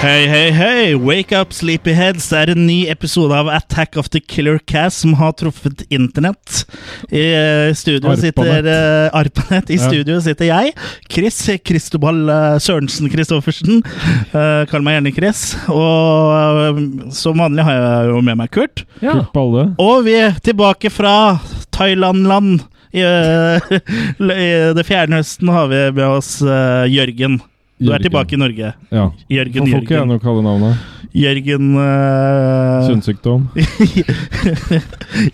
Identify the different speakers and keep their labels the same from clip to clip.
Speaker 1: Hei, hei, hei! Wake up, sleepyheads! Det er en ny episode av Attack of the Killer Cast som har truffet internett. I eh, studio
Speaker 2: Arpanet.
Speaker 1: sitter eh, Arpanet. I
Speaker 2: Ja.
Speaker 1: studio sitter jeg, Chris Kristobal eh, Sørensen Christoffersen. Eh, Kall meg gjerne Chris. Og eh, som vanlig har jeg jo med meg Kurt.
Speaker 2: Kurt Balle.
Speaker 1: Og vi er tilbake fra Thailand-land. I, eh, I det fjerne høsten har vi med oss eh, Jørgen. Du er
Speaker 2: Jørgen.
Speaker 1: tilbake i Norge.
Speaker 2: Ja.
Speaker 1: Jørgen,
Speaker 2: Han får ikke jeg
Speaker 1: Jørgen.
Speaker 2: noe å kalle navnet.
Speaker 1: Jørgen eh,
Speaker 2: Kjønnssykdom.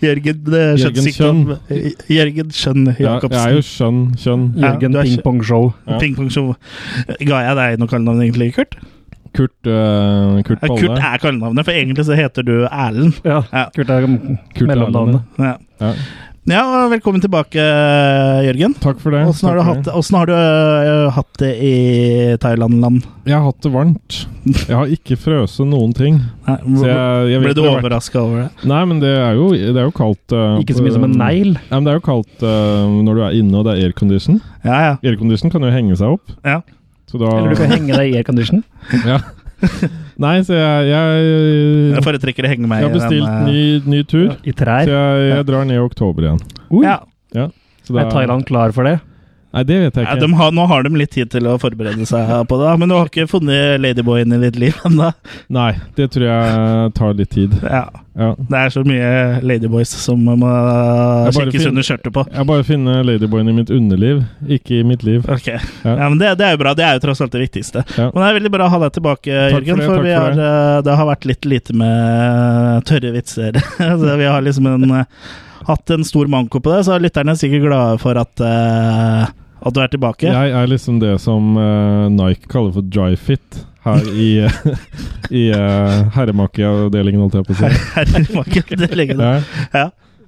Speaker 1: Jørgen eh, Kjønnssykdom. Jørgen Kjønn
Speaker 2: Jeg, jeg er
Speaker 1: Jacobsen.
Speaker 2: jo skjønn, kjønn.
Speaker 1: Jørgen Ja, du er Ping ikke-
Speaker 3: Pong-show.
Speaker 2: Ja.
Speaker 1: Pingpongshow. Eh, Ga jeg deg noe kallenavn, egentlig, Kurt?
Speaker 2: Kurt, eh, Kurt
Speaker 1: Ja,
Speaker 2: Balle.
Speaker 1: Kurt er kallenavnet, for egentlig så heter du Erlend.
Speaker 3: Ja,
Speaker 1: Ja.
Speaker 3: Kurt er
Speaker 2: Kurt
Speaker 3: mellomnavnet.
Speaker 2: Erlend,
Speaker 1: Ja,
Speaker 2: Ja.
Speaker 1: ja og velkommen tilbake, Jørgen.
Speaker 2: Takk for det.
Speaker 1: Åssen har, du
Speaker 2: Takk for
Speaker 1: hatt
Speaker 2: det.
Speaker 1: det- åssen har du eh, hatt det i Thailand-land?
Speaker 2: Jeg har hatt det varmt. Jeg har ikke frøset noen ting.
Speaker 1: Nei,
Speaker 2: Så jeg, jeg
Speaker 1: Eh, Ble
Speaker 2: vet
Speaker 1: du
Speaker 2: det har vært-
Speaker 1: overraska over det?
Speaker 2: Nei, men det er jo, det er jo kaldt eh,
Speaker 3: Ikke så mye som en
Speaker 2: eh,
Speaker 3: negl.
Speaker 2: Nei, men det er jo kaldt eh, når du er inne og det er aircondition.
Speaker 1: Ja, ja.
Speaker 2: Aircondition kan jo henge seg opp.
Speaker 1: Ja.
Speaker 2: Så da
Speaker 3: Eller du kan henge deg i aircondition.
Speaker 2: ja. Nei, så jeg, jeg,
Speaker 1: Jeg foretrekker å henge meg
Speaker 2: jeg har bestilt
Speaker 1: eh,
Speaker 2: ny, ny tur.
Speaker 3: I
Speaker 2: Så
Speaker 3: trær.
Speaker 2: jeg, jeg drar ned i oktober igjen.
Speaker 3: Oi,
Speaker 1: ja.
Speaker 2: Så
Speaker 3: Er Thailand klar for det?
Speaker 2: Nei, det vet jeg
Speaker 1: Ja,
Speaker 2: ikke.
Speaker 1: de har, nå har de litt tid til å forberede seg på det, da, men du har ikke funnet Ladyboyen i ditt liv ennå.
Speaker 2: Nei, det tror jeg tar litt tid.
Speaker 1: Ja,
Speaker 2: Ja.
Speaker 1: det er så mye Ladyboys som må
Speaker 2: Jeg bare
Speaker 1: kikkes
Speaker 2: fin-
Speaker 1: under skjørtet på.
Speaker 2: Jeg bare finner ladyboyen i mitt underliv, ikke i mitt liv.
Speaker 1: Ok, ja. men det, det er jo bra. Det er jo tross alt det viktigste.
Speaker 2: Ja.
Speaker 1: Men det er veldig bra å ha deg tilbake,
Speaker 2: for
Speaker 1: Jørgen.
Speaker 2: det,
Speaker 1: For,
Speaker 2: takk
Speaker 1: vi
Speaker 2: for
Speaker 1: har,
Speaker 2: det.
Speaker 1: eh, det har vært litt lite med eh, tørre vitser. så vi har liksom en, eh, hatt en stor manko på det, så lytterne er sikkert glade for at, eh, at du er tilbake.
Speaker 2: Jeg er liksom det som eh, Nike kaller for dry fit her i, i eh, herremakeavdelingen, holdt jeg på å si.
Speaker 1: Herre, må ikke det legge det.
Speaker 2: Ja.
Speaker 1: Ja.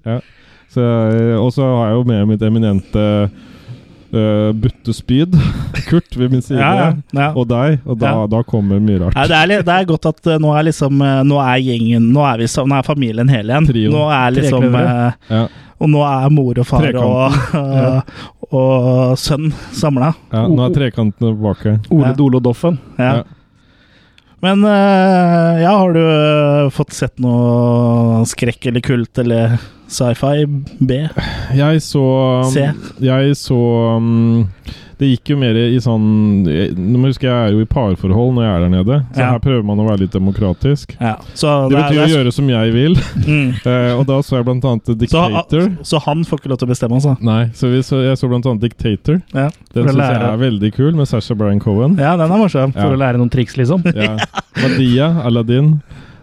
Speaker 2: Ja. Så, eh, og så har jeg jo med mitt eminente eh, buttespyd, Kurt, ved min side.
Speaker 1: Ja, ja, ja.
Speaker 2: Og deg, og da,
Speaker 1: Ja.
Speaker 2: da kommer mye rart.
Speaker 1: Nei, det, er, litt- det er godt at eh, nå er liksom eh, Nå er gjengen Nå er, vi, sam- nå er familien hele igjen.
Speaker 2: Trio.
Speaker 1: Nå er liksom
Speaker 3: Trekløveret.
Speaker 1: eh,
Speaker 2: Ja,
Speaker 1: Og nå er mor og far og,
Speaker 2: Trekanten.
Speaker 1: og, og sønn samla.
Speaker 2: ja, nå er trekantene tilbake.
Speaker 1: Ja.
Speaker 3: Ole Dole og Doffen.
Speaker 1: Ja.
Speaker 2: Ja.
Speaker 1: Men eh, ja, har du eh, fått sett noe skrekk eller kult eller sci-fi? B?
Speaker 2: Jeg så um,
Speaker 1: Se.
Speaker 2: Jeg så um, Det gikk jo mer i sånn jeg, Nå må jeg huske jeg er jo i parforhold når jeg er der nede, så
Speaker 1: Ja.
Speaker 2: her prøver man å være litt demokratisk.
Speaker 1: Ja. Så, det er-
Speaker 2: Det betyr å
Speaker 1: det er-
Speaker 2: gjøre som jeg vil,
Speaker 1: Mm.
Speaker 2: eh, og da så jeg blant annet
Speaker 1: Så,
Speaker 2: Dictator.
Speaker 1: så han får ikke lov til å bestemme, altså?
Speaker 2: Nei, så, vi så jeg så blant annet Dictator.
Speaker 1: Ja,
Speaker 2: Den
Speaker 3: For å
Speaker 2: syns jeg
Speaker 3: lære.
Speaker 2: er veldig kul, med Sasha Brian Cohen.
Speaker 1: ja den er morsom.
Speaker 2: Ja.
Speaker 3: For å lære noen triks, liksom.
Speaker 2: Ja. Madia, Aladdin.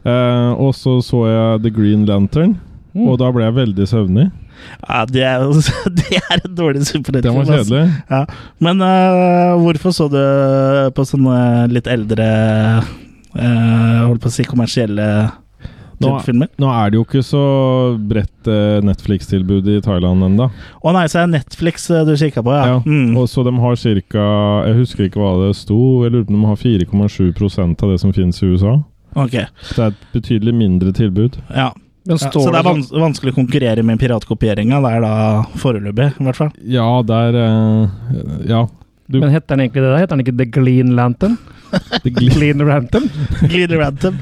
Speaker 2: Eh, og så så jeg The Green Lantern,
Speaker 3: Mm.
Speaker 2: og da ble jeg veldig søvnig.
Speaker 1: Ja, det, er, det er en dårlig
Speaker 2: Den
Speaker 1: superheltfilm.
Speaker 2: var
Speaker 1: altså.
Speaker 2: kjedelig.
Speaker 1: Men øh, hvorfor så du på sånne litt eldre øh, Holdt på å si kommersielle
Speaker 2: Nå-
Speaker 1: filmer?
Speaker 2: Nå er det jo ikke så bredt eh, Netflix-tilbud i Thailand ennå.
Speaker 1: Å nei, så er det Netflix øh, du kikka på, ja.
Speaker 2: Ja,
Speaker 1: Mm.
Speaker 2: Og så de har ca. Jeg husker ikke hva det sto. Jeg lurer på om de har 4,7 av det som finnes i USA.
Speaker 1: Ok,
Speaker 2: Så det er et betydelig mindre tilbud.
Speaker 1: ja.
Speaker 3: Men
Speaker 1: Ja, så
Speaker 3: står
Speaker 1: det
Speaker 3: det
Speaker 1: er
Speaker 3: sånn
Speaker 1: vans vanskelig å konkurrere med piratkopieringa. Det er da foreløpig, i hvert fall.
Speaker 2: Ja, der eh, Ja. Du-
Speaker 3: Men heter den egentlig det der? Heter den ikke The Glean Lantern?
Speaker 2: The Gl-
Speaker 3: Clean Lantern?
Speaker 1: Glider random.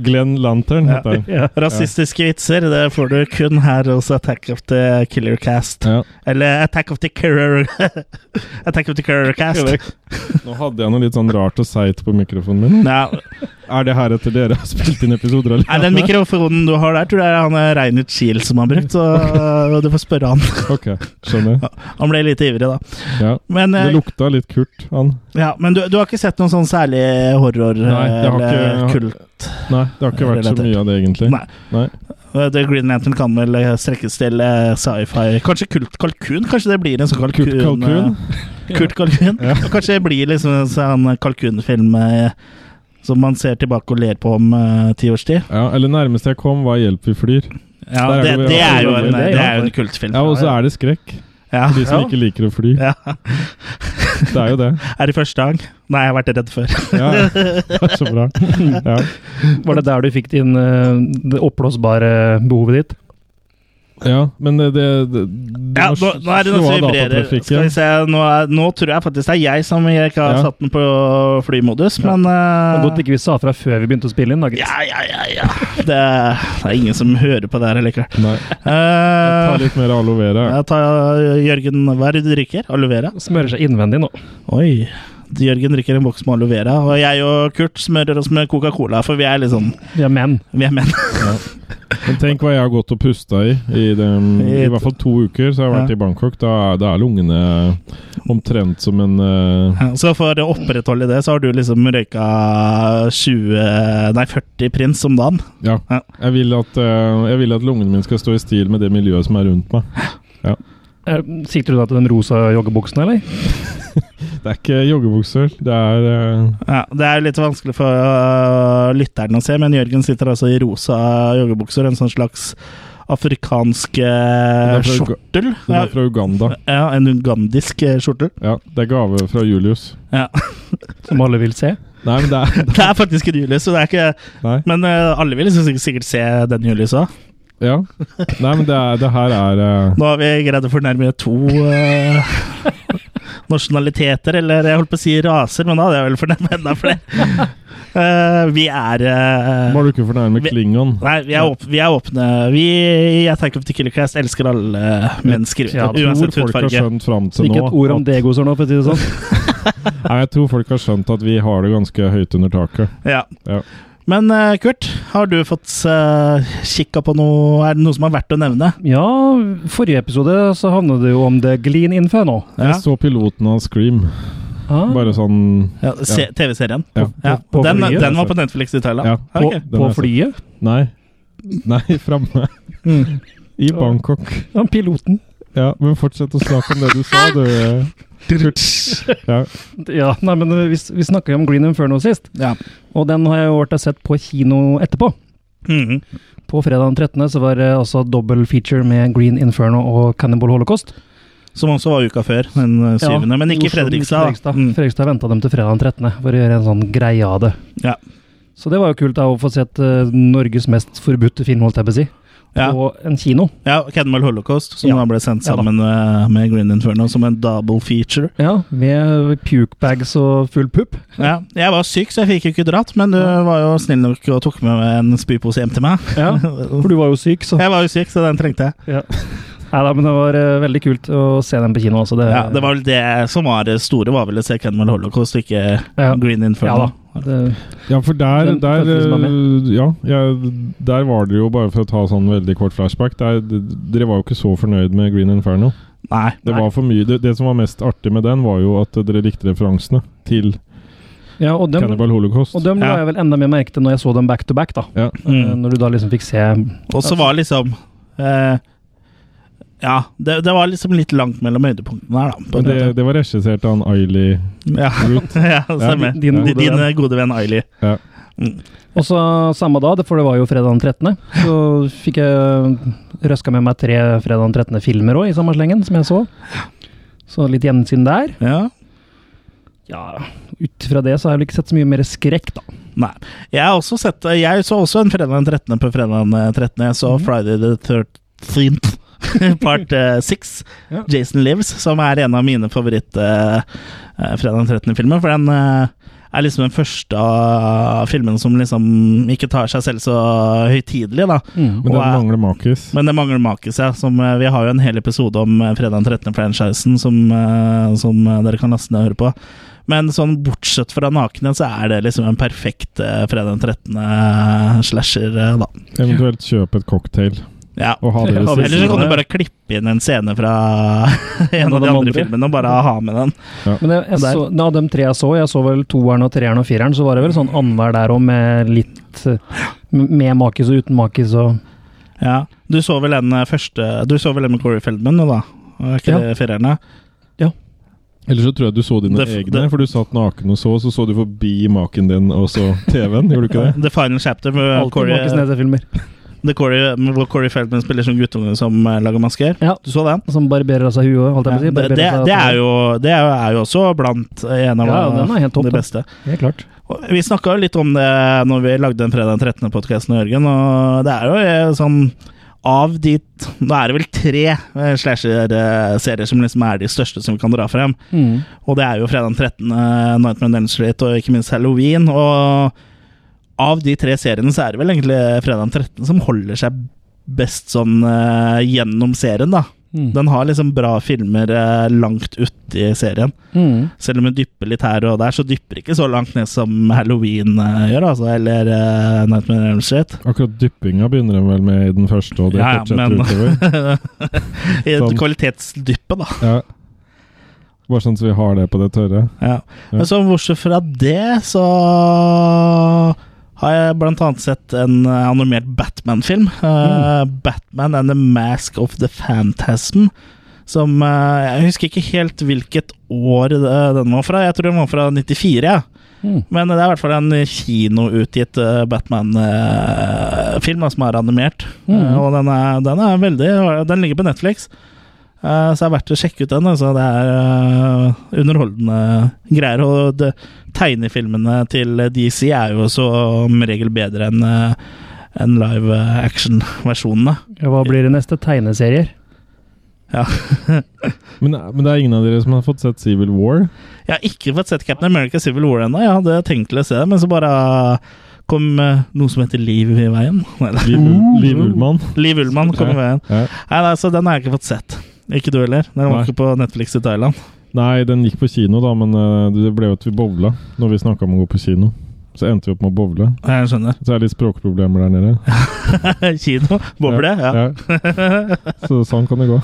Speaker 2: Glenn Lantern heter den.
Speaker 3: Ja.
Speaker 1: Rasistiske vitser det får du kun her hos Attack of the Killer Cast.
Speaker 2: Ja.
Speaker 1: Eller Attack of the Killer Attack of the Killer Cast.
Speaker 2: Nå hadde jeg noe litt sånn rart og seigt på mikrofonen min.
Speaker 1: Ja,
Speaker 2: Er det her etter dere har spilt inn episoder? eller?
Speaker 1: Nei, den mikrofonen du har der, tror jeg er han eh, Reinert Kiel som har brukt, så eh, du får spørre han.
Speaker 2: Ok, skjønner.
Speaker 1: Han ble litt ivrig, da.
Speaker 2: Ja.
Speaker 1: Men, eh,
Speaker 2: Det lukta litt Kurt, han.
Speaker 1: ja, men du, du har ikke sett noen sånn særlig horror eh,
Speaker 2: Nei, det har
Speaker 1: eller
Speaker 2: ikke-
Speaker 1: kult?
Speaker 2: Nei, det har ikke vært så mye av det, egentlig.
Speaker 1: Nei. Eh, The Green Lantern kan vel eh, strekkes til eh, sci-fi Kanskje kult kalkun? Kanskje det blir en sånn kalkun?
Speaker 2: Kurt Kalkun.
Speaker 1: eh, Kurt kalkun?
Speaker 2: Ja.
Speaker 1: Kanskje det blir liksom en sånn kalkunfilm eh, som man ser tilbake og ler på om eh, ti års tid?
Speaker 2: Ja, eller nærmest jeg kom, var 'Hjelp, vi flyr'.
Speaker 1: Ja,
Speaker 2: Der er
Speaker 1: det,
Speaker 2: det-
Speaker 1: det er jo en,
Speaker 3: det,
Speaker 1: det
Speaker 3: ja.
Speaker 1: er jo en kultfilm.
Speaker 2: Ja, Og så er det skrekk.
Speaker 1: Ja.
Speaker 2: De som
Speaker 3: Ja.
Speaker 2: ikke liker å fly.
Speaker 1: Ja.
Speaker 2: Det er jo det.
Speaker 1: Er det første gang? Nei, jeg har vært redd før.
Speaker 2: Ja, ja. det er så bra. Ja.
Speaker 3: Var det der du fikk din eh, det oppblåsbare behovet ditt?
Speaker 2: Ja, men det, det, det, det
Speaker 1: Ja,
Speaker 2: må
Speaker 1: nå, nå er det noe
Speaker 2: slå av
Speaker 1: som vibrerer. Skal vi
Speaker 2: datatrafikken.
Speaker 1: se, nå, er, nå tror jeg faktisk det er jeg som ikke har
Speaker 2: Ja.
Speaker 1: satt den på flymodus,
Speaker 3: Ja.
Speaker 1: men eh,
Speaker 3: Godt ikke vi sa fra før vi begynte å spille inn. da, gitt.
Speaker 1: ja, ja, ja, ja. Det, er- det er ingen som hører på det her likevel.
Speaker 2: Nei, ta
Speaker 1: Uh,
Speaker 2: litt mer aloe vera.
Speaker 1: jeg tar eh, Jørgen Hva er det du drikker? Aloe vera?
Speaker 3: Smører seg innvendig nå.
Speaker 1: Oi. Jørgen drikker en boks med aloe vera, og jeg og Kurt smører oss med Coca-Cola, for vi er litt sånn
Speaker 3: Vi er menn.
Speaker 1: Vi er menn.
Speaker 2: Men tenk hva jeg har gått og pusta i i, dem- i hvert fall to uker. Så jeg har vært i Bangkok. Da, er- da er lungene omtrent som en eh,
Speaker 1: Så for å opprettholde det, så har du liksom røyka 20 Nei, 40 prins om dagen.
Speaker 2: Ja.
Speaker 1: Ja.
Speaker 2: Jeg vil, at, eh, jeg vil at lungene mine skal stå i stil med det miljøet som er rundt meg.
Speaker 3: Eh, Sikter du da til den rosa joggebuksene, eller?
Speaker 2: Det er ikke joggebukser. Det er eh,
Speaker 1: Ja, det er jo litt vanskelig for øh, lytterne å se, men Jørgen sitter altså i rosa joggebukser, en sånn slags afrikansk øh,
Speaker 2: Den er fra Uga-
Speaker 1: skjortel.
Speaker 2: Den
Speaker 1: Ja,
Speaker 2: er fra Uganda.
Speaker 1: ja, en ugandisk øh, skjortel.
Speaker 2: Ja, det er gave fra Julius.
Speaker 1: Ja.
Speaker 3: Som alle vil se.
Speaker 2: Nei, men det er
Speaker 1: Det er faktisk en Julius, så det er ikke
Speaker 2: Nei.
Speaker 1: Men øh, alle vil liksom sikkert se den Julius òg.
Speaker 2: Ja. Nei, men det, er, det her er eh,
Speaker 1: Nå har vi greid å fornærme to øh, nasjonaliteter, eller jeg holdt på å si raser, men da hadde jeg vel fornærmet enda flere. Eh, vi er øh,
Speaker 2: Må du ikke fornærme
Speaker 1: Vi-
Speaker 2: Klingon.
Speaker 1: Nei, vi er, åp vi er åpne. Vi i Attack of the Killer Cast elsker alle eh, mennesker,
Speaker 3: Ja, jeg
Speaker 2: Jeg
Speaker 1: uansett
Speaker 2: tror folk har
Speaker 1: hudfarge.
Speaker 2: skjønt fram til
Speaker 3: Ikke
Speaker 2: nå
Speaker 3: et ord om
Speaker 2: at,
Speaker 3: degoser nå, for å si det sånn.
Speaker 2: Nei, jeg tror folk har skjønt at vi har det ganske høyt under taket.
Speaker 1: Ja.
Speaker 2: Ja.
Speaker 1: Men eh, Kurt, har du fått uh, kikka på noe Er det noe som er verdt å nevne?
Speaker 3: Ja, forrige episode så handlet det jo om det Glean Info nå.
Speaker 1: Ja.
Speaker 2: Jeg så piloten av Scream.
Speaker 3: Ah,
Speaker 2: Bare sånn
Speaker 1: Ja, se- TV-serien.
Speaker 2: Ja.
Speaker 1: Ja.
Speaker 3: på altså.
Speaker 1: Den,
Speaker 3: flyet,
Speaker 1: den var på Netflix i Thailand.
Speaker 2: Ja.
Speaker 3: på,
Speaker 1: Ok.
Speaker 2: den
Speaker 3: på
Speaker 2: er så-
Speaker 3: flyet?
Speaker 2: Nei. Nei, framme.
Speaker 1: Mm.
Speaker 2: I Bangkok.
Speaker 3: Ja, piloten.
Speaker 2: Ja, men fortsett å snakke om det du sa, du. Kurt. Ja.
Speaker 3: Ja, nei, men eh, vi, s- vi snakka jo om Green Inferno sist,
Speaker 1: Ja.
Speaker 3: og den har jeg jo vært og sett på kino etterpå.
Speaker 1: Mhm.
Speaker 3: På fredag den 13. så var det altså dobbel feature med Green Inferno og Cannibal Holocaust.
Speaker 1: Som også var uka før, den eh,
Speaker 3: Ja,
Speaker 1: syvende. men ikke
Speaker 3: Oslo,
Speaker 1: Fredrikstad. da. Mhm. Mm.
Speaker 3: Fredrikstad, Fredrikstad venta dem til fredag den 13. for å gjøre en sånn greie av det.
Speaker 1: Ja.
Speaker 3: Så det var jo kult da, å få sett eh, Norges mest forbudte film, holdt jeg på å si,
Speaker 1: Mm. Ja.
Speaker 3: på en kino.
Speaker 1: ja, Cannibal Holocaust, som
Speaker 3: Ja.
Speaker 1: da ble sendt
Speaker 3: Ja da.
Speaker 1: sammen eh, med Green Inferno som en double feature.
Speaker 3: Ja, Med pukebags og full pupp.
Speaker 1: Ja, jeg var syk, så jeg fikk jo ikke dratt, men du var jo snill nok og tok med meg en spypose hjem til meg.
Speaker 3: Ja, for du var jo syk, så
Speaker 1: Jeg var jo syk, så den trengte jeg.
Speaker 3: Nei da, men det var eh, veldig kult å se den på kino. Altså det,
Speaker 1: Ja, det var vel det som var det store, var vel å se Kenmel Holocaust, ikke
Speaker 3: Ja.
Speaker 1: Green
Speaker 3: ja da.
Speaker 1: Inferno.
Speaker 3: Det,
Speaker 2: Ja, for der,
Speaker 3: Den
Speaker 2: der
Speaker 3: følte du som var
Speaker 2: eh, Ja, jeg, der var dere jo, bare for å ta sånn veldig kort flashback der, d- Dere var jo ikke så fornøyd med Green Inferno.
Speaker 1: Nei.
Speaker 2: Det
Speaker 1: nei.
Speaker 2: var for mye det, det som var mest artig med den, var jo at dere likte referansene til
Speaker 3: ja, og dem,
Speaker 2: Cannibal Holocaust.
Speaker 3: og dem la
Speaker 1: Ja.
Speaker 3: jeg vel enda mer merke til når jeg så dem back to back, da.
Speaker 2: Ja.
Speaker 1: Mm.
Speaker 3: Eh, Når du da liksom fikk se
Speaker 1: Og så var liksom eh, Ja, det, det var liksom litt langt mellom høydepunktene her, da. på
Speaker 2: Men
Speaker 1: en
Speaker 2: det, det var regissert av han Ailey
Speaker 1: måte. ja.
Speaker 2: Root.
Speaker 1: ja, stemmer.
Speaker 3: din-
Speaker 1: din,
Speaker 3: din
Speaker 1: din, eh,
Speaker 3: gode venn.
Speaker 1: gode venn Ailey.
Speaker 3: Og så samme dag, for det var jo fredag den 13., så fikk jeg røska med meg tre fredag den 13. filmer òg, i samme slengen, som jeg så. Så litt gjensyn der.
Speaker 1: Ja.
Speaker 3: Ja, ut fra det så har jeg vel ikke sett så mye mer skrekk, da.
Speaker 1: Nei. Jeg, har også sett, jeg så også en fredag den 13. på fredag den 13. Jeg så
Speaker 3: Mhm.
Speaker 1: Friday the 13th. Part eh, 6,
Speaker 3: Ja.
Speaker 1: Jason Lives, som er en av mine favoritt-Fredag den 13.-filmer. For den eh, er liksom den første av filmene som liksom ikke tar seg selv så høytidelig, da.
Speaker 2: Men
Speaker 1: Og
Speaker 2: den
Speaker 1: jeg-
Speaker 2: mangler makis.
Speaker 1: Men det mangler makis, ja. Som, eh, vi har jo en hel episode om eh, Fredag den 13.-franchisen som, eh, som eh, dere kan laste ned og høre på. Men sånn bortsett fra nakenhet, så er det liksom en perfekt eh, Fredag den 13. slasher, eh, da.
Speaker 2: Eventuelt kjøp et cocktail
Speaker 1: Ja.
Speaker 2: og ha det ved
Speaker 3: Ja, vel,
Speaker 1: Ellers så
Speaker 2: siden
Speaker 1: kan
Speaker 2: av.
Speaker 1: du bare klippe inn en scene fra en av de andre filmene og bare ha med den.
Speaker 3: Men jeg, jeg
Speaker 1: Der.
Speaker 3: så, av de tre jeg så, jeg så vel toeren og treeren og fireren, så var det vel sånn annenhver der òg, med litt eh, Med makis og uten makis og
Speaker 1: Ja. Du så vel den eh, første Du så vel den med Corey Feldman nå, da? Er ikke
Speaker 3: Ja.
Speaker 1: det firerne?
Speaker 2: Ellers så tror jeg du så dine
Speaker 1: Det f-
Speaker 2: egne,
Speaker 1: det-
Speaker 2: for du satt naken og så, så så du forbi maken din og så TV-en, gjorde du ikke det?
Speaker 1: The Final Chapter, hvor
Speaker 3: alltid
Speaker 1: Corey,
Speaker 3: makis nese-filmer.
Speaker 1: The Corey, hvor Corey Feldman spiller som guttunge som eh, lager masker.
Speaker 3: Ja.
Speaker 1: Du så den?
Speaker 3: Som barberer av seg huet, holdt
Speaker 1: Ja,
Speaker 3: jeg på å si.
Speaker 1: det,
Speaker 3: barberer
Speaker 1: det,
Speaker 3: seg-
Speaker 1: det, er jo, det er jo- er jo også blant eh, en av
Speaker 3: Ja, den er helt
Speaker 1: de
Speaker 3: topp, den.
Speaker 1: beste.
Speaker 3: Helt klart.
Speaker 1: Og Vi snakka jo litt om det når vi lagde den fredag den 13. podkasten med Jørgen, og det er jo eh, sånn Av de t- Da er det vel tre eh, slasher-serier som liksom er de største som vi kan dra frem.
Speaker 3: Mm.
Speaker 1: Og det er jo fredag den 13., eh, Nightmare on Elm Street og ikke minst Halloween. Og av de tre seriene så er det vel egentlig fredag den 13. som holder seg best sånn eh, gjennom serien, da.
Speaker 3: Mm.
Speaker 1: Den har liksom bra filmer eh, langt uti serien.
Speaker 3: Mm.
Speaker 1: Selv om den dypper litt her og der, så dypper ikke så langt ned som Halloween eh, gjør, altså. Eller eh, Nightmare on Elm Street.
Speaker 2: Akkurat dyppinga begynner de vel med i den første, og det
Speaker 1: Ja, ja,
Speaker 2: fortsetter
Speaker 1: men-
Speaker 2: utover.
Speaker 1: I
Speaker 2: Sånn.
Speaker 1: kvalitetsdyppet, da.
Speaker 2: Ja. Bare sånn at vi har det på det tørre.
Speaker 1: Ja.
Speaker 2: Ja.
Speaker 1: Men så bortsett fra det, så har jeg blant annet sett en eh, animert Batman-film. eh, Batman and the Mask of the Phantasm. Som eh, Jeg husker ikke helt hvilket år eh, den var fra. Jeg tror den var fra 94, ja.
Speaker 3: Mm.
Speaker 1: men det er i hvert fall en kinoutgitt eh, Batman-film som er animert.
Speaker 3: Mm.
Speaker 1: Eh, Og den er, den er veldig Den ligger på Netflix, Eh, så det er verdt å sjekke ut den. Altså. Det er eh, underholdende greier. Og det, tegnefilmene til DC er jo som regel bedre enn eh, enn live action-versjonene.
Speaker 3: Ja, hva blir det neste? Tegneserier?
Speaker 2: Men, men det er ingen av dere som har fått sett Civil War?
Speaker 1: Jeg har ikke fått sett Captain America Civil War ennå. Jeg hadde tenkt til å se det, men så bare kom eh, noe som heter Liv i veien. Nei, da.
Speaker 2: Liv,
Speaker 3: Uh.
Speaker 2: Liv Ullmann?
Speaker 1: Liv Ullmann kom i veien.
Speaker 2: Ja.
Speaker 1: Nei, nei, så den har jeg ikke fått sett. Ikke du heller? Den var
Speaker 2: Nei.
Speaker 1: ikke på Netflix i Thailand.
Speaker 2: Nei, den gikk på kino, da, men eh, det ble jo at vi bowla når vi snakka om å gå på kino. Så endte vi opp med å bowle.
Speaker 1: Jeg skjønner.
Speaker 2: Så er det litt språkproblemer der nede.
Speaker 1: Kino. Boble, ja.
Speaker 2: Ja. Så sånn kan det gå.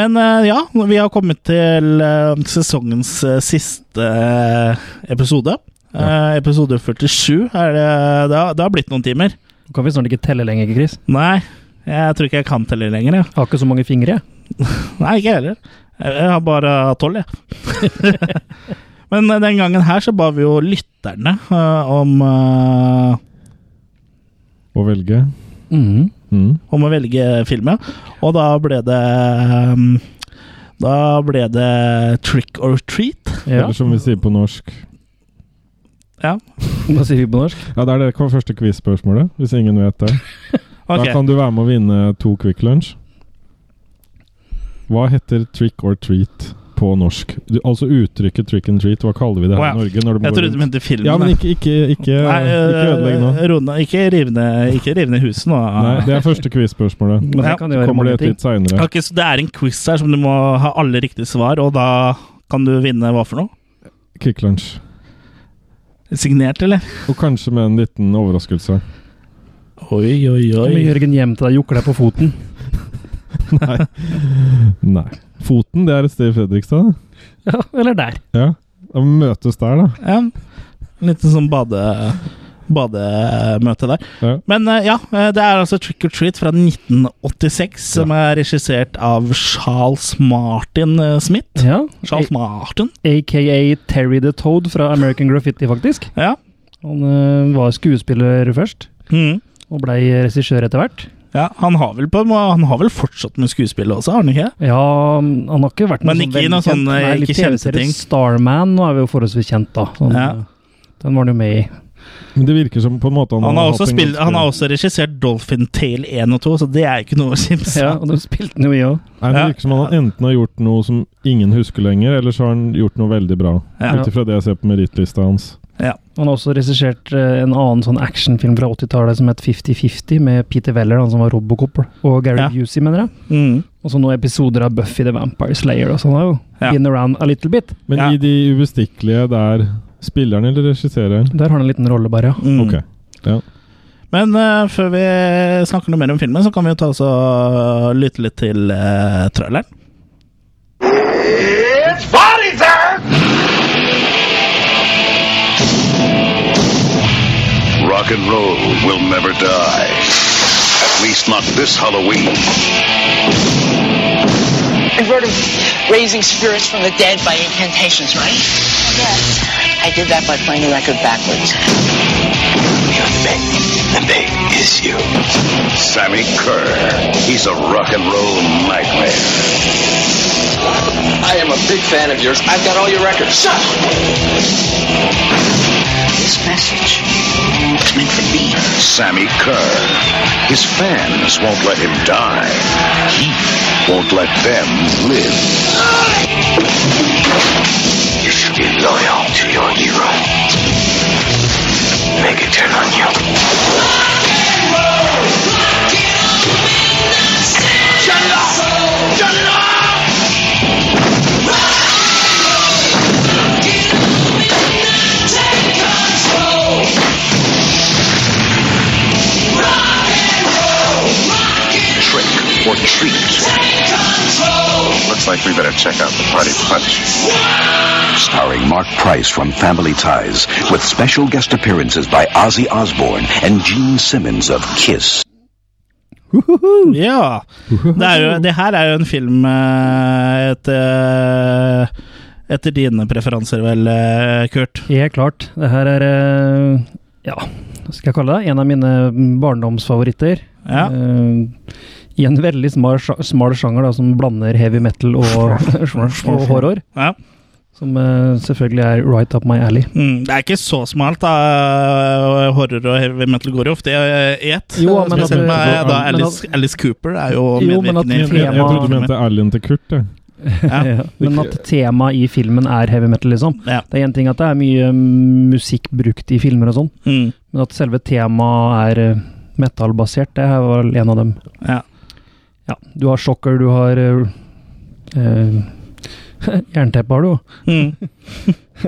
Speaker 1: Men eh, ja, vi har kommet til eh, sesongens eh, siste eh, episode. Eh, episode 47. Er det, det, har, det har blitt noen timer.
Speaker 3: Nå kan vi snart ikke telle lenger, Chris.
Speaker 1: Nei, jeg tror ikke jeg kan telle lenger. Ja.
Speaker 3: Jeg har ikke så mange fingre.
Speaker 1: Nei, ikke jeg heller. Jeg jeg har bare tolv, jeg. Men eh, den gangen her så ba vi jo lytterne eh, om eh,
Speaker 2: Å velge.
Speaker 3: Mm.
Speaker 2: Mm.
Speaker 1: om å velge film, ja. Og da ble det um, Da ble det Trick or Treat.
Speaker 3: Ja.
Speaker 2: Eller som vi sier på norsk
Speaker 3: Hva sier vi på norsk?
Speaker 2: Ja, det er det hva var første quiz-spørsmålet, hvis ingen vet det.
Speaker 1: Ok,
Speaker 2: Da kan du være med å vinne to Quick Lunch. Hva heter trick or treat på norsk? Du, altså uttrykket trick and treat, hva kaller vi det her
Speaker 1: Wow.
Speaker 2: i Norge? Når du må
Speaker 1: Jeg
Speaker 2: gå
Speaker 1: trodde du
Speaker 2: rundt?
Speaker 1: mente filmen.
Speaker 2: Ja, men ikke, ikke, ikke,
Speaker 1: Nei,
Speaker 2: ikke ødelegg nå.
Speaker 1: øh, Rune, ikke riv ned ikke riv ned huset nå.
Speaker 2: Nei, det er første quiz-spørsmålet.
Speaker 3: Men
Speaker 1: Ja,
Speaker 3: det kan jo være
Speaker 2: Kommer det
Speaker 3: mange
Speaker 2: et
Speaker 3: ting.
Speaker 2: litt seinere.
Speaker 1: Ok, så det er en quiz her som du må ha alle riktige svar, og da kan du vinne hva for noe?
Speaker 2: Quick Lunch.
Speaker 1: Signert, eller?
Speaker 2: Og kanskje med en liten overraskelse.
Speaker 1: Oi, oi,
Speaker 3: Kommer Jørgen hjem til deg, jukker deg på foten.
Speaker 2: Nei. Nei. Foten, det er et sted i Fredrikstad. det.
Speaker 3: Ja, eller der.
Speaker 2: Ja. Da må vi møtes der, da.
Speaker 1: Ja. Litt sånn bade, bademøte der.
Speaker 2: Ja.
Speaker 1: Men eh, ja, eh, det er altså Trick or Treat fra 1986, som er regissert av Charles Martin eh, Smith.
Speaker 3: Ja.
Speaker 1: Charles Martin?
Speaker 3: AKA Terry the Toad fra American Graffiti, faktisk.
Speaker 1: Ja.
Speaker 3: Han eh, var skuespiller først,
Speaker 1: Mhm.
Speaker 3: og blei regissør etter hvert.
Speaker 1: ja han, har vel på, han har vel fortsatt med skuespillet også, har han ikke?
Speaker 3: Ja, han har ikke vært sånn
Speaker 1: Men ikke i noen sånne
Speaker 3: Nei, litt
Speaker 1: ikke kjente
Speaker 3: TV-serie.
Speaker 1: ting.
Speaker 3: Starman nå er vi jo forholdsvis kjent, da. Sånn,
Speaker 1: Ja.
Speaker 3: eh, Den var han jo med i.
Speaker 2: Men det virker som på en måte han,
Speaker 1: Han har, også
Speaker 2: hatt en
Speaker 1: spill,
Speaker 2: ganske-
Speaker 1: han har også regissert Dolphin Tale 1 og 2, så det er ikke noe å kimse
Speaker 3: Ja,
Speaker 1: av.
Speaker 3: og de spilte den jo i òg.
Speaker 2: Nei, Det
Speaker 1: Ja.
Speaker 2: virker som han enten har gjort noe som ingen husker lenger, eller så har han gjort noe veldig bra.
Speaker 1: Ja.
Speaker 2: Ut ifra det jeg ser på merittlista hans.
Speaker 3: Han har også regissert eh, en annen sånn actionfilm fra 80-tallet som het 50-50, med Peter Weller, han som var Robocop, og Gary
Speaker 1: Ja.
Speaker 3: Busey, mener jeg.
Speaker 1: Mm.
Speaker 3: Og så noen episoder av Buffy the Vampire Slayer, og sånn har jo
Speaker 1: Ja.
Speaker 3: been around a little bit.
Speaker 2: Men
Speaker 1: Ja.
Speaker 2: i De ubestikkelige der Spilleren eller regisseren?
Speaker 3: Der har han en liten rolle, bare, ja.
Speaker 1: Mm.
Speaker 2: Ok.
Speaker 1: Men eh, før vi snakker noe mer om filmen, så kan vi jo ta oss og lytte litt til uh, traileren.
Speaker 4: It's party time!
Speaker 5: Rock and roll will never die. At least not this Halloween.
Speaker 6: You've heard of raising spirits from the dead by incantations, right? Yes. I did that by playing the record backwards.
Speaker 5: You're the big. The big is you. Sammy Kerr. He's a rock and roll nightmare.
Speaker 4: I am a big fan of yours. I've got all your records. Shut up!
Speaker 6: This message is meant for me.
Speaker 5: Sammy Kerr. His fans won't let him die. He won't let them live. You should be loyal to your hero. Make it turn on you. Trick or treat. Looks like we better check out the party punch. Starring Mark Price from Family Ties, with special guest appearances by Ozzy Osbourne and Gene Simmons of Kiss.
Speaker 1: Ja. Det, er jo, det her er jo en film eh, etter, etter dine preferanser, vel, eh, Kurt?
Speaker 3: Helt klart. Det her er eh, Ja, hva skal jeg kalle det? En av mine barndomsfavoritter.
Speaker 1: Ja.
Speaker 3: Eh, I en veldig smal, sja- smal sjanger da, som blander heavy metal og, og horror.
Speaker 1: ja.
Speaker 3: Som eh, selvfølgelig er right up my alley.
Speaker 1: Mm, det er ikke så smalt, da. Horror og heavy metal går jo ofte i ett.
Speaker 3: Jo, men at-
Speaker 1: Spesielt med da
Speaker 3: men
Speaker 1: Alice, Alice Cooper er Mm, jo
Speaker 3: Jo, men at
Speaker 1: medvirkende i
Speaker 2: Jeg, jeg,
Speaker 1: flere
Speaker 2: jeg trodde du
Speaker 1: filmer.
Speaker 2: mente Allen til Kurt. Jeg.
Speaker 1: Ja.
Speaker 3: Men at temaet i filmen er heavy metal, liksom.
Speaker 1: Ja.
Speaker 3: Det er én ting at det er mye mm, musikk brukt i filmer og sånn,
Speaker 1: Mm,
Speaker 3: men at selve temaet er eh, metal-basert, det her var en av dem.
Speaker 1: ja.
Speaker 3: Ja, du har sjokker, du har eh, eh, Jernteppe har du jo,
Speaker 1: Mm.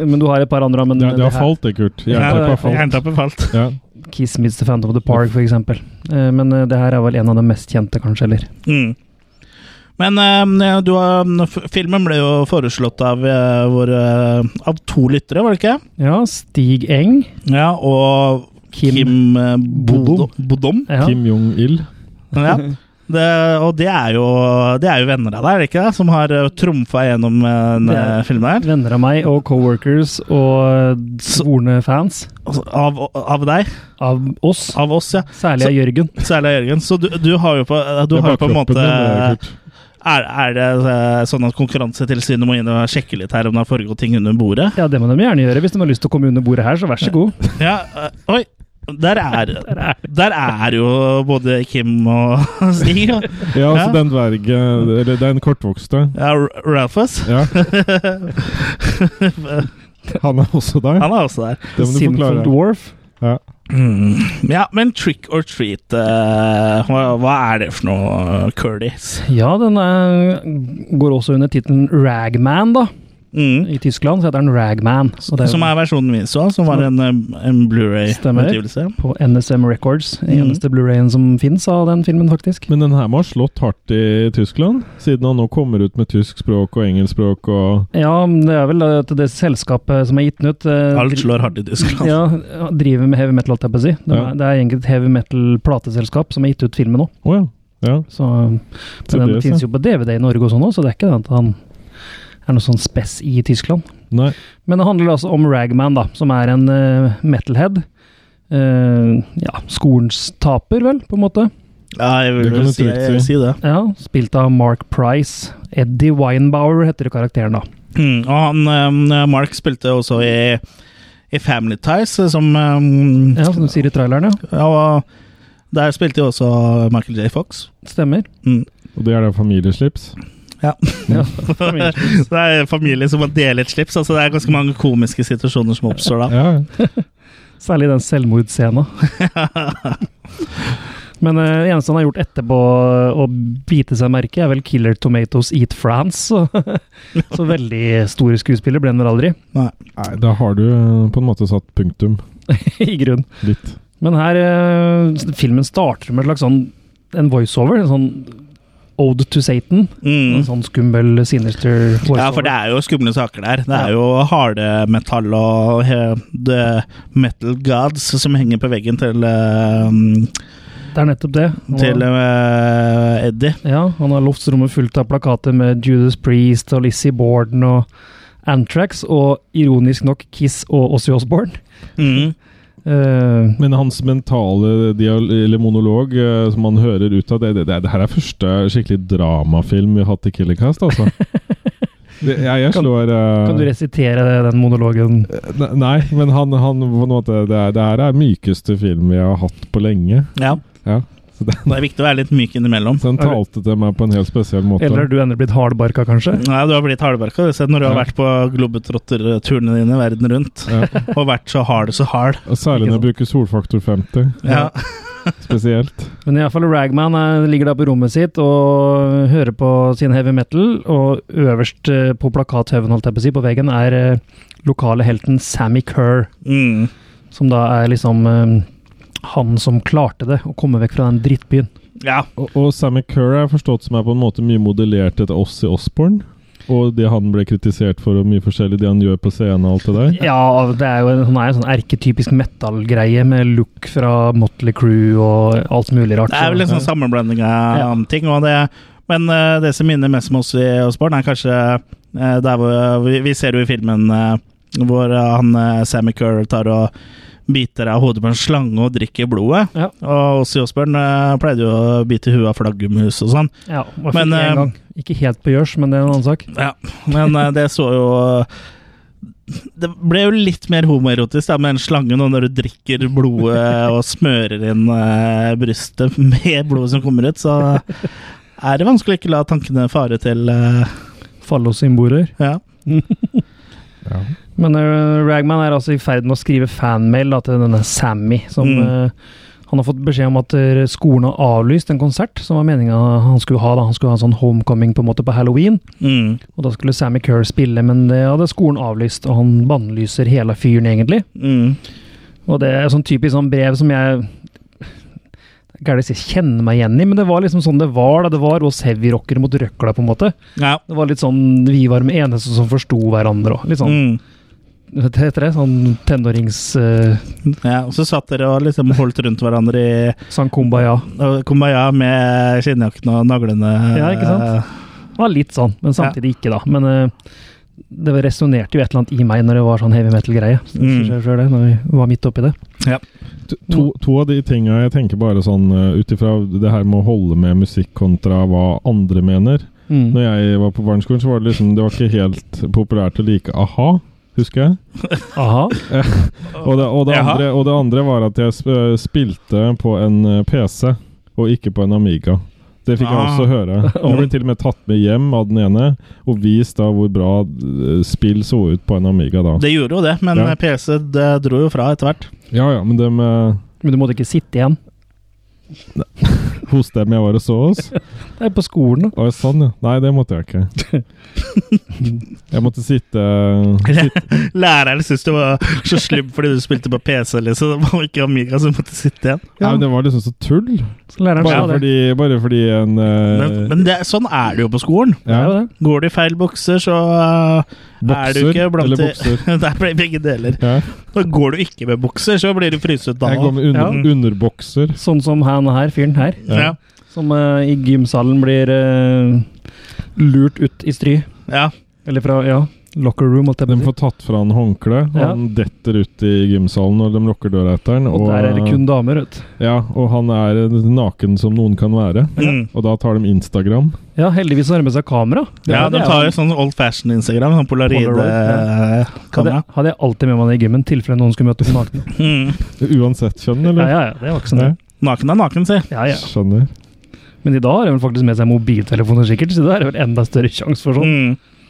Speaker 3: men du har et par andre. Men
Speaker 2: Det, det har
Speaker 3: her-
Speaker 2: falt, det, Kurt. Jernteppet har falt.
Speaker 1: Jernteppet falt.
Speaker 2: Ja.
Speaker 3: Kiss Meets The Phantom of the Park, for eksempel. Eh, men eh, det her er vel en av de mest kjente, kanskje, eller?
Speaker 1: Mm. Men eh, du, har- f- filmen ble jo foreslått av, eh, vår, eh, av to lyttere, var det ikke?
Speaker 3: Ja, Stig Eng.
Speaker 1: Ja, og Kim,
Speaker 3: Kim.
Speaker 1: eh, Bodom.
Speaker 3: Bodom.
Speaker 1: Bodom.
Speaker 3: Ja.
Speaker 2: Kim Jong-il.
Speaker 1: Ja. Det, og det er, jo, det er jo venner av deg, er det ikke? det? Som har eh, trumfa gjennom eh, den
Speaker 3: Det er-
Speaker 1: eh, filmen her.
Speaker 3: Venner av meg og coworkers og svorne fans
Speaker 1: Altså, Av, av deg.
Speaker 3: av oss.
Speaker 1: Av oss, ja.
Speaker 3: Særlig av Jørgen.
Speaker 1: Særlig av Jørgen. Så du, du har jo på, eh, du
Speaker 2: Det er
Speaker 1: har jo på en
Speaker 2: bakkroppen
Speaker 1: måte eh,
Speaker 2: din, det,
Speaker 1: er,
Speaker 2: Kurt.
Speaker 1: er det eh, sånn at Konkurransetilsynet må inn og sjekke litt her om det har foregått ting under bordet?
Speaker 3: Ja, det må de gjerne gjøre. Hvis de har lyst til å komme under bordet her, så vær så god.
Speaker 1: Ja, eh, oi der er, der er jo både Kim og Stig. og-
Speaker 2: Ja, altså
Speaker 1: Ja.
Speaker 2: den dvergen Eller den kortvokste.
Speaker 1: Ja, R- Ralphus.
Speaker 2: Ja. Han er også der.
Speaker 1: Han er også der.
Speaker 2: Det må du
Speaker 3: Sinful
Speaker 2: forklare.
Speaker 3: Dwarf.
Speaker 2: Ja.
Speaker 1: Ja, men trick or treat eh, hva, hva er det for noe, Curtis?
Speaker 3: Ja, den er, går også under tittelen Ragman, da.
Speaker 1: Mm.
Speaker 3: I Tyskland så heter den Ragman. Og det er
Speaker 1: Som er versjonen vi så, som var en, eh, en
Speaker 3: Stemmer.
Speaker 1: Blu-ray-utgivelse.
Speaker 3: på NSM Records. Den
Speaker 1: Mm.
Speaker 3: eneste Blu-rayen som fins av den filmen, faktisk.
Speaker 2: Men den her må ha slått hardt i Tyskland, siden han nå kommer ut med tysk språk og engelsk språk og
Speaker 3: Ja, men det er vel at det selskapet som er gitt den ut eh,
Speaker 1: Alt
Speaker 3: dri-
Speaker 1: slår hardt i Tyskland.
Speaker 3: Ja, driver med heavy metal, holdt jeg på å si. Det er,
Speaker 2: Ja.
Speaker 3: det er egentlig et heavy metal-plateselskap som har gitt ut filmen nå.
Speaker 2: Å ja. ja.
Speaker 3: Så, men
Speaker 2: Så
Speaker 3: den
Speaker 2: det, så.
Speaker 3: finnes jo på DVD i Norge og sånn også, så det er ikke det at han er noe sånn spess i Tyskland.
Speaker 2: Nei.
Speaker 3: Men det handler altså om Ragman, da, som er en eh, metalhead. Eh, ja, skolens taper, vel, på en måte.
Speaker 1: Ja, jeg vil
Speaker 2: Det kan
Speaker 1: vel
Speaker 2: du
Speaker 1: si,
Speaker 2: trygt
Speaker 1: jeg vil
Speaker 2: si.
Speaker 1: si det.
Speaker 3: Ja, Spilt av Mark Price. Eddie Weinbauer heter karakteren, da.
Speaker 1: Mm. Og han, eh, Mark spilte også i, i Family Ties, eh, som eh,
Speaker 3: Ja, Som du sier i traileren, ja.
Speaker 1: ja, og Der spilte jo også Michael J. Fox.
Speaker 3: Stemmer.
Speaker 1: Mm.
Speaker 2: Og det er da familieslips.
Speaker 1: Så det er familie som må dele et slips. Altså, det er ganske mange komiske situasjoner som oppstår da.
Speaker 2: Ja.
Speaker 3: Særlig den selvmordsscena. Men eh, det eneste han har gjort etterpå eh, å bite seg merke, er vel 'Killer Tomatoes Eat France'. Så, så veldig store skuespiller ble han vel aldri,
Speaker 2: Nei, da har du eh, på en måte satt punktum.
Speaker 3: i grunn.
Speaker 2: Litt.
Speaker 3: Men her eh, Filmen starter med et slags sånn en voiceover. En sånn Ode to Satan.
Speaker 1: Mm.
Speaker 3: En sånn skummel, sinister voiceover.
Speaker 1: Ja, for det er jo skumle saker der. Det er jo harde metall og he- the metal gods som henger på veggen til, eh,
Speaker 3: Det er nettopp det. Han
Speaker 1: til
Speaker 3: har,
Speaker 1: eh, Eddie.
Speaker 3: ja, han har loftsrommet fullt av plakater med Judas Priest og Lizzie Borden og Antrax, og ironisk nok Kiss og Ozzy Osbourne.
Speaker 1: Mm.
Speaker 3: Eh,
Speaker 2: Men hans mentale dial eller monolog eh, som han hører ut av det, det, det, det her er første skikkelig dramafilm vi har hatt i Killercast, altså. Det- Jeg, jeg
Speaker 3: Kan-
Speaker 2: slår eh,
Speaker 3: Kan du resitere det, den monologen?
Speaker 2: ne- Nei, men han, han på en måte, det, er, det her er mykeste film jeg har hatt på lenge.
Speaker 1: Ja,
Speaker 2: Ja. Så det,
Speaker 1: det er viktig å være litt myk innimellom.
Speaker 2: så han
Speaker 3: Er det-
Speaker 2: talte til meg på en helt spesiell måte.
Speaker 3: Eller er du endelig blitt hardbarka, kanskje?
Speaker 1: Nei, du har blitt hardbarka du, sett når du har
Speaker 2: Ja.
Speaker 1: vært på globetrotterturene dine verden rundt.
Speaker 2: Ja.
Speaker 1: Og vært så hard så hard.
Speaker 2: Og Særlig når jeg bruker solfaktor 50,
Speaker 1: Ja.
Speaker 2: spesielt.
Speaker 3: Men iallfall Ragman eh, ligger da på rommet sitt og hører på sin heavy metal, og øverst eh, på plakathaugen, holdt jeg på å si, på veggen, er eh, lokale helten Sammy Kerr,
Speaker 1: Mm.
Speaker 3: som da er liksom eh, han som klarte det, å komme vekk fra den drittbyen.
Speaker 1: ja.
Speaker 2: Og, og Sammy Kerr er forstått som er på en måte mye modellert etter oss i Osborne. Og det han ble kritisert for, og mye forskjellig det han gjør på scenen og alt det der.
Speaker 3: Ja, det er jo en, han er en sånn erketypisk metal-greie med look fra Motley Crew og alt mulig rart.
Speaker 1: Det er vel en sånn sammenblanding av
Speaker 3: Ja.
Speaker 1: ting. Og det, men eh, det som minner mest om oss i Osborne, er kanskje eh, der hvor vi, vi ser jo i filmen eh, hvor eh, han eh, Sammy Kerr tar og biter av hodet på en slange og drikker blodet.
Speaker 3: Ja.
Speaker 1: Og oss i Osborne eh, pleide jo å bite i huet av flaggermus og sånn.
Speaker 3: Ja, hva fikk
Speaker 1: Men,
Speaker 3: jeg en
Speaker 1: eh,
Speaker 3: gang. Ikke helt på gjørs, men det er en annen sak.
Speaker 1: Ja, men eh, det så jo Det ble jo litt mer homoerotisk da, med den slangen og når du drikker blodet og smører inn eh, brystet med blodet som kommer ut, så er det vanskelig å ikke la tankene fare til eh,
Speaker 3: Fallosymboler.
Speaker 1: Ja.
Speaker 2: Ja.
Speaker 3: Men eh, Ragman er altså i ferd med å skrive fanmail da, til denne Sammy, som
Speaker 1: Mm.
Speaker 3: eh, han har fått beskjed om at eh, skolen har avlyst en konsert som var meninga han skulle ha. da. Han skulle ha en sånn homecoming på en måte på halloween,
Speaker 1: Mm,
Speaker 3: og da skulle Sammy Kerr spille, men det hadde skolen avlyst, og han bannlyser hele fyren, egentlig.
Speaker 1: mm,
Speaker 3: Og det er sånn typisk sånn brev som jeg det er gærent å si kjenner meg igjen i, men det var liksom sånn det var da det var oss heavyrockere mot røkla, på en måte.
Speaker 1: ja.
Speaker 3: Det var litt sånn vi var de eneste som forsto hverandre òg. Litt sånn
Speaker 1: Mm,
Speaker 3: hva heter det? Sånn tenårings... eh,
Speaker 1: ja. Og så satt dere og liksom holdt rundt hverandre i
Speaker 3: sang kumbaya.
Speaker 1: og kumbaya med skinnjakken og naglene. Eh,
Speaker 3: Ja, ikke sant? Det var litt sånn, men samtidig ikke, da. Men eh, det resonnerte jo et eller annet i meg når det var sånn heavy metal-greie. Så det
Speaker 1: Mm.
Speaker 3: skjer selv det, Når vi var midt oppi det.
Speaker 2: To- To, to av de tinga jeg tenker bare sånn eh, ut ifra det her med å holde med musikk kontra hva andre mener. Når
Speaker 3: Mm.
Speaker 2: jeg var på barneskolen, så var det liksom Det var ikke helt populært å like a-ha, husker jeg.
Speaker 3: Aha.
Speaker 2: Og det, og, det
Speaker 1: Jaha.
Speaker 2: andre, og det andre var at jeg sp- eh, spilte på en eh, PC, og ikke på en Amiga. Det fikk jeg
Speaker 1: Ah.
Speaker 2: også høre. Jeg ble til og med tatt med hjem av den ene, og vist da hvor bra eh, spill så ut på en Amiga da.
Speaker 1: Det gjorde jo det, men
Speaker 2: Ja.
Speaker 1: PC det dro jo fra etter hvert.
Speaker 2: Ja ja, men dem, eh,
Speaker 3: Men du måtte ikke sitte igjen.
Speaker 2: hos dem jeg var og så oss
Speaker 3: Det er på skolen, da.
Speaker 2: Å, sånn, ja. Nei, det måtte jeg ikke. Jeg måtte sitte eh,
Speaker 1: Læreren syntes du var så slum fordi du spilte på PC, liksom. Det var ikke Amiga som måtte sitte igjen.
Speaker 2: Nei, men Det var liksom så tull.
Speaker 3: Så læreren
Speaker 2: Bare
Speaker 3: sa det.
Speaker 2: fordi, bare fordi en eh,
Speaker 1: Men, men det, sånn er det jo på skolen.
Speaker 3: Det er jo
Speaker 2: ja,
Speaker 3: det.
Speaker 1: Går du i feil bukser, så uh, er du
Speaker 2: Bokser,
Speaker 1: ikke blant
Speaker 2: eller
Speaker 1: de-
Speaker 2: bokser?
Speaker 1: Det blir begge deler.
Speaker 2: ja.
Speaker 1: Og går du ikke med bukser, så blir du fryset da.
Speaker 2: Jeg går med under, underbokser.
Speaker 3: Sånn som han her, fyren her,
Speaker 1: Ja.
Speaker 3: som eh, i gymsalen blir eh, lurt ut i stry.
Speaker 1: Ja.
Speaker 3: Eller fra, ja, locker room, holdt jeg
Speaker 2: De
Speaker 3: på å si.
Speaker 2: får tatt fra han håndkleet,
Speaker 3: Ja.
Speaker 2: han detter ut i gymsalen og de lukker døra etter han.
Speaker 3: Og der er det kun damer, vet du.
Speaker 2: Ja, og han er eh, naken som noen kan være.
Speaker 1: Mm.
Speaker 2: Og da tar de Instagram.
Speaker 3: Ja, heldigvis har de med seg kamera.
Speaker 1: ja, de
Speaker 3: det er
Speaker 1: tar
Speaker 3: jo-
Speaker 1: jo sånn old fashion Instagram, sånn eh,
Speaker 3: Polaroid,
Speaker 1: polaroid-kamera.
Speaker 3: hadde, hadde jeg alltid med meg det i gymmen, tilfelle noen skulle møte oss nakne.
Speaker 1: Mm.
Speaker 2: Uansett kjønn,
Speaker 3: Ja,
Speaker 2: eller?
Speaker 3: ja, ja, det var ikke sånn det.
Speaker 1: Naken er naken, si.
Speaker 3: Ja, ja.
Speaker 2: Skjønner.
Speaker 3: Men i dag har de vel faktisk med seg mobiltelefoner, sikkert, så det er vel enda større sjanse for sånn.
Speaker 1: Mm.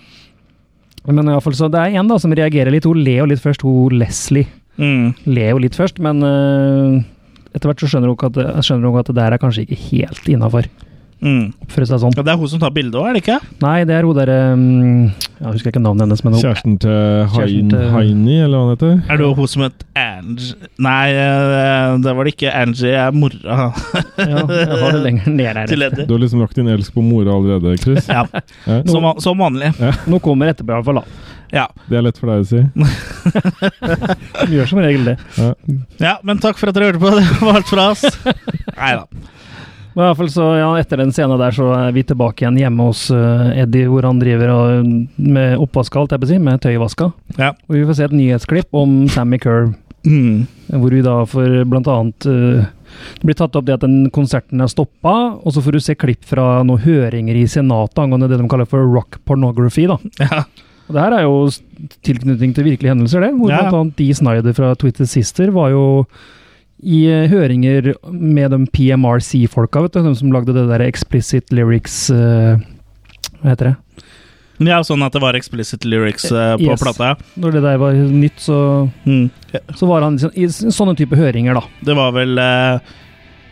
Speaker 3: Men i alle fall, så det er en da som reagerer litt. Hun ler jo litt først, hun Leslie
Speaker 1: Mm.
Speaker 3: ler jo litt først, men øh, etter hvert så skjønner hun ikke at, det- skjønner hun at det der er kanskje ikke helt innafor.
Speaker 1: Mm.
Speaker 3: Oppføre seg sånn.
Speaker 1: Ja, det er hun som tar bildet òg, er det ikke?
Speaker 3: Nei, det er hun derre um, Jeg husker ikke navnet hennes, men hun
Speaker 2: Kjæresten til
Speaker 3: Kjæresten
Speaker 2: Hain,
Speaker 3: til-
Speaker 2: Haini, eller hva han heter?
Speaker 1: Er det hun som het Angie Nei, eh, det var det ikke. Angie er mora
Speaker 3: ja, jeg har det lenger ned her.
Speaker 1: til Eddie.
Speaker 2: Du har liksom lagt din elsk på mora allerede, Chris.
Speaker 1: Ja,
Speaker 2: Ja.
Speaker 1: som, van- som vanlig.
Speaker 3: Nå kommer etterpå, i hvert fall. da.
Speaker 1: Ja.
Speaker 2: Det er lett for deg å si.
Speaker 3: Hun gjør som regel det.
Speaker 1: ja, men takk for at dere hørte på. Det var alt fra oss. Nei da.
Speaker 3: Men i hvert fall så, ja, Etter den scenen der så er vi tilbake igjen hjemme hos eh, Eddie, hvor han driver og, med oppvask, alt jeg vil si, med tøyvaska.
Speaker 1: Ja.
Speaker 3: Og vi får se et nyhetsklipp om Sammy Kerr
Speaker 1: Mm.
Speaker 3: Hvor vi da får blant annet eh, Det blir tatt opp det at den konserten er stoppa, og så får du se klipp fra noen høringer i Senatet angående det de kaller for rock pornography. da.
Speaker 1: Ja.
Speaker 3: Og Det her er jo s- tilknytning til virkelige hendelser, det. Hvor
Speaker 1: Ja.
Speaker 3: blant annet Dee Snyder fra Twitter Sister var jo i eh, høringer med de PMRC-folka, vet du. De som lagde det der explicit lyrics eh, Hva heter det?
Speaker 1: ja, sånn at det var explicit lyrics eh, på
Speaker 3: Yes.
Speaker 1: plata.
Speaker 3: Når det der var nytt, så,
Speaker 1: Mm.
Speaker 3: så var han liksom i s- sånne type høringer, da.
Speaker 1: Det var vel eh,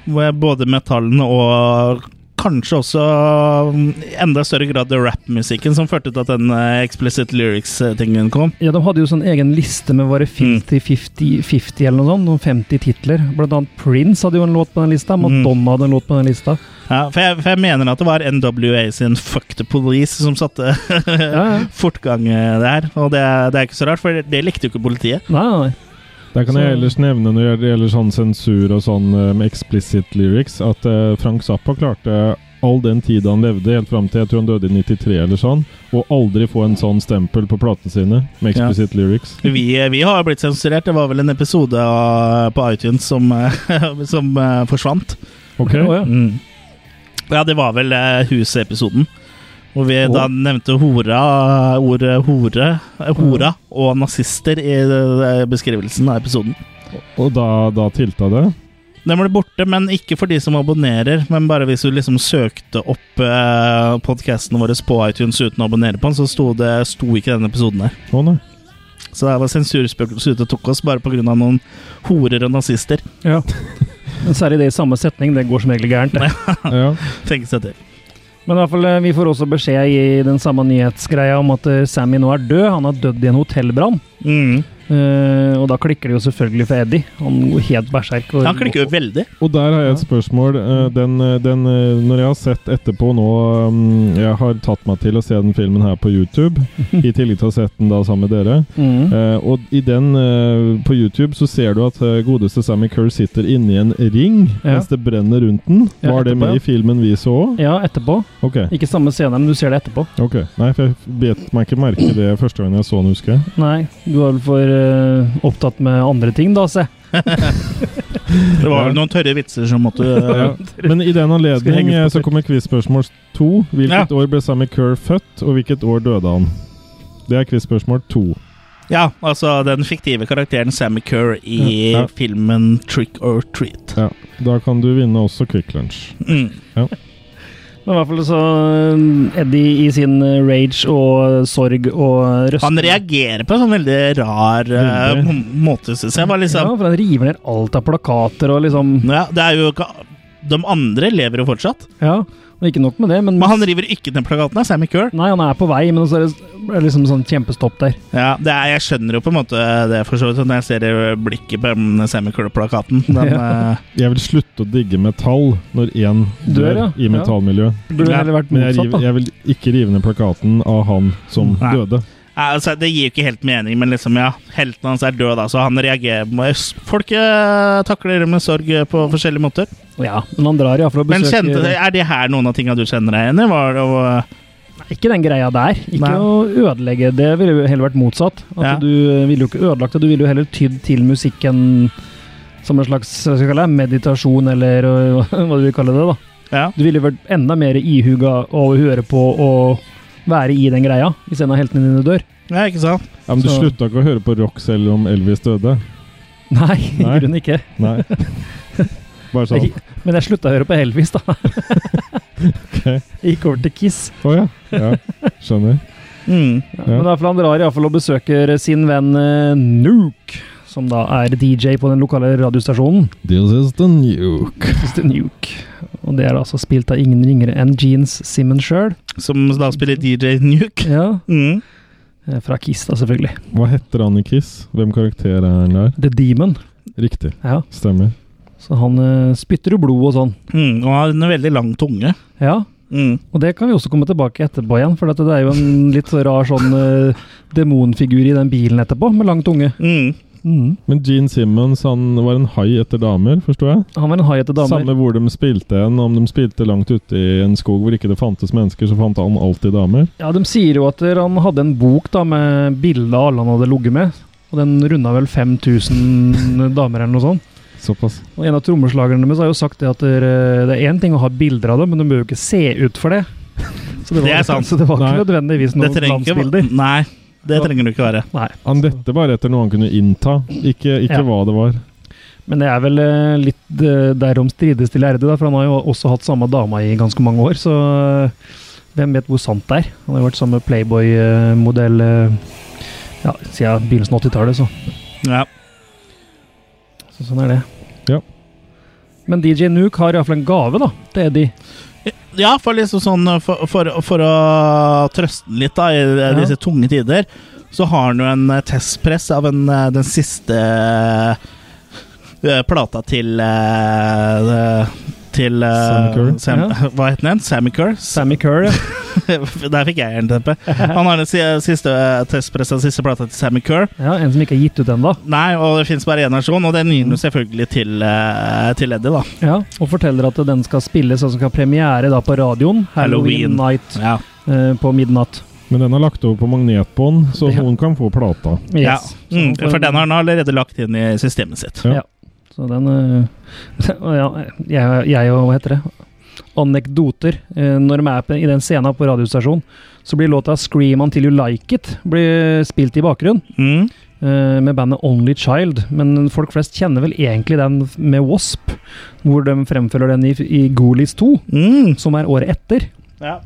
Speaker 1: hvor jeg- både metallen og kanskje også mm, i enda større grad rap-musikken som førte til at den eh, explicit lyrics-tingen kom.
Speaker 3: Ja, De hadde jo sånn egen liste med bare 50, 50, 50 eller noe sånt. Noen 50 titler. Blant annet Prince hadde jo en låt på den lista. Madonna hadde en låt på den lista.
Speaker 1: Ja, for, jeg, for jeg mener at det var NWA sin Fuck the Police som satte
Speaker 3: Ja, ja.
Speaker 1: fortgang eh, der. Og det, det er ikke så rart, for det, det likte jo ikke politiet.
Speaker 3: Nei, nei, nei.
Speaker 2: Der kan
Speaker 3: Så-
Speaker 2: jeg ellers nevne når det gjelder sånn sensur og sånn eh, med explicit lyrics, at eh, Frank Zappa klarte all den tid han levde, helt fram til jeg tror han døde i 93 eller sånn, å aldri få en sånn stempel på platene sine med
Speaker 1: Ja.
Speaker 2: explicit lyrics.
Speaker 1: Vi, eh, vi har blitt sensurert. Det var vel en episode av- på iTunes som, eh, som eh, forsvant.
Speaker 2: Ok?
Speaker 3: Å, ja.
Speaker 1: Mm. Ja, det var vel eh, Huset-episoden. Hvor vi da
Speaker 2: Å.
Speaker 1: nevnte hora, ordet hore, eh, hora og nazister i eh, beskrivelsen av episoden.
Speaker 2: Og da, da tilta det.
Speaker 1: Den ble borte, men ikke for de som abonnerer. Men bare hvis du liksom søkte opp eh, podkastene våre på iTunes uten å abonnere på den, så sto, det, sto ikke den episoden der.
Speaker 2: Å nei.
Speaker 1: Så det var sensurspøkelset ute og tok oss bare pga. noen horer og nazister.
Speaker 3: Ja. Men særlig det i samme setning. Det går som regel gærent. det.
Speaker 2: Ja.
Speaker 1: Tenk seg til.
Speaker 3: Men i hvert fall, eh, vi får også beskjed i den samme nyhetsgreia om at eh, Sammy nå er død. Han har dødd i en hotellbrann.
Speaker 1: Mm.
Speaker 3: Eh, og da klikker det jo selvfølgelig for Eddie. Han går helt berserk. og-
Speaker 1: Han klikker jo veldig.
Speaker 2: Og der har jeg et spørsmål. Eh, Den, eh, den, eh, når jeg har sett etterpå nå mm, Jeg har tatt meg til å se den filmen her på YouTube, i tillegg til å ha sett den da sammen med dere.
Speaker 3: Mm.
Speaker 2: Eh, og i den eh, på YouTube så ser du at eh, godeste Sammy Kerr sitter inni en ring
Speaker 3: Ja.
Speaker 2: mens det brenner rundt den.
Speaker 3: Ja,
Speaker 2: Var det
Speaker 3: etterpå,
Speaker 2: med
Speaker 3: ja.
Speaker 2: i filmen vi så òg?
Speaker 3: Ja, etterpå.
Speaker 2: Ok.
Speaker 3: Ikke samme scene, men du ser det etterpå.
Speaker 2: ok. Nei, for jeg bet meg ikke merke det første gang jeg så den, husker jeg.
Speaker 3: Nei, du var vel for eh, opptatt med andre ting, da, se.
Speaker 1: Det var vel noen tørre vitser som måtte
Speaker 2: Ja. Men i den
Speaker 3: Skal
Speaker 2: anledning
Speaker 3: henge
Speaker 2: eh,
Speaker 3: på
Speaker 2: så kommer quiz-spørsmål to. Hvilket år ble Sammy Kerr født, og hvilket år døde han? Det er quiz-spørsmål to.
Speaker 1: Ja, altså den fiktive karakteren Sammy Kerr i
Speaker 2: Ja.
Speaker 1: filmen Trick or Treat.
Speaker 2: Ja. Da kan du vinne også Quick Lunch.
Speaker 1: Mm.
Speaker 3: Men i hvert fall så eh, Eddie i sin eh, rage og eh, sorg og røst.
Speaker 1: Han reagerer på en sånn veldig rar eh,
Speaker 2: Veldig.
Speaker 1: må- måte, syns jeg. Var
Speaker 3: Ja,
Speaker 1: liksom,
Speaker 3: for han river ned alt av plakater og liksom
Speaker 1: ja. det er jo ikke De andre lever jo fortsatt,
Speaker 3: Ja, og ikke nok med det, men
Speaker 1: men han river ikke ned plakaten. er Sammy Kerr.
Speaker 3: Nei, han er på vei, men så er det er det liksom sånn kjempestopp der.
Speaker 1: Ja, det er, jeg skjønner jo på en måte det, for så vidt, når jeg ser det blikket på den Sammy Kerr-plakaten. Den, eh,
Speaker 2: Jeg vil slutte å digge metall når én
Speaker 3: Dør,
Speaker 2: dør
Speaker 3: ja.
Speaker 2: i
Speaker 3: Ja.
Speaker 2: metallmiljøet.
Speaker 3: Burde
Speaker 1: Ja,
Speaker 3: heller vært
Speaker 2: Men jeg,
Speaker 3: motsatt,
Speaker 2: riv,
Speaker 3: da.
Speaker 2: jeg vil ikke rive ned plakaten av han som
Speaker 1: Nei.
Speaker 2: døde.
Speaker 1: ja, altså, det gir jo ikke helt mening, men liksom, ja, helten hans er død, da, så han reagerer Folk eh, takler det med sorg eh, på forskjellige måter.
Speaker 3: Ja, men han drar iallfall og
Speaker 1: Men
Speaker 3: besøker
Speaker 1: kjente, er det her noen av tinga du kjenner deg igjen i? Var det, å-
Speaker 3: Ikke den greia der. Ikke
Speaker 1: Nei.
Speaker 3: å ødelegge. Det ville jo heller vært motsatt. At
Speaker 1: Ja.
Speaker 3: Du eh, ville jo ikke ødelagt det, du ville jo heller tydd til musikken som en slags hva skal jeg kalle det, meditasjon, eller øh, hva du vil kalle det. da.
Speaker 1: ja.
Speaker 3: Du ville vært enda mer ihuga å høre på og være i den greia, istedenfor heltene dine dør.
Speaker 1: ja, ikke sant?
Speaker 2: Ja, men du
Speaker 3: Så-
Speaker 2: slutta ikke å høre på rock selv om Elvis døde?
Speaker 3: Nei, i
Speaker 2: Nei.
Speaker 3: grunnen ikke.
Speaker 2: Nei. Bare sånn.
Speaker 3: Men jeg slutta å høre på Elvis, da.
Speaker 2: Ok.
Speaker 3: Jeg Gikk over til Kiss.
Speaker 2: Å ja. ja. Skjønner.
Speaker 1: Mm.
Speaker 3: Ja. Men derfor han drar iallfall og besøker sin venn eh, Nuke, som da er DJ på den lokale radiostasjonen.
Speaker 2: This is the nuke.
Speaker 3: Just a Nuke. Og det er altså spilt av ingen ringere enn Jeans Simmons sjøl.
Speaker 1: Som da spiller DJ Nuke.
Speaker 3: Ja.
Speaker 1: Mm.
Speaker 3: eh, Fra Kiss, da, selvfølgelig.
Speaker 2: Hva heter han i Kiss? Hvem karakter er han der?
Speaker 3: The Demon.
Speaker 2: Riktig.
Speaker 3: Ja.
Speaker 2: Stemmer.
Speaker 3: Så han eh, spytter jo blod og sånn.
Speaker 1: Mm. Og har en veldig lang tunge.
Speaker 3: Ja.
Speaker 1: Mm.
Speaker 3: Og det kan vi også komme tilbake etterpå igjen, for at det er jo en litt så rar sånn eh, demonfigur i den bilen etterpå, med lang tunge.
Speaker 1: Mm.
Speaker 2: Men Gene Simmons han var en hai etter damer, forstår jeg?
Speaker 3: Han var en hai etter damer.
Speaker 2: Samme hvor de spilte en, om de spilte langt ute i en skog hvor ikke det fantes mennesker, så fant han alltid damer.
Speaker 3: Ja, De sier jo at han hadde en bok da med bilde av alle han hadde ligget med. Og den runda vel 5000 damer, eller noe sånt.
Speaker 2: Såpass.
Speaker 3: Og en av trommeslagerne deres har jo sagt det at dere- det er én ting å ha bilder av det, men du bør jo ikke se ut for det. Så det, var,
Speaker 1: Det er sant.
Speaker 3: Så det var ikke
Speaker 2: Nei.
Speaker 3: nødvendigvis
Speaker 1: Det
Speaker 3: noen
Speaker 1: trenger ikke
Speaker 3: glansbilder.
Speaker 1: Nei, det trenger du ikke være.
Speaker 3: Nei.
Speaker 2: Han dette var etter noe han kunne innta, ikke, ikke
Speaker 3: Ja.
Speaker 2: hva det var.
Speaker 3: Men det er vel eh, litt eh, derom strides de lærde, da, for han har jo også hatt samme dama i ganske mange år. Så eh, hvem vet hvor sant det er? Han har jo vært samme Playboy-modell eh, ja, siden begynnelsen av 80-tallet, så.
Speaker 1: Ja.
Speaker 3: så sånn er det.
Speaker 2: Ja.
Speaker 3: Men DJ Nuke har iallfall en gave da, til Eddie.
Speaker 1: Ja, for liksom sånn For, for, for å trøste den litt da i eh, disse tunge tider, så har han jo en eh, testpress av en, eh, den siste eh, plata til eh, til eh,
Speaker 2: Sammy Kerr.
Speaker 1: Sam, Hva het den? Sammy Kerr?
Speaker 3: Sammy Kerr, ja.
Speaker 1: Der fikk jeg jernteppe. Han har den si- siste eh, testpress av den siste plata til Sammy Kerr.
Speaker 3: ja. En som ikke er gitt ut ennå.
Speaker 1: Nei, og det fins bare én versjon, og den gir han jo selvfølgelig til, eh, til Eddie, da.
Speaker 3: Ja, og forteller at den skal spilles og skal ha premiere da på radioen.
Speaker 1: Halloween.
Speaker 3: Halloween, night
Speaker 1: Ja.
Speaker 3: eh, på midnatt.
Speaker 2: Men den er lagt over på magnetbånd, så
Speaker 3: Ja.
Speaker 2: noen kan få plata.
Speaker 3: Yes.
Speaker 1: Ja. Mm,
Speaker 3: Så han får-
Speaker 1: for den har han allerede lagt inn i systemet sitt.
Speaker 2: Ja.
Speaker 3: Så den øh, og ja, jeg, jeg og hva heter det? Anekdoter. Eh, Når de er på, i den scenen på radiostasjonen, så blir låta 'Scream Until You Like It' blir spilt i bakgrunnen.
Speaker 1: Mm.
Speaker 3: eh, Med bandet Only Child, men folk flest kjenner vel egentlig den med Wasp, hvor de fremfører den i, i Goolies 2,
Speaker 1: Mm.
Speaker 3: som er året etter.
Speaker 1: Ja.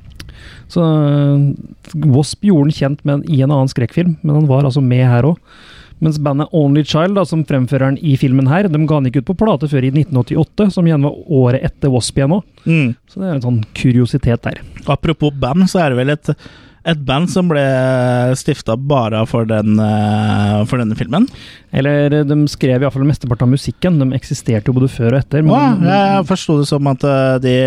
Speaker 3: Så øh, Wasp gjorde den kjent med i en annen skrekkfilm, men han var altså med her òg. Mens bandet Only Child, da, som fremfører den i filmen her, de ga den ikke ut på plate før i 1988, som igjen var året etter Wasp igjen òg.
Speaker 1: Mm.
Speaker 3: Så det er en sånn kuriositet der.
Speaker 1: Apropos band, så er det vel et, et band som ble stifta bare for, den, eh, for denne filmen.
Speaker 3: Eller eh, de skrev iallfall mesteparten av musikken. De eksisterte jo både før og etter.
Speaker 1: Å,
Speaker 3: Men,
Speaker 1: jeg forsto det som at eh, de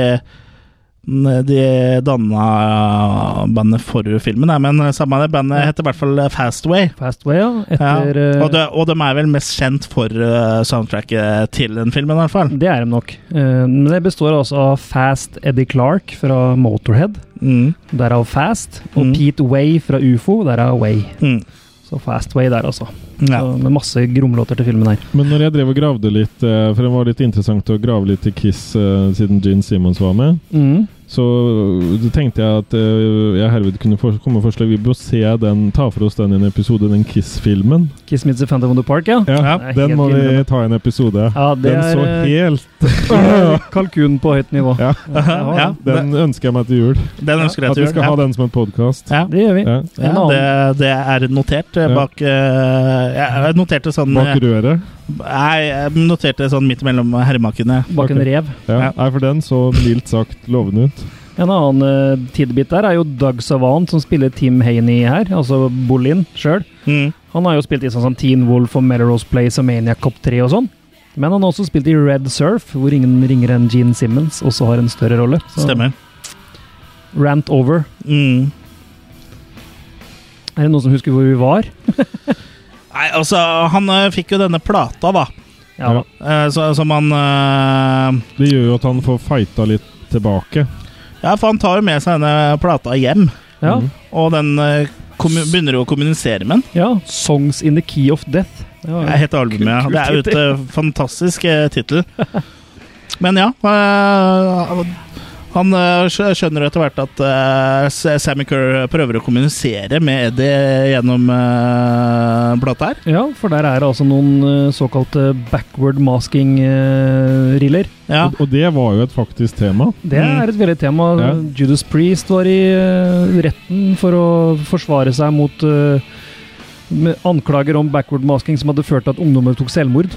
Speaker 1: de danna bandet for filmen, nei, men samme det. Bandet heter i hvert fall eh, Fastway.
Speaker 3: Fastway, ja.
Speaker 1: Ja.
Speaker 3: Etter eh,
Speaker 1: Og, de, og de er vel mest kjent for eh, soundtracket til den filmen, i hvert fall.
Speaker 3: Det er de nok. Eh, Men det består altså av Fast Eddie Clark fra Motorhead,
Speaker 1: Mm.
Speaker 3: derav Fast. Og
Speaker 1: Mm.
Speaker 3: Pete Way fra Ufo, derav Way.
Speaker 1: Mm.
Speaker 3: Så Fastway der, altså.
Speaker 1: Ja.
Speaker 3: Så, med masse gromlåter til filmen her.
Speaker 2: Men når jeg drev og gravde litt, eh, for det var litt interessant å grave litt i Kiss eh, siden Gene Simmons var med, så eh, tenkte jeg at eh, jeg herved kunne for komme med forslag. Vi bør se den, ta for oss den i en episode, den Kiss-filmen.
Speaker 3: Kiss Meets the Phantom of the Park, ja.
Speaker 2: Ja,
Speaker 3: Det er
Speaker 2: den
Speaker 3: helt
Speaker 2: må vi
Speaker 3: innrømmet.
Speaker 2: ta i en episode.
Speaker 3: Ja, det
Speaker 2: den så
Speaker 3: er
Speaker 2: helt
Speaker 3: eh, kalkun på høyt nivå.
Speaker 2: Ja,
Speaker 3: Ja,
Speaker 1: ja.
Speaker 2: den ønsker jeg meg til jul.
Speaker 1: Den ønsker jeg
Speaker 2: At vi
Speaker 1: til jul.
Speaker 2: skal ha den som en podkast.
Speaker 1: Ja.
Speaker 3: Det gjør vi.
Speaker 2: Ja.
Speaker 3: En
Speaker 1: Ja,
Speaker 3: annen-
Speaker 1: det, det er notert eh,
Speaker 2: Ja.
Speaker 1: bak eh, Jeg noterte sånn
Speaker 2: Bak røret.
Speaker 1: Nei, jeg noterte sånn midt mellom herremakene.
Speaker 3: Bak en
Speaker 2: Ok.
Speaker 3: rev.
Speaker 2: Ja.
Speaker 1: Ja.
Speaker 2: Nei, for den så mildt sagt lovende ut.
Speaker 3: En annen eh, tidbit der er jo Doug Savant, som spiller Tim Haney her, altså Bolin sjøl.
Speaker 1: Mm.
Speaker 3: Han har jo spilt i sånn som Teen Wolf og Melrose Place og Maniac Cop 3 og sånn. Men han har også spilt i Red Surf, hvor ingen ringer enn Gene Simmons også har en større rolle. Så
Speaker 1: Stemmer.
Speaker 3: Rant over.
Speaker 1: Mm.
Speaker 3: Er det noen som husker hvor vi var?
Speaker 1: Nei, altså, han eh, fikk jo denne plata, da.
Speaker 3: Ja,
Speaker 2: Ja.
Speaker 1: eh, så, som han eh,
Speaker 2: Det gjør jo at han får fighta litt tilbake.
Speaker 1: Ja, for han tar jo med seg denne plata hjem,
Speaker 3: ja.
Speaker 2: Mhm.
Speaker 1: og den eh, kommu- begynner jo å kommunisere med den.
Speaker 3: ja. Songs in the Key of Death. Det var
Speaker 1: Det er helt albumet. ja. Det er jo et eh, fantastisk eh, tittel. Men ja eh, Han eh, skjø- skjønner etter hvert at eh, S- Sammy Kerr prøver å kommunisere med Eddie gjennom uh, plata her.
Speaker 3: Ja, for der er det altså noen eh, såkalte backward eh, masking-riller.
Speaker 1: Ja.
Speaker 2: Og, og det var jo et faktisk tema.
Speaker 3: det
Speaker 1: Mm.
Speaker 3: er et veldig tema.
Speaker 2: Ja.
Speaker 3: Judas Priest var i eh, retten for å forsvare seg mot eh, med anklager om backward masking som hadde ført til at ungdommer tok selvmord.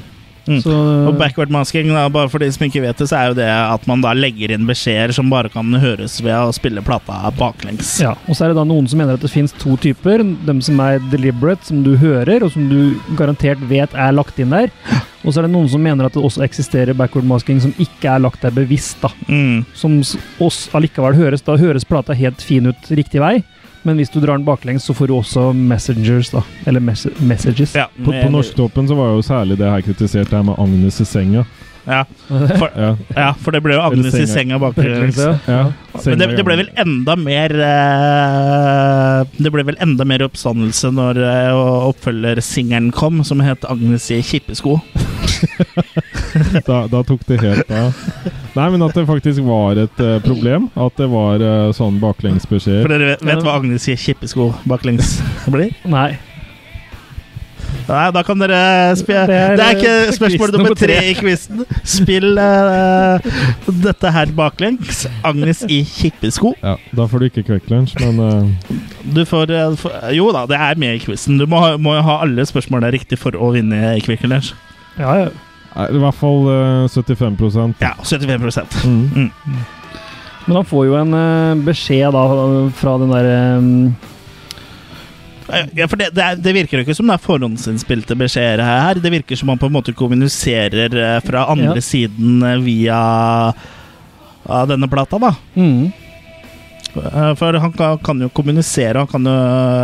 Speaker 1: Mm.
Speaker 3: Så,
Speaker 1: Og backward masking, da, bare for de som ikke vet det, så er jo det at man da legger inn beskjeder som bare kan høres ved å spille plata baklengs.
Speaker 3: ja, og så er det da noen som mener at det finnes to typer. Dem som er deliberate, som du hører, og som du garantert vet er lagt inn der. Og så er det noen som mener at det også eksisterer backward masking som ikke er lagt der bevisst. da.
Speaker 1: Mm.
Speaker 3: som s- oss allikevel høres. Da høres plata helt fin ut riktig vei, men hvis du drar den baklengs, så får du også messengers, da. Eller mes messages.
Speaker 1: Ja,
Speaker 2: På, på Norsktoppen så var jo særlig det her kritisert, det her med Agnes i senga.
Speaker 1: Ja, for,
Speaker 2: Ja.
Speaker 1: ja, for det ble jo Agnes i
Speaker 2: Eller
Speaker 1: senga eh,
Speaker 2: senga.
Speaker 1: baklengs.
Speaker 2: Ja.
Speaker 1: Men det, det ble vel enda mer eh, Det ble vel enda mer oppstandelse når eh, og oppfølgersingelen kom, som het 'Agnes i kippesko'.
Speaker 2: da, da tok det helt av. Nei, men at det faktisk var et eh, problem. At det var eh,
Speaker 1: For
Speaker 2: sånn baklengsbeskjeder.
Speaker 1: dere vet hva Agnes i kippesko baklengs blir?
Speaker 3: Nei.
Speaker 1: Nei, da kan dere spille
Speaker 3: Det
Speaker 1: Det er,
Speaker 3: er, eh,
Speaker 1: ikke spørsmål
Speaker 3: quiz
Speaker 1: nummer
Speaker 3: nummer
Speaker 1: tre
Speaker 3: tre.
Speaker 1: i quizen. Spill eh, dette her baklengs. Agnes i kippesko.
Speaker 2: Ja, da får du ikke Quick Lunch, men eh,
Speaker 1: Du får, eh, få- Jo da, det er med i quizen. Du må, ha- må ha alle spørsmålene riktig for å vinne i Quick Lunch.
Speaker 3: Ja, ja.
Speaker 2: nei, i hvert fall eh, 75
Speaker 1: Ja, 75
Speaker 2: mm.
Speaker 3: Men han får jo en eh, beskjed da fra den eh, derre
Speaker 1: Ja, for det, det, er, det virker jo ikke som det er forhåndsinnspilte beskjeder her. Det virker som man på en måte kommuniserer eh, fra andre
Speaker 3: Ja.
Speaker 1: siden eh, via av denne plata, da.
Speaker 3: mm.
Speaker 1: Eh, For han kan, kan jo kommunisere, han kan jo,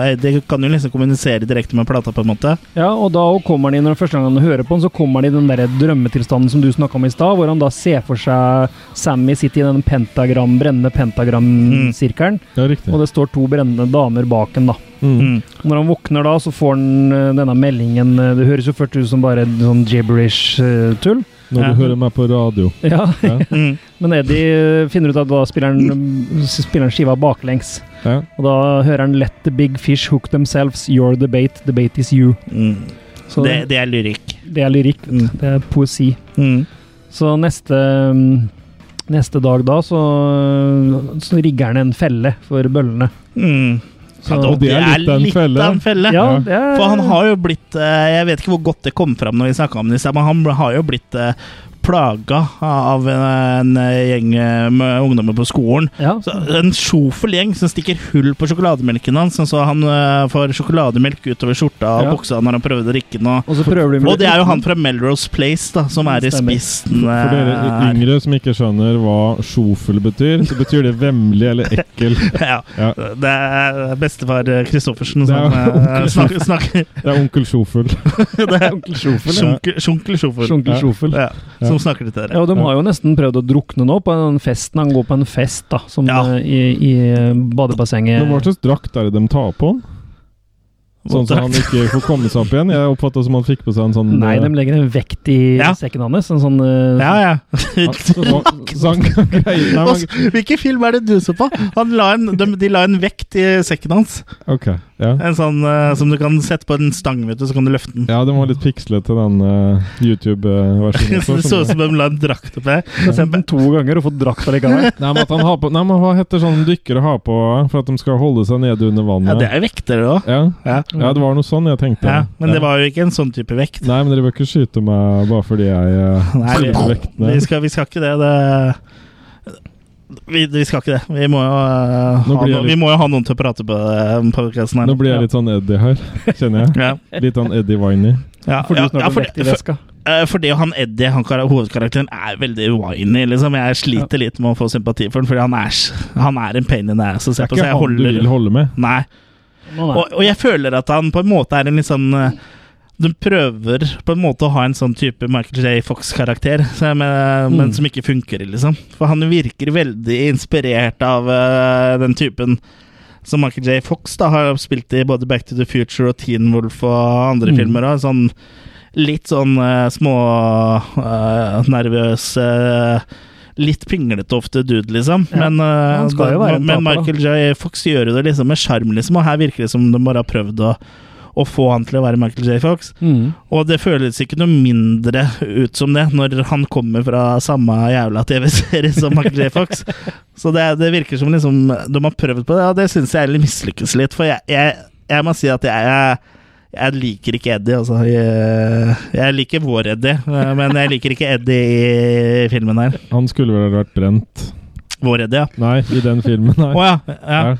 Speaker 1: eh, de kan jo liksom kommunisere direkte med plata, på en måte.
Speaker 3: Ja, og da kommer han inn, når første gang han hører på den, så kommer han i den der drømmetilstanden som du snakka om i stad, hvor han da ser for seg Sammy sitte i den pentagram, brennende pentagramsirkelen,
Speaker 2: Ja, riktig.
Speaker 3: og det står to brennende damer bak ham, da.
Speaker 2: Mm.
Speaker 1: Mm.
Speaker 3: Og Når han våkner da, så får han eh, denne meldingen eh, Det høres jo først ut som bare sånn eh, gibberish-tull.
Speaker 2: Når
Speaker 1: Ja.
Speaker 2: du hører meg på radio.
Speaker 3: Ja,
Speaker 2: Ja.
Speaker 1: Mm.
Speaker 3: Men Eddie eh, finner ut at da spiller han, eh, spiller han skiva baklengs.
Speaker 2: Ja.
Speaker 3: Og da hører han 'Let the big fish hook themselves, you're the bait, the bait is you'.
Speaker 1: Mm.
Speaker 3: Så
Speaker 1: Det,
Speaker 3: det,
Speaker 1: det er lyrikk.
Speaker 3: det er lyrikk. vet du.
Speaker 1: Mm.
Speaker 3: Det er poesi.
Speaker 1: Mm.
Speaker 3: Så neste, mm, neste dag da, så, så rigger han en felle for bøllene.
Speaker 1: Mm.
Speaker 3: Så,
Speaker 1: Ja,
Speaker 2: det er litt av en felle.
Speaker 1: av en felle.
Speaker 3: ja,
Speaker 2: ja.
Speaker 3: det er,
Speaker 1: For han har jo blitt eh, Jeg vet ikke hvor godt det kom fram når vi snakka om det, i sted, men han har jo blitt eh, plaga av en eh, gjeng eh, med ungdommer på skolen.
Speaker 3: ja.
Speaker 1: Så En sjofel gjeng som stikker hull på sjokolademelken hans, sånn så han eh, får sjokolademelk utover skjorta og
Speaker 3: Ja.
Speaker 1: buksa når han prøver å drikke den. og-
Speaker 3: Og så prøver de
Speaker 1: Og det er jo han fra Melrose Place da, som er i
Speaker 3: Stemmer.
Speaker 1: spissen.
Speaker 2: For dere
Speaker 1: eh,
Speaker 2: yngre som ikke skjønner hva sjofel betyr, så betyr det vemmelig eller ekkel.
Speaker 1: ja.
Speaker 2: Ja.
Speaker 1: Det er bestefar Kristoffersen
Speaker 2: Det er
Speaker 1: som eh, snakker,
Speaker 2: onkel
Speaker 1: snakker
Speaker 2: Det er onkel sjofel.
Speaker 3: onkel Sjofel. ja.
Speaker 1: Sjunkel sjunkel Sjofel.
Speaker 3: Sjunkel
Speaker 2: Ja.
Speaker 3: Sjofel.
Speaker 1: Ja, som snakker til dere.
Speaker 3: Ja, og de har jo nesten prøvd å drukne nå på den festen. Han går på en fest da, som
Speaker 1: Ja.
Speaker 3: eh, i, i badebassenget.
Speaker 2: Men hva slags drakt er det de tar på han? Sånn at han ikke får komme seg opp igjen? Jeg oppfatta som han fikk på seg en sånn
Speaker 3: Nei, de legger en vekt i
Speaker 1: Ja.
Speaker 3: sekken hans. En sånn eh,
Speaker 1: Ja, ja.
Speaker 2: Ja, så- så han kan greie- Nei,
Speaker 1: Og
Speaker 2: men-
Speaker 1: s- Hvilken film er det du så på? Han la en, de, de la en vekt i sekken hans.
Speaker 2: Ok, ja.
Speaker 1: En sånn eh, som du kan sette på en stang, vet du, så kan du løfte den.
Speaker 2: Ja, den var litt pikslete, den eh, YouTube-versjonen.
Speaker 1: Så det så ut
Speaker 2: også, skjønner jeg.
Speaker 1: som de la en drakt oppi.
Speaker 3: har sendt den to ganger og fått drakta
Speaker 2: Nei,
Speaker 3: likevel.
Speaker 2: men at han har på Nei, men hva heter sånn dykkere har på eh, for at de skal holde seg nede
Speaker 1: Ja,
Speaker 2: under
Speaker 1: det
Speaker 2: vannet?
Speaker 1: er jo vekter, det òg.
Speaker 2: Ja,
Speaker 1: Ja.
Speaker 2: ja, det var noe sånn jeg tenkte.
Speaker 1: Ja, men det
Speaker 2: Ja.
Speaker 1: var jo ikke en sånn type vekt.
Speaker 2: Nei, men dere bør ikke skyte meg bare fordi jeg eh,
Speaker 1: Nei, vi,
Speaker 2: sier vektene.
Speaker 1: vi, skal, vi skal ikke det. det vi, vi skal ikke det. Vi må, jo, eh,
Speaker 2: Nå
Speaker 1: ha,
Speaker 2: blir jeg
Speaker 1: no, vi
Speaker 2: litt-
Speaker 1: må jo ha noen til å prate på eh, podcasten her.
Speaker 2: Nå blir jeg litt sånn Eddie her, kjenner jeg.
Speaker 1: ja.
Speaker 2: Litt sånn Eddie Winey.
Speaker 1: Ja,
Speaker 3: For du
Speaker 1: ja,
Speaker 3: snakker
Speaker 1: ja,
Speaker 3: om
Speaker 1: for,
Speaker 3: vekt i
Speaker 1: for,
Speaker 3: veska.
Speaker 1: eh, fordi han Eddie, han kar- hovedkarakteren, er veldig whiny. Liksom. Jeg sliter litt med å få sympati for han, fordi han er, s- han er en pain in the ass å
Speaker 2: Det
Speaker 1: se
Speaker 2: er
Speaker 1: på. Så
Speaker 2: ikke
Speaker 1: jeg
Speaker 2: han du vil
Speaker 1: holder
Speaker 2: holde med.
Speaker 1: Nei.
Speaker 3: Nå, nei.
Speaker 1: Og, og jeg føler at han på en måte er en litt sånn eh, Du prøver på en måte å ha en sånn type Michael J. Fox-karakter, så jeg
Speaker 3: Mm.
Speaker 1: men, men som ikke funker, liksom. For han virker veldig inspirert av eh, den typen som Michael J. Fox da har spilt i både Back to the Future og Teen Wolf og andre
Speaker 3: Mm.
Speaker 1: filmer. Og sånn litt sånn eh, små eh, nervøs eh, Litt pinglete ofte dude, liksom.
Speaker 3: Ja,
Speaker 1: Men, eh,
Speaker 3: han skal jo være en
Speaker 1: men
Speaker 3: taper, da.
Speaker 1: Michael J. Fox gjør jo det liksom med sjarm, liksom, og her virker det som de bare har prøvd å, å få han til å være Michael J. Fox.
Speaker 3: Mm.
Speaker 1: Og det føles ikke noe mindre ut som det når han kommer fra samme jævla TV-serie som Michael J. Fox. Så det, det virker som liksom de har prøvd på det, og det syns jeg egentlig mislykkes litt. For jeg, jeg, jeg må si at jeg, jeg, jeg liker ikke Eddie, altså. Jeg, jeg liker vår Eddie, eh, men jeg liker ikke Eddie i filmen her.
Speaker 2: Han skulle vel ha vært brent.
Speaker 1: Vår Eddie, ja.
Speaker 2: Nei, i den filmen,
Speaker 1: Å
Speaker 2: nei.
Speaker 1: ja. ja.
Speaker 2: Ja.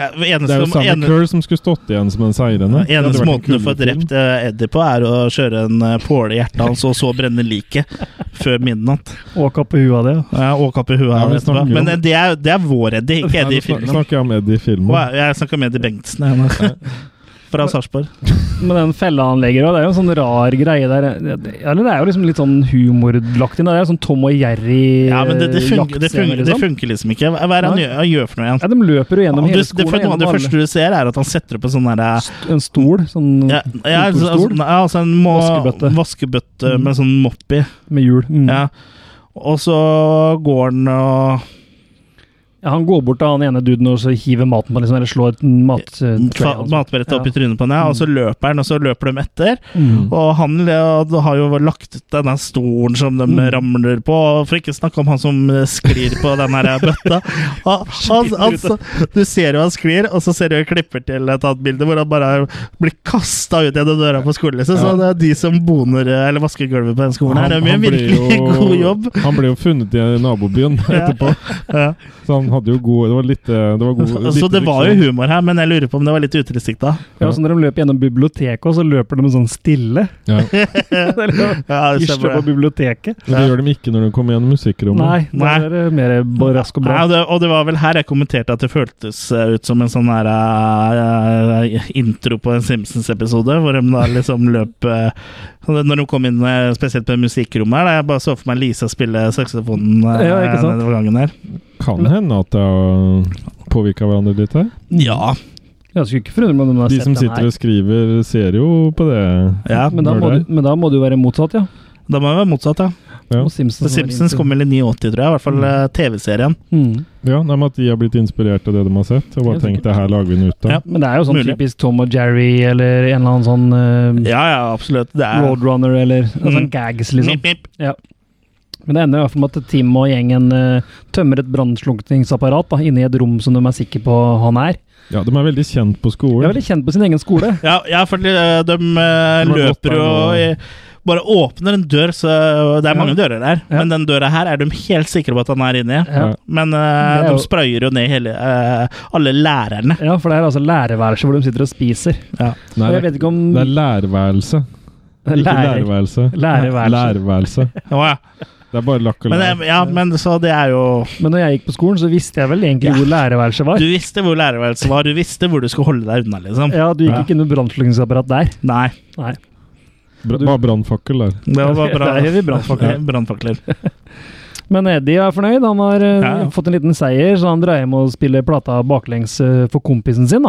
Speaker 1: ja
Speaker 2: Det
Speaker 1: eneste,
Speaker 2: er jo samme
Speaker 1: ene-
Speaker 2: Kerr som skulle stått igjen som den seirende. Det hadde
Speaker 1: Eneste
Speaker 2: vært en
Speaker 1: måten du
Speaker 2: kul
Speaker 1: får
Speaker 2: film.
Speaker 1: drept eh, Eddie på, er å kjøre en eh, påle i hjertet hans, og så brenne liket før midnatt.
Speaker 3: Åka på huet av det.
Speaker 1: Ja,
Speaker 3: ja.
Speaker 1: Og kappe huet
Speaker 2: Ja,
Speaker 1: av
Speaker 2: vi
Speaker 1: etterpå.
Speaker 2: snakker jo om-
Speaker 1: Men eh, det er, det er vår Eddie, ikke
Speaker 2: Nei,
Speaker 1: Eddie i
Speaker 2: nå snak-
Speaker 1: filmen.
Speaker 2: snakker jeg om Eddie i filmen.
Speaker 1: Å, Jeg snakker med Eddie Bengtsen. jeg nå. fra Sarpsborg.
Speaker 3: Men den fella han legger òg, det er jo en sånn rar greie der. Eller det er jo liksom litt sånn humorlagt inn. Det er jo sånn Tom og Jerry
Speaker 1: Ja, men det, det,
Speaker 3: eh,
Speaker 1: funker, det,
Speaker 3: jaktscene,
Speaker 1: funker, det
Speaker 3: liksom.
Speaker 1: funker liksom ikke. Hva er det han
Speaker 3: Nei.
Speaker 1: gjør, han gjør for noe igjen?
Speaker 3: Ja, de løper jo
Speaker 1: Han-
Speaker 3: gjennom
Speaker 1: du,
Speaker 3: hele
Speaker 1: det, for
Speaker 3: skolen.
Speaker 1: noe av det
Speaker 3: gjennom alle-
Speaker 1: første du ser, er at han setter opp en sånn derre
Speaker 3: St- En stol, sånn
Speaker 1: ja, ja, altså,
Speaker 3: kontorstol
Speaker 1: altså, ja, altså en må,
Speaker 3: Vaskebøtte.
Speaker 1: vaskebøtte. med sånn mopp i.
Speaker 3: med hjul. Mm.
Speaker 1: Ja. Og så går han og
Speaker 3: Ja, han går bort til han ene duden og så hiver maten på liksom, eller slår eh,
Speaker 1: Mm. fa-
Speaker 3: mattrayen.
Speaker 1: matbrettet opp i trynet på henne, og
Speaker 2: Mm.
Speaker 1: så løper han, og så løper de etter.
Speaker 3: Mm.
Speaker 1: Og han le- har jo lagt ut denne stolen som de
Speaker 3: Mm.
Speaker 1: ramler på, og for ikke snakke om han som sklir på den her bøtta. Og, han, altså, du ser jo han sklir, og så ser du jeg klipper til et annet bilde hvor han bare blir kasta ut gjennom døra på skolen. Liksom. Så det er de som boner eller vasker gulvet på den skolen her, de gjør en
Speaker 2: ble
Speaker 1: virkelig
Speaker 2: jo-
Speaker 1: god jobb.
Speaker 2: Han ble jo funnet i nabobyen etterpå,
Speaker 1: Ja.
Speaker 2: så han hadde jo god Det var litt eh, det var god,
Speaker 1: Så
Speaker 2: litt liksom.
Speaker 1: det var jo
Speaker 2: friksjon.
Speaker 1: humor her, men jeg lurer på om det var litt utilsikta.
Speaker 3: Ja, så når de løper gjennom biblioteket, og så løper de sånn stille.
Speaker 2: ja.
Speaker 3: Eller
Speaker 1: Ja, det
Speaker 3: Isler
Speaker 1: stemmer
Speaker 3: på
Speaker 1: det.
Speaker 3: biblioteket.
Speaker 2: Men det gjør de ikke når de kommer gjennom musikkrommet.
Speaker 3: Nei, da
Speaker 1: Nei.
Speaker 3: er det mer bare rask og
Speaker 1: Nei,
Speaker 3: bra.
Speaker 1: og, det, og det var vel her jeg kommenterte at det føltes eh, ut som en sånn her eh, eh, intro på en Simpsons-episode, hvor de da liksom løp eh, Når de kom inn eh, spesielt på musikkrommet her, da jeg bare så for meg Lisa spille saksofonen eh,
Speaker 3: Ja, ikke sant?
Speaker 1: nedover gangen her.
Speaker 2: Kan hende at det har påvirka hverandre litt her.
Speaker 1: Ja.
Speaker 3: Jeg skulle ikke forundre meg om de har
Speaker 2: De
Speaker 3: sett
Speaker 2: som
Speaker 3: den her.
Speaker 2: sitter og skriver, ser jo på det.
Speaker 1: ja
Speaker 3: Men da,
Speaker 2: Gjør
Speaker 3: må
Speaker 2: det.
Speaker 3: du, men da må det jo være motsatt, ja.
Speaker 1: da må det være motsatt, ja.
Speaker 2: Ja.
Speaker 3: Og Simpsons,
Speaker 1: For Simpsons kom vel i 89, tror jeg. I hvert fall eh, TV-serien.
Speaker 3: Mm.
Speaker 2: Ja, nei, men At de har blitt inspirert av det de har sett, og
Speaker 3: Helt
Speaker 2: bare tenkt det her lager vi en ut av.
Speaker 1: Ja.
Speaker 3: Men det er jo sånn
Speaker 1: Mulig.
Speaker 3: typisk Tom og Jerry eller en eller annen sånn eh,
Speaker 1: Ja, ja, absolutt. Det er
Speaker 3: Roadrunner eller en sånn
Speaker 1: Mm.
Speaker 3: gags, liksom.
Speaker 1: Mip, mip.
Speaker 3: Men det ender i hvert fall med at Tim og gjengen eh, tømmer et brannslukningsapparat da, inne i et rom som de er sikre på han er.
Speaker 2: Ja, De er veldig kjent på
Speaker 3: De
Speaker 2: skolen.
Speaker 3: er veldig kjent på sin egen skole.
Speaker 1: Ja, ja, for de, eh, de eh,
Speaker 2: Det var godt
Speaker 1: løper
Speaker 2: der,
Speaker 1: jo
Speaker 2: og-
Speaker 1: i- bare åpner en dør, så det er
Speaker 3: Ja.
Speaker 1: mange dører der.
Speaker 3: Ja.
Speaker 1: Men den døra her er de helt sikre på at han er inni.
Speaker 3: Ja.
Speaker 1: Men eh,
Speaker 3: er jo-
Speaker 1: de sprayer jo ned hele, eh, alle lærerne.
Speaker 3: ja, for det er altså lærerværelset hvor de sitter og spiser.
Speaker 2: Nei,
Speaker 3: Og jeg
Speaker 2: det,
Speaker 3: vet ikke om
Speaker 2: er- det er lærværelse. Ikke
Speaker 3: lærer,
Speaker 2: lærerværelse.
Speaker 3: lærerværelset.
Speaker 2: Lærerværelse.
Speaker 1: Å, ja.
Speaker 2: Det er bare lakk og
Speaker 1: Men,
Speaker 2: lær.
Speaker 1: eh, ja, men så det er jo
Speaker 3: Men når jeg gikk på skolen, så visste jeg vel egentlig
Speaker 1: Ja.
Speaker 3: hvor lærerværelset var.
Speaker 1: Du visste hvor lærerværelset var, du visste hvor du skulle holde deg unna, liksom.
Speaker 3: ja, du gikk
Speaker 1: Ja.
Speaker 3: ikke inn i brannslukningsapparat der.
Speaker 1: Nei.
Speaker 3: Nei.
Speaker 2: Bra- Bare brannfakkel der.
Speaker 1: Det var bare bra.
Speaker 3: Der er vi brannfakler.
Speaker 1: Brannfakler.
Speaker 3: Men Eddie er fornøyd. Han har eh,
Speaker 1: Ja, ja.
Speaker 3: fått en liten seier, så han drar hjem og spiller plata baklengs eh, for kompisen sin. da.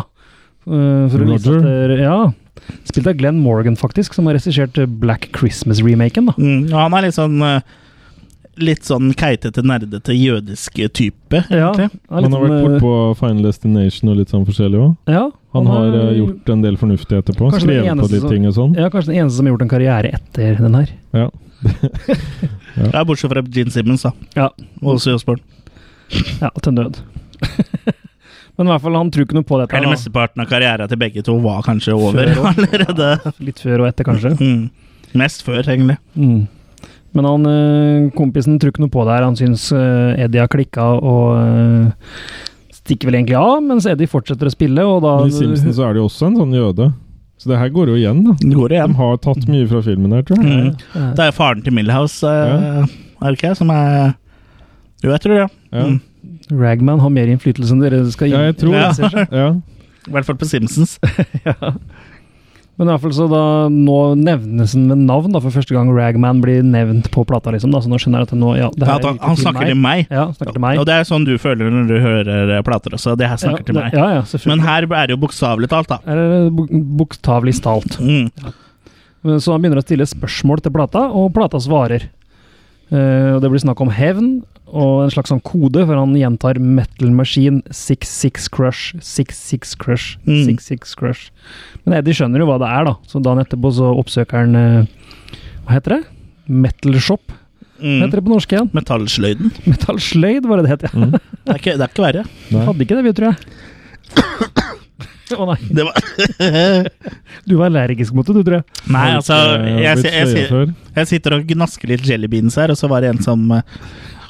Speaker 3: Eh, for å vise
Speaker 2: Roger.
Speaker 3: at, eh, ja. Spilt av Glenn Morgan, faktisk, som har regissert eh, Black Christmas-remaken. da.
Speaker 1: Mm, og han er litt sånn eh, Litt sånn keitete, nerdete, jødisk type,
Speaker 3: Ja,
Speaker 1: egentlig.
Speaker 3: han er
Speaker 2: Han
Speaker 3: litt
Speaker 2: har vært
Speaker 3: sånn, eh,
Speaker 2: bortpå Final Destination og litt sånn forskjellig òg.
Speaker 3: ja,
Speaker 2: Han har
Speaker 3: er-
Speaker 2: eh, gjort en del fornuftig etterpå.
Speaker 3: Kanskje den
Speaker 2: Skrevet på
Speaker 3: eneste
Speaker 2: litt
Speaker 3: som-
Speaker 2: ting og sånn.
Speaker 3: ja, Kanskje den eneste som har gjort en karriere etter den her.
Speaker 2: Ja.
Speaker 1: Ja, bortsett fra Gene Simmons, da.
Speaker 3: Ja.
Speaker 1: Og også Josborn.
Speaker 3: Ja, til nød. Men i hvert fall, han tror ikke noe på dette.
Speaker 1: Eller
Speaker 3: da.
Speaker 1: mesteparten av karrieren til begge to var kanskje over
Speaker 3: Før også.
Speaker 1: allerede.
Speaker 3: Litt før og etter, kanskje.
Speaker 1: Mm. Mest før, egentlig.
Speaker 3: Mm. Men han, eh, kompisen tror ikke noe på det her. Han syns eh, Eddie har klikka og eh, stikker vel egentlig av, mens Eddie fortsetter å spille, og da
Speaker 2: Men I Simpson så er det jo også en sånn jøde. Så det her går jo igjen, da.
Speaker 1: Det går
Speaker 2: De
Speaker 1: igjen.
Speaker 2: har tatt
Speaker 3: Mm.
Speaker 2: mye fra filmen her, tror jeg.
Speaker 1: Mm.
Speaker 3: Ja.
Speaker 1: Det er jo faren til Millhouse,
Speaker 2: Ja.
Speaker 1: eh, er det ikke? Som er Jo, jeg tror det.
Speaker 2: Ja.
Speaker 1: Mm.
Speaker 3: Ragman har mer innflytelse enn dere skal
Speaker 2: Ja, jeg tror
Speaker 1: Ja.
Speaker 3: innser seg.
Speaker 2: Ja.
Speaker 1: I hvert fall på Simpsons.
Speaker 3: Men i hvert fall så da nå nevnes han ved navn da, for første gang Ragman blir nevnt på plata, liksom, da, så nå skjønner jeg at nå, ja, det her
Speaker 1: At han,
Speaker 3: virker
Speaker 1: han snakker til meg.
Speaker 3: Ja, snakker til meg.
Speaker 1: Og det er sånn du føler når du hører eh, plater også. Det her snakker
Speaker 3: ja,
Speaker 1: til
Speaker 3: det-
Speaker 1: meg.
Speaker 3: Ja, ja,
Speaker 1: Men
Speaker 3: selvfølgelig.
Speaker 1: her er det jo bokstavelig talt, da.
Speaker 3: Her er det bok- bokstavelig talt.
Speaker 1: Mm.
Speaker 3: Men Så han begynner å stille spørsmål til plata, og plata svarer. Eh, og det blir snakk om hevn og en slags sånn kode, for han gjentar Metal Machine 66 Crush, 66 Crush,
Speaker 1: Mm.
Speaker 3: 66 Crush. Men Eddie skjønner jo hva det er, da. Så dagen etterpå så oppsøker han eh, Hva heter det? Metal Shop,
Speaker 1: Mm.
Speaker 3: heter det på norsk igjen.
Speaker 1: Metallsløyden.
Speaker 3: Metal Sløyd, var det det het, ja.
Speaker 1: Det er ikke, det er ikke verre.
Speaker 2: Nei.
Speaker 3: Hadde ikke det, vi, tror jeg. Å nei,
Speaker 1: Det var
Speaker 3: du var allergisk mot det, du, tror jeg.
Speaker 1: Nei,
Speaker 2: Har
Speaker 1: altså
Speaker 2: ikke, eh,
Speaker 1: jeg,
Speaker 2: blitt
Speaker 1: jeg, jeg,
Speaker 2: sløya
Speaker 1: jeg,
Speaker 2: før.
Speaker 1: jeg sitter og gnasker litt jelly beans her, og så var det en som eh,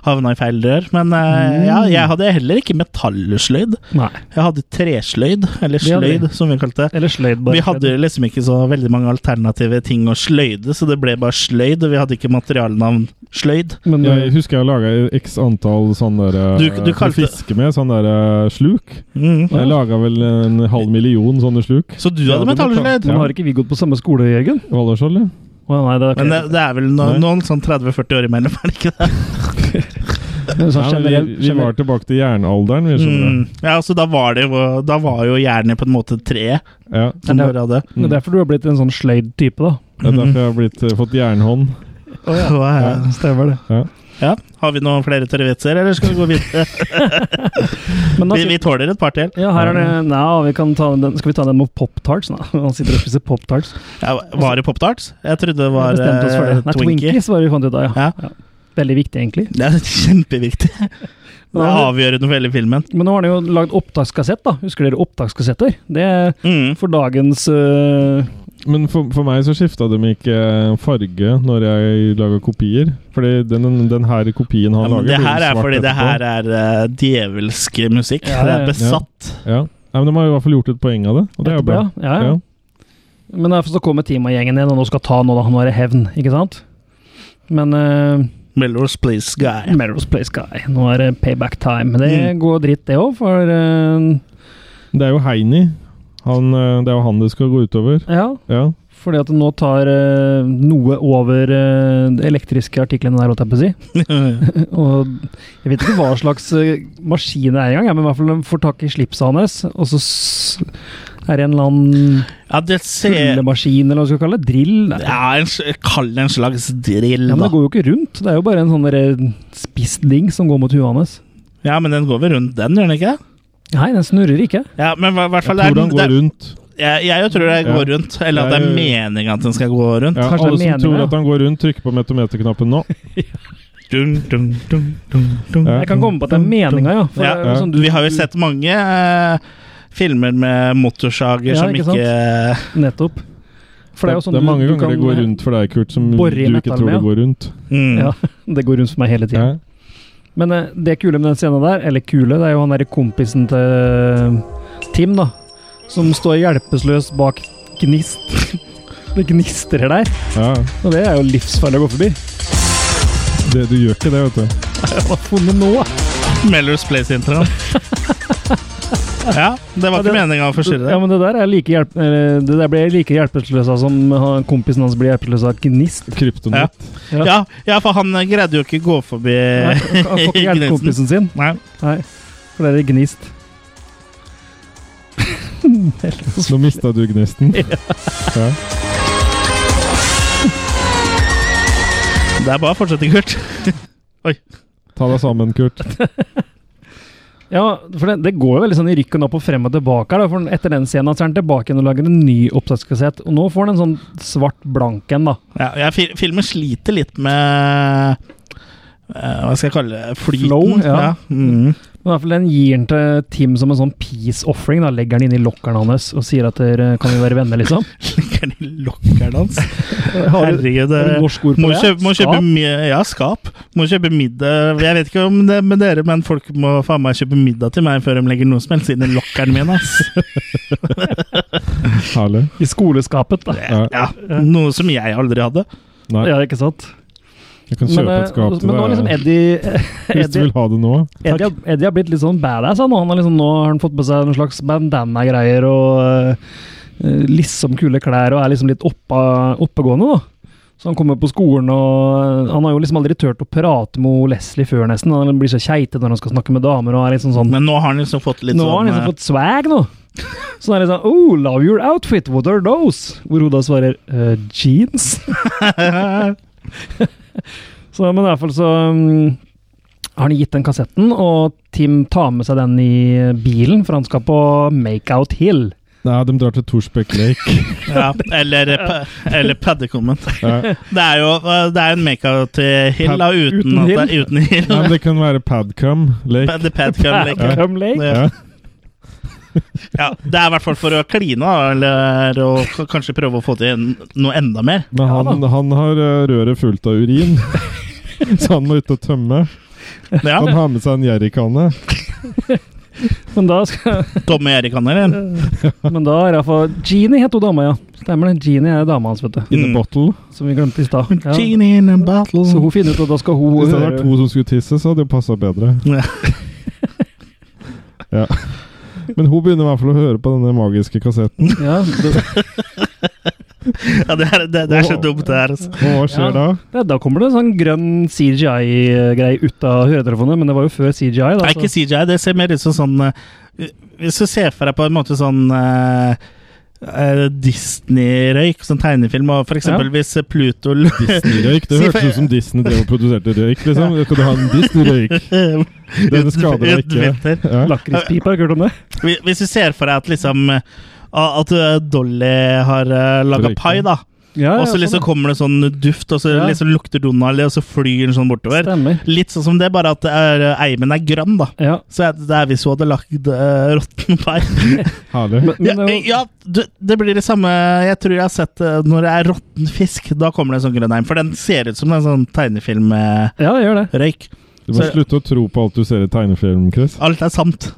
Speaker 1: havna i feil rør. Men eh, ja, jeg hadde heller ikke metallsløyd.
Speaker 3: Nei.
Speaker 1: Jeg hadde tresløyd, eller
Speaker 3: Det hadde vi.
Speaker 1: sløyd, som vi kalte det.
Speaker 3: Eller sløyd, bare.
Speaker 1: Vi hadde liksom ikke så veldig mange alternative ting å sløyde, så det ble bare sløyd, og vi hadde ikke materialnavn sløyd.
Speaker 3: Men,
Speaker 2: Jeg husker jeg laga x antall sånne der,
Speaker 1: Du- du kalte-
Speaker 2: for å fiske med, sånn der eh, sluk.
Speaker 1: Mm.
Speaker 2: Jeg laga vel en halv million sånne sluk.
Speaker 1: Så du
Speaker 2: Ja,
Speaker 1: hadde
Speaker 2: det var
Speaker 1: metallsløyd?
Speaker 2: klart.
Speaker 3: men har ikke vi gått på samme skole, Jørgen?
Speaker 2: Valdresskjold, ja.
Speaker 3: Å, nei, det er
Speaker 1: Men det, det er vel no,
Speaker 2: Nei.
Speaker 1: noen sånn 30-40 år imellom, er det ikke det?
Speaker 3: Men sånn
Speaker 2: Ja, men vi,
Speaker 3: generelt-
Speaker 2: vi var tilbake til jernalderen, vi, skjønner
Speaker 1: Mm. Ja, altså da var, det jo, da var jo jernet på en måte treet
Speaker 2: du. Ja.
Speaker 1: som
Speaker 3: Men det-
Speaker 1: dere hadde.
Speaker 3: Men Det er derfor du har blitt en sånn sløyd-type, da.
Speaker 2: Det er
Speaker 1: Mhm.
Speaker 2: derfor jeg har blitt, eh, fått jernhånd.
Speaker 1: Hva er-
Speaker 3: Stemmer det.
Speaker 1: Ja, Har vi noen flere tørre vitser, eller skal vi gå videre?
Speaker 3: Men da,
Speaker 1: Vi, vi tåler et par til.
Speaker 3: ja, her er det Nei, vi kan ta den. Skal vi ta den med pop-tarts? nå? Han sitter og spiser pop-tarts.
Speaker 1: Ja, var det Pop-Tarts? Jeg trodde det
Speaker 3: Vi
Speaker 1: var
Speaker 3: bestemte oss for det.
Speaker 1: eh,
Speaker 3: Nei,
Speaker 1: Twinkie.
Speaker 3: Twinkies var det vi fant ut av, ja.
Speaker 1: Ja.
Speaker 3: ja. Veldig viktig, egentlig.
Speaker 1: Det er kjempeviktig. Det er avgjørende for hele filmen.
Speaker 3: Men nå har han jo lagd opptakskassett, da. Husker dere opptakskassetter? Det er
Speaker 1: Mm.
Speaker 3: for dagens øh,
Speaker 2: Men for, for meg så skifta de ikke eh, farge når jeg laga kopier. Fordi den, den, den her kopien
Speaker 1: Ja, men
Speaker 2: han lager,
Speaker 1: det
Speaker 2: blir jo
Speaker 1: her er
Speaker 2: svart
Speaker 1: fordi det
Speaker 2: etterpå.
Speaker 1: her er eh, djevelsk musikk.
Speaker 3: Ja,
Speaker 1: Det
Speaker 3: ja, ja.
Speaker 1: er besatt.
Speaker 2: Ja. Nei, men De har i hvert fall gjort et poeng av det, og det er jo bra.
Speaker 3: Ja, ja.
Speaker 2: Ja.
Speaker 3: Men derfor så kommer teamagjengen igjen, og nå skal ta nå, da. Nå er det hevn, ikke sant? Men øh,
Speaker 1: Melrose Place Guy.
Speaker 3: Melrose Place Guy, nå er det payback time. Det
Speaker 1: Mm.
Speaker 3: går dritt, det òg, for øh,
Speaker 2: Det er jo Heini. Han, eh, det er jo han det skal gå utover.
Speaker 3: Ja.
Speaker 2: Ja.
Speaker 3: Fordi at det nå tar eh, noe over eh, de elektriske artiklene der, holdt jeg på å si. Mm. Og jeg vet ikke hva slags eh, maskin det er engang, ja, men i hvert fall de får tak i slipset hans, og så s- er det en eller annen
Speaker 1: Ja, det ser
Speaker 3: tullemaskin, eller hva du skal kalle det. Drill? Nei. Ja,
Speaker 1: ja, en, sl- Kall det en slags drill,
Speaker 3: men
Speaker 1: da.
Speaker 3: det går jo ikke rundt. Det er jo bare en sånn derre spissding som går mot huet hans.
Speaker 1: Ja, men den går vel rundt den, gjør den ikke?
Speaker 3: Nei, den snurrer ikke.
Speaker 1: Ja, men hva- i hvert
Speaker 2: Jeg
Speaker 1: fall det er-
Speaker 2: tror han
Speaker 1: det
Speaker 2: går
Speaker 1: er-
Speaker 2: rundt.
Speaker 1: Jeg, jeg jo tror det
Speaker 2: Ja.
Speaker 1: går rundt. Eller at
Speaker 2: Det
Speaker 1: det
Speaker 2: er
Speaker 1: er
Speaker 2: jo-
Speaker 1: meningen at den skal gå rundt.
Speaker 2: Ja,
Speaker 3: Kanskje det er
Speaker 2: alle som
Speaker 3: meningen,
Speaker 2: tror
Speaker 3: ja.
Speaker 2: at han går rundt, trykker på metometerknappen nå.
Speaker 1: Dun, dun, dun, dun, dun.
Speaker 2: Ja.
Speaker 3: Jeg kan komme på at det er meninga, ja. For
Speaker 1: Ja,
Speaker 3: det er jo sånn du-
Speaker 1: Vi har jo sett mange eh, filmer med motorsager
Speaker 3: Ja,
Speaker 1: som ikke,
Speaker 3: ikke sant? Nettopp. For det er jo sånn
Speaker 2: det er
Speaker 3: du-
Speaker 2: mange
Speaker 3: du
Speaker 2: ganger det
Speaker 3: kan-
Speaker 2: går rundt for deg, Kurt, som du
Speaker 3: bore i
Speaker 2: ikke
Speaker 3: metallen
Speaker 2: tror det
Speaker 3: med, ja.
Speaker 2: går rundt.
Speaker 1: mm.
Speaker 3: Ja, det går rundt for meg hele tida.
Speaker 2: Ja.
Speaker 3: Men eh, det kule med den scenen der, eller kule, det er jo han derre kompisen til eh, Tim, da. Som står hjelpeløs bak gnist. Det gnistrer der.
Speaker 2: Ja.
Speaker 3: Og det er jo livsfarlig å gå forbi.
Speaker 2: Det, du gjør ikke det, vet du.
Speaker 3: Hva har funnet nå?
Speaker 1: Melrose Place-introen. ja, det var
Speaker 3: Ja, det-
Speaker 1: ikke meninga å forstyrre
Speaker 3: Ja,
Speaker 1: deg.
Speaker 3: men det der er like hjelp... eller, Det der blir jeg like hjelpeløs av som han- kompisen hans blir hjelpeløs av gnist.
Speaker 2: Kryptonit.
Speaker 3: ja.
Speaker 1: Ja, ja, for han eh, greide jo ikke gå forbi
Speaker 3: Nei, Han får ikke hjelpe
Speaker 1: Gnisten.
Speaker 3: kompisen sin.
Speaker 1: Nei.
Speaker 3: Nei, for det er det gnist.
Speaker 2: Nå mista du gnisten. Ja.
Speaker 1: Det er bare å fortsette, Kurt.
Speaker 2: Ta deg sammen, Kurt.
Speaker 3: Ja, for det, det går jo veldig sånn i rykken opp og frem og tilbake. her, Da, for etter den scenen så er han tilbake igjen og lager en ny opptakskassett. Og nå får han en sånn svart blank en, da.
Speaker 1: Ja, jeg, fil- filmen sliter litt med eh, Hva skal jeg kalle det? Flyten.
Speaker 3: Flow, ja.
Speaker 1: Mm.
Speaker 3: Men i hvert fall Den gir han til Tim som en sånn peace offering. da, Legger han inn i lokkeren hans og sier at dere kan vi være venner, liksom.
Speaker 1: Legger den i lokkeren hans.
Speaker 3: Har du-
Speaker 1: Herregud.
Speaker 3: har du
Speaker 1: det-
Speaker 3: norsk ord på
Speaker 1: Må
Speaker 3: det?
Speaker 1: kjøpe, må kjøpe
Speaker 3: Skap?
Speaker 1: mi- ja, skap. Må kjøpe middag Jeg vet ikke om det er med dere, men folk må faen meg kjøpe middag til meg før de legger noe som helst inn i lokkeren min. ass.
Speaker 2: Herlig.
Speaker 3: I skoleskapet, da.
Speaker 2: Ja.
Speaker 1: Ja, noe som jeg aldri hadde.
Speaker 2: Nei,
Speaker 3: Ja, ikke sant?
Speaker 2: jeg kan
Speaker 3: Men,
Speaker 2: kjøpe
Speaker 3: eh,
Speaker 2: et skap til
Speaker 3: men nå er liksom
Speaker 2: deg.
Speaker 3: Eddie
Speaker 2: Hvis du
Speaker 3: Eddie,
Speaker 2: vil ha det nå.
Speaker 3: Eddie, har- Eddie har blitt litt sånn badass. Han. og Han har liksom, nå har han fått på seg noen slags bandana-greier og eh, liksom kule klær og er liksom litt oppa, oppegående. da. Så han kommer på skolen og Han har jo liksom aldri turt å prate med Leslie før, nesten. Han blir så keitete når han skal snakke med damer. og er liksom sånn...
Speaker 1: Men nå har han liksom fått litt
Speaker 3: nå har han
Speaker 1: sånn
Speaker 3: liksom fått swag, nå. Så det er liksom Oh, love your outfit, what are those? Hvor hun da svarer eh, jeans. så, men i hvert fall så um, har han gitt den kassetten, og Tim tar med seg den i bilen, for han skal på Makeout Hill.
Speaker 2: Nei, de drar til Torsbekk Lake.
Speaker 1: eh, ja, Eller, pa- eller paddekommen.
Speaker 2: Ja.
Speaker 1: Det er jo eh, det er en make-out til Hill, da, uten,
Speaker 3: Uten
Speaker 1: at det er uten Hill.
Speaker 2: Nei, men det kan være Padcom Lake.
Speaker 1: Pad- the pad can make it.
Speaker 3: Come late.
Speaker 1: Ja. Ja, det er i hvert fall for å kline, da, eller å k- kanskje prøve å få til en- noe enda mer.
Speaker 2: Men han, han har eh, røret fullt av urin, så han må ut og tømme.
Speaker 1: Ja,
Speaker 2: Han har med seg en jerrykanne.
Speaker 3: Men da skal
Speaker 1: Tomme Erikan, eller?
Speaker 3: Men da er iallfall Jeannie het hun dama, ja. Stemmer det. Jeannie er dama hans, vet du.
Speaker 2: In a bottle.
Speaker 3: Som vi glemte i stad. Ja.
Speaker 1: Genie in a bottle.
Speaker 3: Så hun finner ut at da skal hun
Speaker 2: Hvis det hadde vært
Speaker 3: høre
Speaker 2: to som skulle tisse, så hadde det passa bedre.
Speaker 1: Ja.
Speaker 2: ja. Men hun begynner i hvert fall å høre på denne magiske kassetten.
Speaker 3: ja, det,
Speaker 1: Ja, det er, det, det er så dumt, det her. Altså.
Speaker 2: Og hva skjer
Speaker 3: Ja.
Speaker 2: da?
Speaker 3: det, Da kommer det en sånn grønn CGI-greie ut av høretelefonene, men det var jo før CGI. Da,
Speaker 1: Nei,
Speaker 3: så-
Speaker 1: ikke CGI. Det ser mer ut som sånn eh, Hvis du ser for deg på en måte sånn eh, eh, Disney-røyk, sånn tegnefilm, og for eksempel hvis Pluto l-
Speaker 2: Disney-røyk? Det
Speaker 1: Si
Speaker 2: hørtes
Speaker 1: for-
Speaker 2: ut som Disney drev og produserte røyk, liksom. Skal du ha en Disney-røyk? Denne skader deg ikke.
Speaker 1: utvinter.
Speaker 2: Ja.
Speaker 3: Lakrispipa, har du hørt om det?
Speaker 1: Hvis hvis du ser for deg at liksom eh, at eh, Dolly har laga
Speaker 2: Røyken.
Speaker 1: pai, da.
Speaker 3: Ja,
Speaker 1: Og
Speaker 3: ja,
Speaker 1: så liksom
Speaker 3: sånn,
Speaker 1: kommer det sånn duft, og så
Speaker 3: Ja.
Speaker 1: liksom lukter Donald, og så flyr den sånn
Speaker 3: ja.
Speaker 1: bortover.
Speaker 3: Stemmer.
Speaker 1: Litt sånn som det, bare at det er, eh, eimen er grønn, da.
Speaker 3: Ja.
Speaker 1: Så er det det er hvis hun hadde lagd eh, råtten pai.
Speaker 2: Herlig.
Speaker 3: Men,
Speaker 1: Ja,
Speaker 3: men
Speaker 1: eh,
Speaker 3: det var-
Speaker 1: ja du, det blir det samme Jeg tror jeg har sett eh, når det er råtten fisk. Da kommer det en sånn grønn eim, for den ser ut som en sånn tegnefilmrøyk.
Speaker 3: ja, det gjør det.
Speaker 2: Du må
Speaker 1: så-
Speaker 2: slutte å tro på alt du ser i tegnefilm, Chris.
Speaker 1: Alt er sant.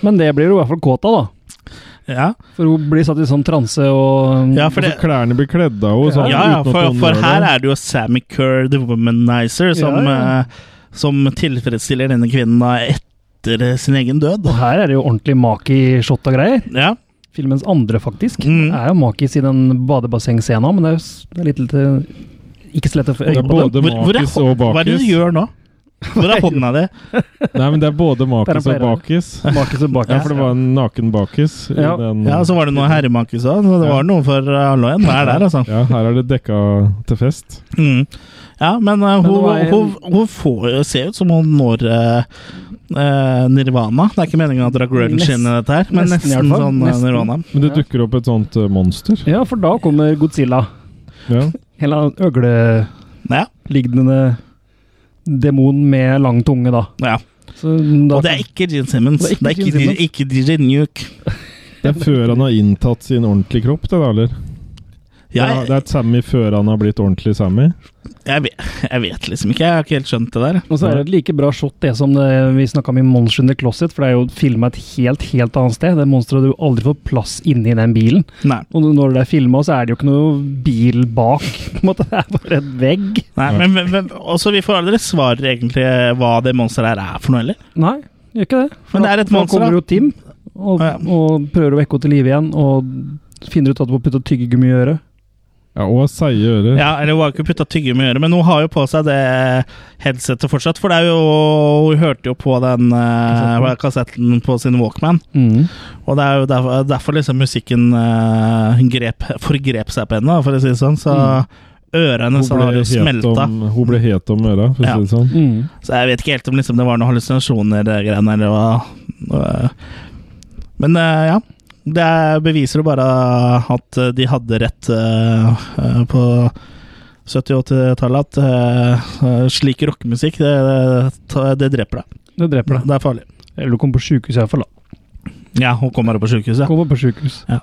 Speaker 3: Men det blir hun i hvert fall kåt av, da.
Speaker 1: Ja,
Speaker 3: For hun blir satt i sånn transe og
Speaker 1: ja for det
Speaker 2: Også klærne blir kledd av henne.
Speaker 1: ja, ja, for, for her er det jo Sammy Kerr, the womanizer, som,
Speaker 3: Ja, ja.
Speaker 1: eh, som tilfredsstiller denne kvinnen da etter eh, sin egen død.
Speaker 3: Og her er det jo ordentlig maki-shot og greier.
Speaker 1: Ja,
Speaker 3: Filmens andre, faktisk.
Speaker 1: Mm.
Speaker 3: Det er jo makis i den badebassengscena, men det er jo s- det er litt, litt Ikke så lett å få øye
Speaker 2: Det er
Speaker 3: på
Speaker 2: både
Speaker 3: den.
Speaker 2: makis
Speaker 1: hå-
Speaker 2: og bakis.
Speaker 1: Hva er det du gjør nå? Hvor er hånda di?
Speaker 2: Nei, men det er både makis og
Speaker 3: Perra, perra.
Speaker 2: bakis.
Speaker 3: Makis og bakis.
Speaker 2: Ja, for det var en naken bakis. i
Speaker 3: Ja.
Speaker 2: den-
Speaker 1: Ja, så var det noe herremakis òg, så det
Speaker 2: Ja.
Speaker 1: var noe for eh, alle og enhver der, altså.
Speaker 2: Ja, her er det dekka til fest.
Speaker 1: Mm. Ja, men, eh,
Speaker 3: Men
Speaker 1: hun,
Speaker 3: nå er-
Speaker 1: hun, hun får jo se ut som hun når eh, eh, nirvana. Det er ikke meningen at det er grunge
Speaker 3: Nest-
Speaker 1: inn i dette her, men
Speaker 3: nesten i
Speaker 1: nesten,
Speaker 3: hvert fall.
Speaker 1: sånn eh,
Speaker 3: Nesten.
Speaker 1: nirvana.
Speaker 2: Men det
Speaker 3: Ja.
Speaker 2: dukker opp et sånt eh, monster.
Speaker 3: Ja, for da kommer Godzilla.
Speaker 2: Ja.
Speaker 3: Hele øglelignende
Speaker 1: Ja,
Speaker 3: demon med lang tunge, da.
Speaker 1: ja.
Speaker 3: Så da
Speaker 1: Og det er ikke Gene Simmons.
Speaker 3: Det er ikke
Speaker 1: Det er ikke,
Speaker 3: Gene Simmons.
Speaker 1: D- ikke DJ Nuke.
Speaker 2: Det er før han har inntatt sin ordentlige kropp, det da, eller?
Speaker 1: Ja,
Speaker 2: Det er- det er et Sammy før han har blitt ordentlig Sammy.
Speaker 1: jeg, vet, jeg vet liksom ikke. Jeg har ikke helt skjønt det der.
Speaker 3: Og så er det et like bra shot det som det, vi snakka om i Monster in the Closet, for det er jo filma et helt, helt annet sted. Det monsteret hadde jo aldri fått plass inni den bilen.
Speaker 1: Nei.
Speaker 3: Og når det er filma, så er det jo ikke noe bil bak. På en måte, det er bare en vegg.
Speaker 1: Nei,
Speaker 2: Nei.
Speaker 1: men, men, men også, vi får aldri svar egentlig hva det monsteret her er for noe heller.
Speaker 3: Nei, gjør ikke det.
Speaker 1: Men det er et
Speaker 3: da- da
Speaker 1: monster, da.
Speaker 3: kommer jo Tim og,
Speaker 1: Ja.
Speaker 3: og prøver å vekke henne til live igjen, og finner ut at hun har putta tyggegummi i øret.
Speaker 2: Ja, og seige ører.
Speaker 1: Ja, eller Hun har ikke putta tyggegummi i øret, men hun har jo på seg det headsetet fortsatt. For det er jo, hun hørte jo på den eh, kassetten på sin Walkman.
Speaker 3: Mm.
Speaker 1: Og det er jo derfor, derfor liksom musikken eh, grep, forgrep seg på henne, da, for å si det sånn. Så øra hennes
Speaker 2: Mm. Hun ble
Speaker 1: har jo
Speaker 2: het
Speaker 1: smelta.
Speaker 2: om- Hun ble het om øra, for å
Speaker 1: Ja.
Speaker 2: si det sånn.
Speaker 3: Mm.
Speaker 1: Så jeg vet ikke helt om liksom, det var noen hallusinasjoner eh, greiene, eller hva. eh. Men eh, ja. Det beviser jo bare at eh, de hadde rett eh, eh, på 70-80-tallet. At eh, eh, slik rockemusikk, det, det, det dreper deg.
Speaker 3: Det dreper deg.
Speaker 1: Det er farlig.
Speaker 3: Eller du kommer på sjukehus iallfall, da.
Speaker 1: Ja, hun kommer her på sjukehuset.
Speaker 3: Kommer på sjukehus.
Speaker 1: Ja.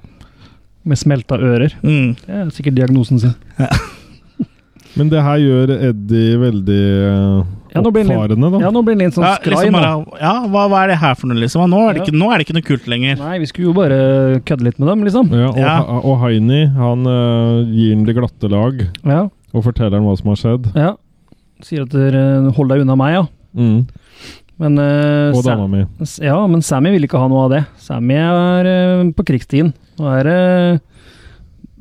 Speaker 3: Med smelta ører.
Speaker 1: Mm.
Speaker 3: Det er sikkert diagnosen sin.
Speaker 2: Men det her gjør Eddie veldig eh,
Speaker 3: Ja, nå blir han litt-
Speaker 2: oppfarende, da.
Speaker 3: Ja, nå blir den litt sånn
Speaker 1: Ja,
Speaker 3: skrai
Speaker 1: liksom
Speaker 3: nå.
Speaker 1: bare, ja hva, hva er det her for noe, liksom? Nå er det,
Speaker 3: Ja.
Speaker 1: ikke, nå er det ikke noe kult lenger.
Speaker 3: Nei, vi skulle jo bare kødde litt med dem, liksom.
Speaker 2: Ja, og,
Speaker 1: Ja.
Speaker 2: Ha- og Heini han eh, gir ham det glatte lag
Speaker 3: Ja,
Speaker 2: og forteller ham hva som har skjedd.
Speaker 3: ja. Sier at dere eh, hold deg unna meg, ja.
Speaker 2: Mm.
Speaker 3: Men, eh,
Speaker 2: Og
Speaker 3: Sam-
Speaker 2: dama mi.
Speaker 3: Ja, men Sammy vil ikke ha noe av det. Sammy er eh, på krigsstien. Nå er det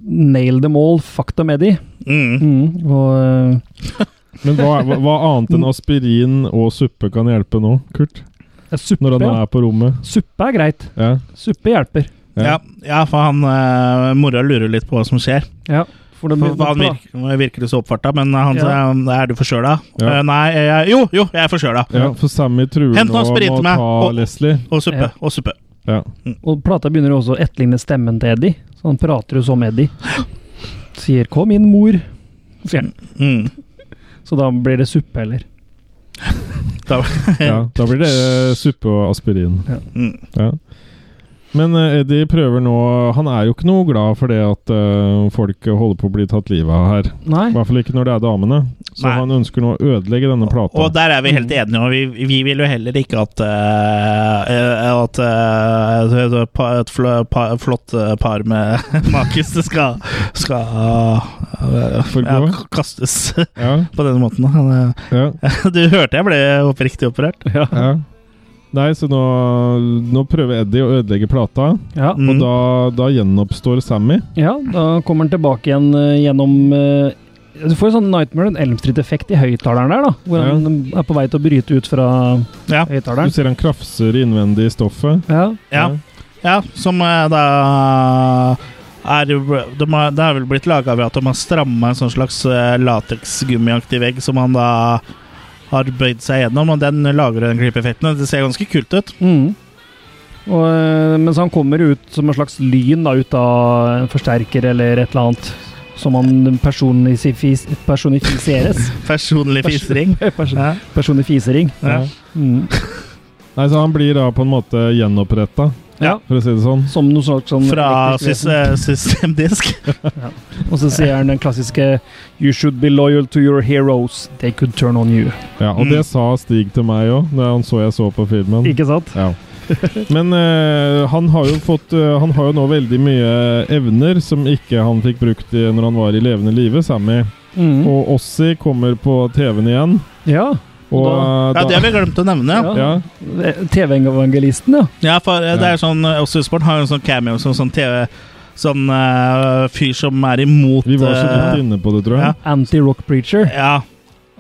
Speaker 3: nail them all, fuck them Eddie.
Speaker 1: Mm.
Speaker 3: Og eh,
Speaker 2: Men hva, hva, hva annet enn aspirin og suppe kan hjelpe nå, Kurt?
Speaker 3: ja, suppe,
Speaker 2: Når han
Speaker 3: ja.
Speaker 2: er på rommet?
Speaker 3: suppe er greit.
Speaker 2: Ja.
Speaker 3: Suppe hjelper.
Speaker 1: Ja. ja, for han eh, mora lurer litt på hva som skjer.
Speaker 3: Ja, for det,
Speaker 1: For, for han virker, virker jo så oppfarta, men han
Speaker 3: Ja.
Speaker 1: sa Er du forkjøla?
Speaker 2: Ja.
Speaker 1: Eh, nei, jeg, jo, jo, jeg er forkjøla.
Speaker 2: Ja, for Sammy truer
Speaker 1: Hent
Speaker 2: nå
Speaker 1: noe sprit
Speaker 2: med å
Speaker 1: til meg.
Speaker 2: ta
Speaker 1: Og-
Speaker 2: Leslie.
Speaker 1: Og suppe.
Speaker 3: Ja.
Speaker 1: Og suppe.
Speaker 2: Ja.
Speaker 3: Og plata begynner jo også å etterligne stemmen til Eddie. Så han prater jo som Eddie. Sier 'kom inn, mor'. Sier han.
Speaker 1: Mm.
Speaker 3: Så da blir det suppe, eller?
Speaker 1: Da,
Speaker 2: Ja, da blir det eh, suppe og aspirin.
Speaker 1: Mm.
Speaker 2: Ja. Men eh, Eddie prøver nå Han er jo ikke noe glad for det at eh, folk holder på å bli tatt livet av her.
Speaker 3: Nei.
Speaker 2: I hvert fall ikke når det er damene. Så
Speaker 1: Nei.
Speaker 2: han ønsker nå å ødelegge denne plata.
Speaker 1: Og der er vi helt
Speaker 3: Mm.
Speaker 1: enige, og vi, vi vil jo heller ikke at eh, eh, At eh, et pa- et fl- pa- flott eh, par med makis skal, skal eh, ja,
Speaker 2: Forgå?
Speaker 1: kastes
Speaker 2: Ja,
Speaker 1: på den måten. Han,
Speaker 2: ja,
Speaker 1: eh, Du hørte jeg ble oppriktig opprørt.
Speaker 2: ja. Nei, så nå, nå prøver Eddie å ødelegge plata,
Speaker 3: Ja.
Speaker 1: Mm.
Speaker 2: og da, da gjenoppstår Sammy.
Speaker 3: ja, da kommer han tilbake igjen eh, gjennom eh, Du får en sånn Nightmare on Elm Street-effekt i høyttaleren der, da. Hvor
Speaker 2: Ja.
Speaker 3: han er på vei til å bryte ut fra
Speaker 1: Ja.
Speaker 2: Du
Speaker 3: høyttaleren.
Speaker 2: ser han krafser innvendig i stoffet.
Speaker 3: Ja.
Speaker 1: Ja, ja som eh, da er, jo- de har, det er vel blitt laga ved at de har stramma en sånn slags eh, lateksgummiaktig vegg som han da har bøyd seg gjennom, og den lager den klippeffekten. og Det ser ganske kult ut.
Speaker 3: Mm. Og, eh, mens han kommer ut som en slags lyn da, ut av en forsterker eller et eller annet. Som han personifis, personifiseres.
Speaker 1: Personlig fisering.
Speaker 3: Person,
Speaker 1: Ja,
Speaker 3: personifisering.
Speaker 1: ja.
Speaker 3: Mm.
Speaker 2: Nei, så han blir da på en måte gjenoppretta,
Speaker 3: Ja.
Speaker 2: for å si det sånn.
Speaker 3: Som noe slags sånn
Speaker 1: Fra
Speaker 3: elektrisk
Speaker 1: sys eh,
Speaker 3: vesen.
Speaker 1: systemdisk.
Speaker 3: Og så sier han den klassiske You should be loyal to your heroes. They could turn on you.
Speaker 2: Ja, og
Speaker 1: Mm.
Speaker 2: det sa Stig til meg òg, da han så jeg så på filmen.
Speaker 3: Ikke sant?
Speaker 2: Ja. Men eh, han har jo fått eh, Han har jo nå veldig mye evner som ikke han fikk brukt i, når han var i levende live, Sammy.
Speaker 3: Mm.
Speaker 2: Og Ossi kommer på TV-en igjen.
Speaker 3: Ja.
Speaker 2: Og
Speaker 3: Og
Speaker 1: Ja,
Speaker 2: eh,
Speaker 1: det har vi glemt å nevne. Ja,
Speaker 3: Ja.
Speaker 2: ja,
Speaker 3: TV-evangelisten, ja.
Speaker 1: ja for eh, det er sånn eh, Også Sport har jo en sånn cameo som sånn TV Sånn eh, fyr som er imot
Speaker 2: vi var så
Speaker 1: eh,
Speaker 2: vidt inne på det, tror jeg.
Speaker 1: ja.
Speaker 3: Anti-rock preacher.
Speaker 1: Ja.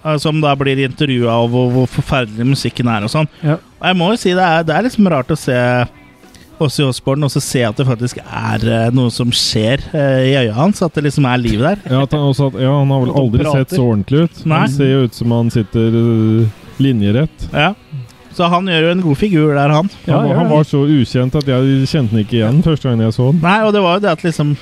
Speaker 1: eh, Som da blir intervjua av hvor, hvor forferdelig musikken er og sånn.
Speaker 3: Ja.
Speaker 1: Og jeg må jo si det er, det er liksom rart å se Ozzy Osbourne og så se at det faktisk er eh, noe som skjer eh, i øya hans. At det liksom er liv der.
Speaker 2: Ja, at han, også, at- ja, han har vel
Speaker 3: At han
Speaker 2: aldri
Speaker 3: prater.
Speaker 2: sett så ordentlig ut.
Speaker 1: Nei.
Speaker 2: Han ser jo ut som han sitter eh, linjerett.
Speaker 1: Ja. Så han gjør jo en god figur der, han.
Speaker 3: Ja,
Speaker 2: Han,
Speaker 3: ja,
Speaker 2: han
Speaker 3: ja.
Speaker 2: var så ukjent at jeg kjente han ikke igjen første gang jeg så han.
Speaker 1: Nei, og det var jo det at liksom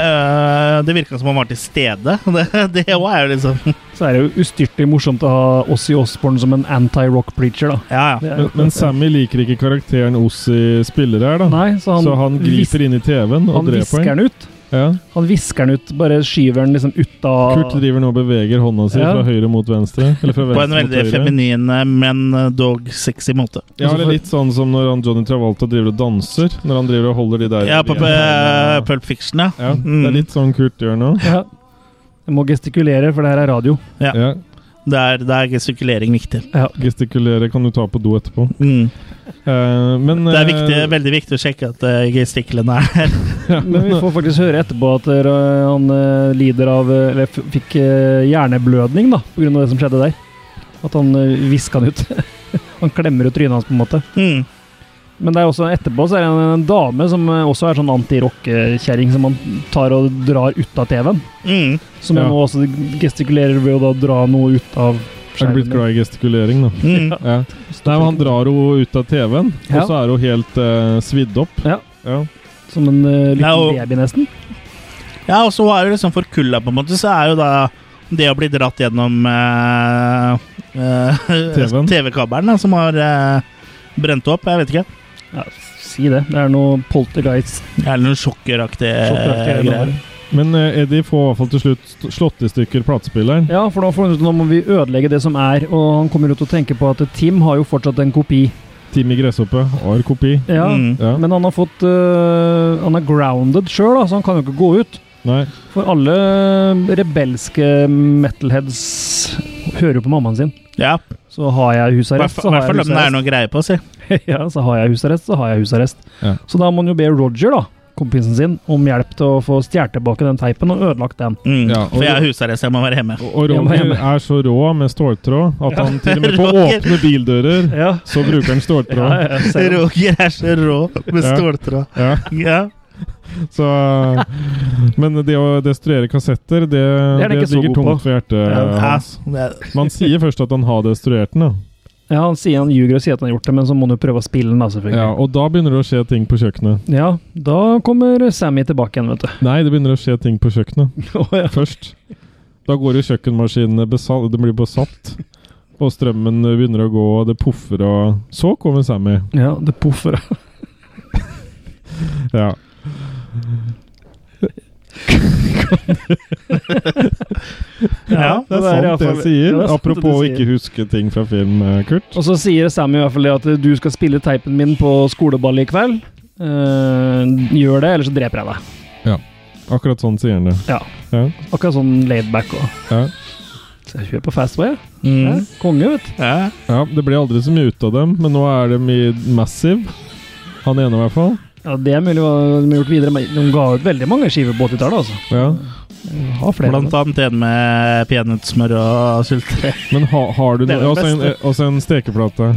Speaker 1: eh, Det virka som han var til stede. Det, det også er jo liksom
Speaker 3: Så er det jo ustyrtelig morsomt å ha Ossi Osborne som en anti-rock preacher, da.
Speaker 1: Ja, ja.
Speaker 3: Det er jo-
Speaker 2: Men, men Sammy liker ikke karakteren Ossi spiller her, da.
Speaker 3: Nei, så han,
Speaker 2: så han griper inn i TV-en
Speaker 3: vis-
Speaker 2: og
Speaker 3: han
Speaker 2: dreper
Speaker 3: visker
Speaker 2: han.
Speaker 3: den ut.
Speaker 2: Ja.
Speaker 3: Han visker den ut, bare skyver den liksom ut av
Speaker 2: Kurt driver nå og beveger hånda si
Speaker 3: Ja.
Speaker 2: fra høyre mot venstre. Eller fra
Speaker 1: På
Speaker 2: venstre
Speaker 1: en
Speaker 2: mot
Speaker 1: veldig
Speaker 2: høyre.
Speaker 1: feminin, eh, men eh, dog sexy måte.
Speaker 2: Ja, eller litt sånn som når han Johnny Travolta driver og danser. Når han driver og holder de der
Speaker 1: Ja, på Mm. eh, Pulp Fiction, ja.
Speaker 2: ja, Det er litt sånn Kurt gjør nå.
Speaker 3: Ja. Jeg må gestikulere, for det her er radio.
Speaker 1: Ja.
Speaker 2: Ja.
Speaker 1: Der, der er gestikulering viktig.
Speaker 2: Gestikulere kan du ta på do etterpå.
Speaker 1: Mm.
Speaker 2: Eh, men
Speaker 1: Det er
Speaker 2: eh,
Speaker 1: viktig, veldig viktig å sjekke at eh, gestiklene er der.
Speaker 2: ja,
Speaker 3: Men vi får faktisk høre etterpå at eh, han eh, lider av eh, Eller f- fikk eh, hjerneblødning, da, pga. det som skjedde der. At han eh, viska han ut. han klemmer ut trynet hans, på en måte.
Speaker 1: Mm.
Speaker 3: Men det er også etterpå så er det en, en dame som eh, også er sånn anti-rock-kjerring, som han tar og drar ut av TV-en.
Speaker 1: Mm.
Speaker 3: Som
Speaker 2: Ja.
Speaker 3: nå også gestikulerer ved å da dra noe ut av
Speaker 2: Jeg er blitt
Speaker 3: skjermen.
Speaker 2: glad i gestikulering, da.
Speaker 1: Mm.
Speaker 2: Ja. Nei, men Han drar henne ut av TV-en,
Speaker 3: Ja.
Speaker 2: og så er hun helt eh, svidd opp.
Speaker 3: Ja.
Speaker 2: Ja.
Speaker 3: Som en eh,
Speaker 1: Ja, og-
Speaker 3: liten baby, nesten.
Speaker 1: Ja, og så er det liksom for kulda, på en måte, så er jo da det å bli dratt gjennom eh, eh,
Speaker 2: TV-en.
Speaker 1: TV-kabelen da, som har eh, brent opp. Jeg vet ikke.
Speaker 3: Ja, si det. Det er noe poltergeist.
Speaker 1: Eller noen sjokkeraktige eh,
Speaker 3: Sjokkeraktige
Speaker 1: greier.
Speaker 2: Men eh, Eddie får i hvert fall til slutt st- slått i stykker platespilleren.
Speaker 3: Ja, for da får han ut at nå må vi ødelegge det som er, og han kommer ut og tenker på at Tim har jo fortsatt en kopi.
Speaker 2: Timmy Gresshoppe har kopi.
Speaker 3: Ja,
Speaker 1: Mm.
Speaker 2: Ja.
Speaker 3: Men han har fått øh, Han er grounded sjøl, så han kan jo ikke gå ut.
Speaker 2: Nei.
Speaker 3: For alle rebelske metalheads hører jo på mammaen sin.
Speaker 1: Ja,
Speaker 3: Så har jeg
Speaker 1: i hvert
Speaker 3: husarrest, så
Speaker 1: fall
Speaker 3: har
Speaker 1: hvert
Speaker 3: jeg
Speaker 1: fall om det er
Speaker 3: husarrest.
Speaker 1: noe greie på, si.
Speaker 3: ja, så har jeg husarrest, så har jeg husarrest.
Speaker 2: Ja.
Speaker 3: Så da må han jo be Roger, da, kompisen sin, om hjelp til å få stjålet tilbake den teipen og ødelagt den.
Speaker 1: Mm.
Speaker 2: Ja, og-
Speaker 1: For jeg har husarrest, jeg må være hjemme.
Speaker 2: Og
Speaker 3: Jeg må
Speaker 2: Roger
Speaker 3: hjem.
Speaker 2: er så rå med ståltråd at han til og med på
Speaker 1: Roger.
Speaker 2: åpne bildører
Speaker 3: Ja,
Speaker 2: så bruker han
Speaker 3: ja,
Speaker 2: ståltråd.
Speaker 3: ja, selv om-
Speaker 1: Roger er så rå med
Speaker 2: Ja.
Speaker 1: ståltråd.
Speaker 2: Ja,
Speaker 1: Ja.
Speaker 2: så eh, Men det å destruere kassetter, det,
Speaker 3: er han
Speaker 2: det,
Speaker 3: ikke så
Speaker 2: ligger
Speaker 3: god
Speaker 2: tungt for hjertet
Speaker 3: Ja.
Speaker 1: Ja.
Speaker 2: hans. Man sier først at han har destruert den, da.
Speaker 3: ja, han sier han ljuger og sier at han har gjort det, men så må han jo prøve å spille den, da, selvfølgelig.
Speaker 2: Ja, og da begynner det å skje ting på kjøkkenet.
Speaker 3: Ja, da kommer Sammy tilbake igjen, vet du.
Speaker 2: Nei, det begynner å skje ting på kjøkkenet
Speaker 3: Å, ja.
Speaker 2: først. Da går jo kjøkkenmaskinene besatt, det blir besatt. Og strømmen begynner å gå, og det poffer og Så kommer Sammy.
Speaker 3: det poffer.
Speaker 2: Ja.
Speaker 1: Ja,
Speaker 2: Det er
Speaker 3: i
Speaker 2: sant
Speaker 3: hvert
Speaker 2: det
Speaker 3: fall-
Speaker 2: jeg sier.
Speaker 3: det er sant det du
Speaker 2: Apropos å
Speaker 3: sier.
Speaker 2: ikke huske ting fra film, eh, Kurt.
Speaker 3: Og så sier Sammy i hvert fall det at eh, du skal spille teipen min på skoleball i kveld. Eh, gjør det, eller så dreper jeg deg.
Speaker 2: Akkurat sånn sier han det.
Speaker 3: Ja.
Speaker 2: Ja.
Speaker 3: Akkurat sånn laidback òg.
Speaker 2: Ja.
Speaker 3: Så jeg kjører på fastway. jeg. Ja.
Speaker 1: Mm.
Speaker 3: Konge, vet du.
Speaker 1: Ja.
Speaker 2: ja, Det blir aldri så mye ut av dem, men nå er de i Massive. Han ene, i hvert fall.
Speaker 3: Ja, det er mulig hva de har gjort videre. men De ga ut veldig mange skiver på 80-tallet, altså.
Speaker 2: Ja.
Speaker 3: Jeg Har flere.
Speaker 1: Blant annet en med peanøttsmør og sylte.
Speaker 2: Men ha, har du
Speaker 1: Det er
Speaker 2: noe
Speaker 1: det
Speaker 2: også en, eh,
Speaker 1: beste.
Speaker 2: også en stekeplate.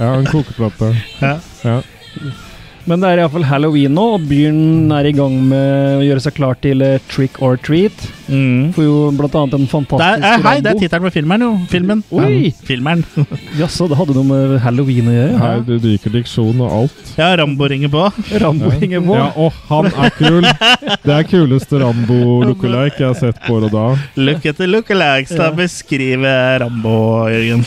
Speaker 2: Ja, en kokeplate.
Speaker 1: Ja.
Speaker 2: Ja.
Speaker 3: Men det er iallfall halloween nå, og byen er i gang med å gjøre seg klar til eh, trick or treat.
Speaker 1: Mm.
Speaker 3: Får jo blant annet en fantastisk
Speaker 1: Det er, eh, hei, det er
Speaker 3: Rambo.
Speaker 1: tittelen på filmen, jo. Filmen.
Speaker 3: Oi!
Speaker 1: Filmeren.
Speaker 3: Jaså, det hadde noe med halloween å gjøre?
Speaker 2: Her du ryker diksjon og alt.
Speaker 1: Ja, Rambo ringer på.
Speaker 3: Rambo ringer på.
Speaker 2: Ja, og han er kul! Det er kuleste Rambo-lookalike jeg har sett på år og da.
Speaker 1: Look at the lookalikes. Da
Speaker 3: Ja.
Speaker 1: beskriver Rambo, Jørgen.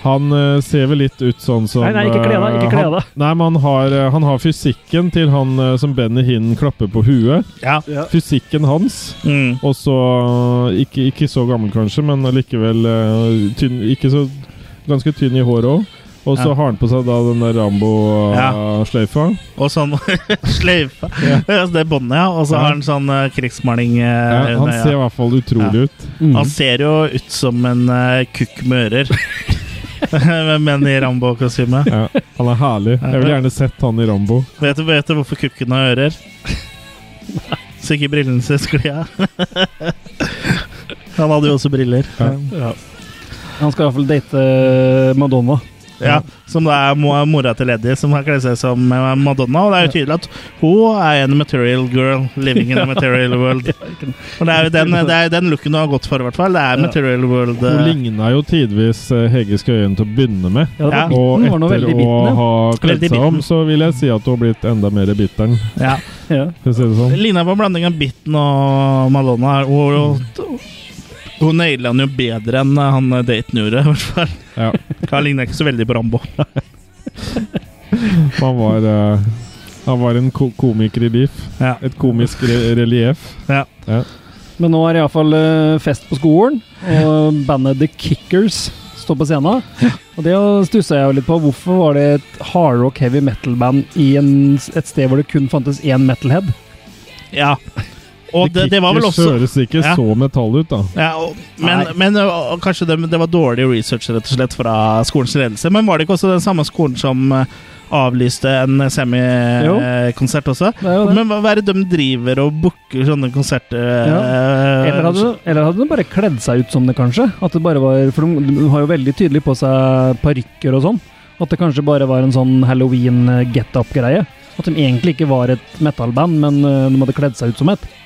Speaker 2: Han eh, ser vel litt ut sånn som
Speaker 3: Nei, nei, ikke kle deg, ikke
Speaker 2: eh,
Speaker 3: kle
Speaker 2: han-
Speaker 3: deg.
Speaker 2: Nei, men han har, eh, han har fysikken til han eh, som Benny Hinn klapper på huet.
Speaker 1: Ja.
Speaker 2: Fysikken hans.
Speaker 1: Mm.
Speaker 2: Og så eh, ikke, ikke så gammel, kanskje, men allikevel eh, tynn Ikke så Ganske tynn i håret òg. Og så
Speaker 1: Ja.
Speaker 2: har han på seg da den der eh, Rambo-sløyfa.
Speaker 1: Og sånn sløyfe. Ja, så Det båndet, ja. Og så
Speaker 2: Ja.
Speaker 1: har han sånn eh, krigsmaling. eh,
Speaker 2: Ja, han
Speaker 1: under øya.
Speaker 2: ser i hvert fall utrolig ut.
Speaker 3: Mm.
Speaker 1: Han ser jo ut som en eh, kukk med ører. Men i Rambo-kostyme.
Speaker 2: Ja, han er herlig. Jeg ville gjerne sett han i Rambo.
Speaker 1: Vet, du- vet du hvorfor kukken har ører? Så ikke brillene sine sklir av. Han hadde jo også briller.
Speaker 2: Ja.
Speaker 3: Han skal iallfall date eh, Madonna.
Speaker 1: Ja, Som det er mo- mora til Eddie, som har kledd seg som eh, Madonna. Og det er jo tydelig at hun er en material girl living in a material world. Og det er jo den, det er jo den looken hun har gått for, i hvert fall. Det er material world.
Speaker 2: Hun
Speaker 1: eh,
Speaker 2: ligna jo tidvis eh, Hege Skøyen til å begynne med.
Speaker 3: Ja, det
Speaker 1: Ja.
Speaker 3: var
Speaker 2: Og
Speaker 3: biten, var noe
Speaker 2: etter
Speaker 3: veldig
Speaker 2: å
Speaker 3: biten,
Speaker 2: ha kledd
Speaker 1: Veldig
Speaker 2: seg om,
Speaker 1: bitten.
Speaker 2: så vil jeg si at hun har blitt enda mer bitteren.
Speaker 1: Ja.
Speaker 3: ja. ja.
Speaker 2: For å si det sånn.
Speaker 1: Det ligner på en blanding av Bitten og Madonna. her. Hun, hun, hun naila han jo bedre enn han eh, daten gjorde, i hvert fall.
Speaker 2: Ja.
Speaker 1: Han ligner ikke så veldig på Rambo.
Speaker 2: Han var, eh, han var en ko komiker i liv.
Speaker 1: Ja.
Speaker 2: Et komisk re relieff.
Speaker 3: Men nå er det iallfall uh, fest på skolen, og bandet The Kickers står på scenen. Og det stussa jeg jo litt på. Hvorfor var det et hardrock heavy metal-band i en, et sted hvor det kun fantes én metalhead?
Speaker 1: Ja. Og det, det var vel
Speaker 2: Kickers
Speaker 1: også
Speaker 2: høres ikke
Speaker 1: Ja.
Speaker 2: så metall ut, da.
Speaker 1: ja, og, Men,
Speaker 3: Nei.
Speaker 1: men øh, og, og kanskje det, det var dårlig research rett og slett fra skolens ledelse. Men var det ikke også den samme skolen som eh, avlyste en
Speaker 3: Jo.
Speaker 1: semikonsert også?
Speaker 3: Det er jo det.
Speaker 1: Men hva hva er det de driver og booker sånne konserter eh,
Speaker 3: Eller hadde, eller hadde de bare kledd seg ut som det, kanskje? At det bare var, For de, de har jo veldig tydelig på seg parykker og sånn. At det kanskje bare var en sånn halloween-get-up-greie. At de egentlig ikke var et metal-band, men eh, de hadde kledd seg ut som et.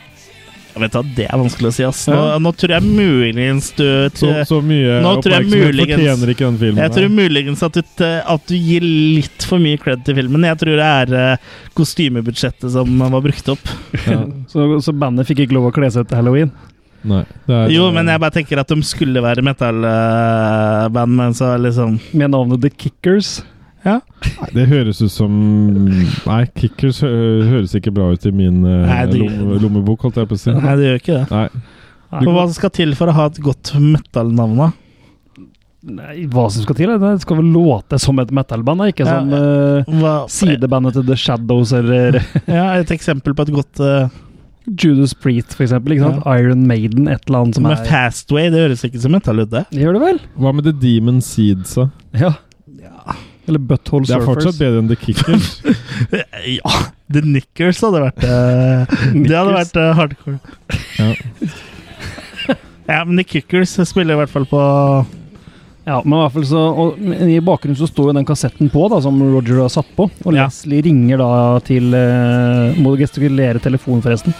Speaker 1: Jeg vet at Det er vanskelig å si, ass. Nå,
Speaker 2: Ja.
Speaker 1: nå tror jeg muligens du
Speaker 2: Så, så mye
Speaker 1: Nå tror jeg
Speaker 2: oppmerksomhet
Speaker 1: muligens-
Speaker 2: fortjener ikke den filmen.
Speaker 1: Jeg
Speaker 2: her.
Speaker 1: tror muligens at du, t- at du gir litt for mye cred til filmen. Jeg tror det er eh, kostymebudsjettet som var brukt opp.
Speaker 2: Ja.
Speaker 3: Så, så bandet fikk ikke lov å kle seg ut til halloween.
Speaker 2: Nei, det er,
Speaker 1: Jo, men jeg bare tenker at de skulle være metal-band, men så liksom
Speaker 3: Med navnet The Kickers.
Speaker 2: Det høres ut som Nei, kickers hø høres ikke bra ut i min eh,
Speaker 1: Nei, det-
Speaker 2: lomme, lommebok, holdt jeg på å si.
Speaker 1: Nei, det gjør ikke det.
Speaker 2: Nei.
Speaker 1: Og hva skal til for å ha et godt metal-navn, da?
Speaker 3: Nei, hva som skal til? er Det Det skal vel låte som et metal-band, da, ikke
Speaker 1: Ja,
Speaker 3: som
Speaker 1: ja.
Speaker 3: eh,
Speaker 1: Hva-
Speaker 3: sidebandet til The Shadows eller
Speaker 1: Ja, et eksempel på et godt eh,
Speaker 3: Judas Priest, for eksempel. Ikke sant? Iron Maiden, et eller annet som
Speaker 1: Men
Speaker 3: er
Speaker 1: Fastway, det høres ikke som metal ut, det.
Speaker 3: Det Gjør det vel?
Speaker 2: Hva med The Demon Seeds, da?
Speaker 3: Ja. Eller Butthole
Speaker 2: Det er fortsatt
Speaker 3: Surfers.
Speaker 2: bedre enn The Kickers.
Speaker 1: Ja, The Nickers hadde vært eh, Det hadde
Speaker 3: Knickers.
Speaker 1: vært eh, hardcore.
Speaker 2: Ja.
Speaker 1: ja, men The Kickers spiller i hvert fall på
Speaker 3: Ja, men i hvert fall så og, men I bakgrunnen så står jo den kassetten på da, som Roger har satt på. Og
Speaker 1: Ja.
Speaker 3: Leslie ringer da til eh, Må du gestikulere telefonen, forresten?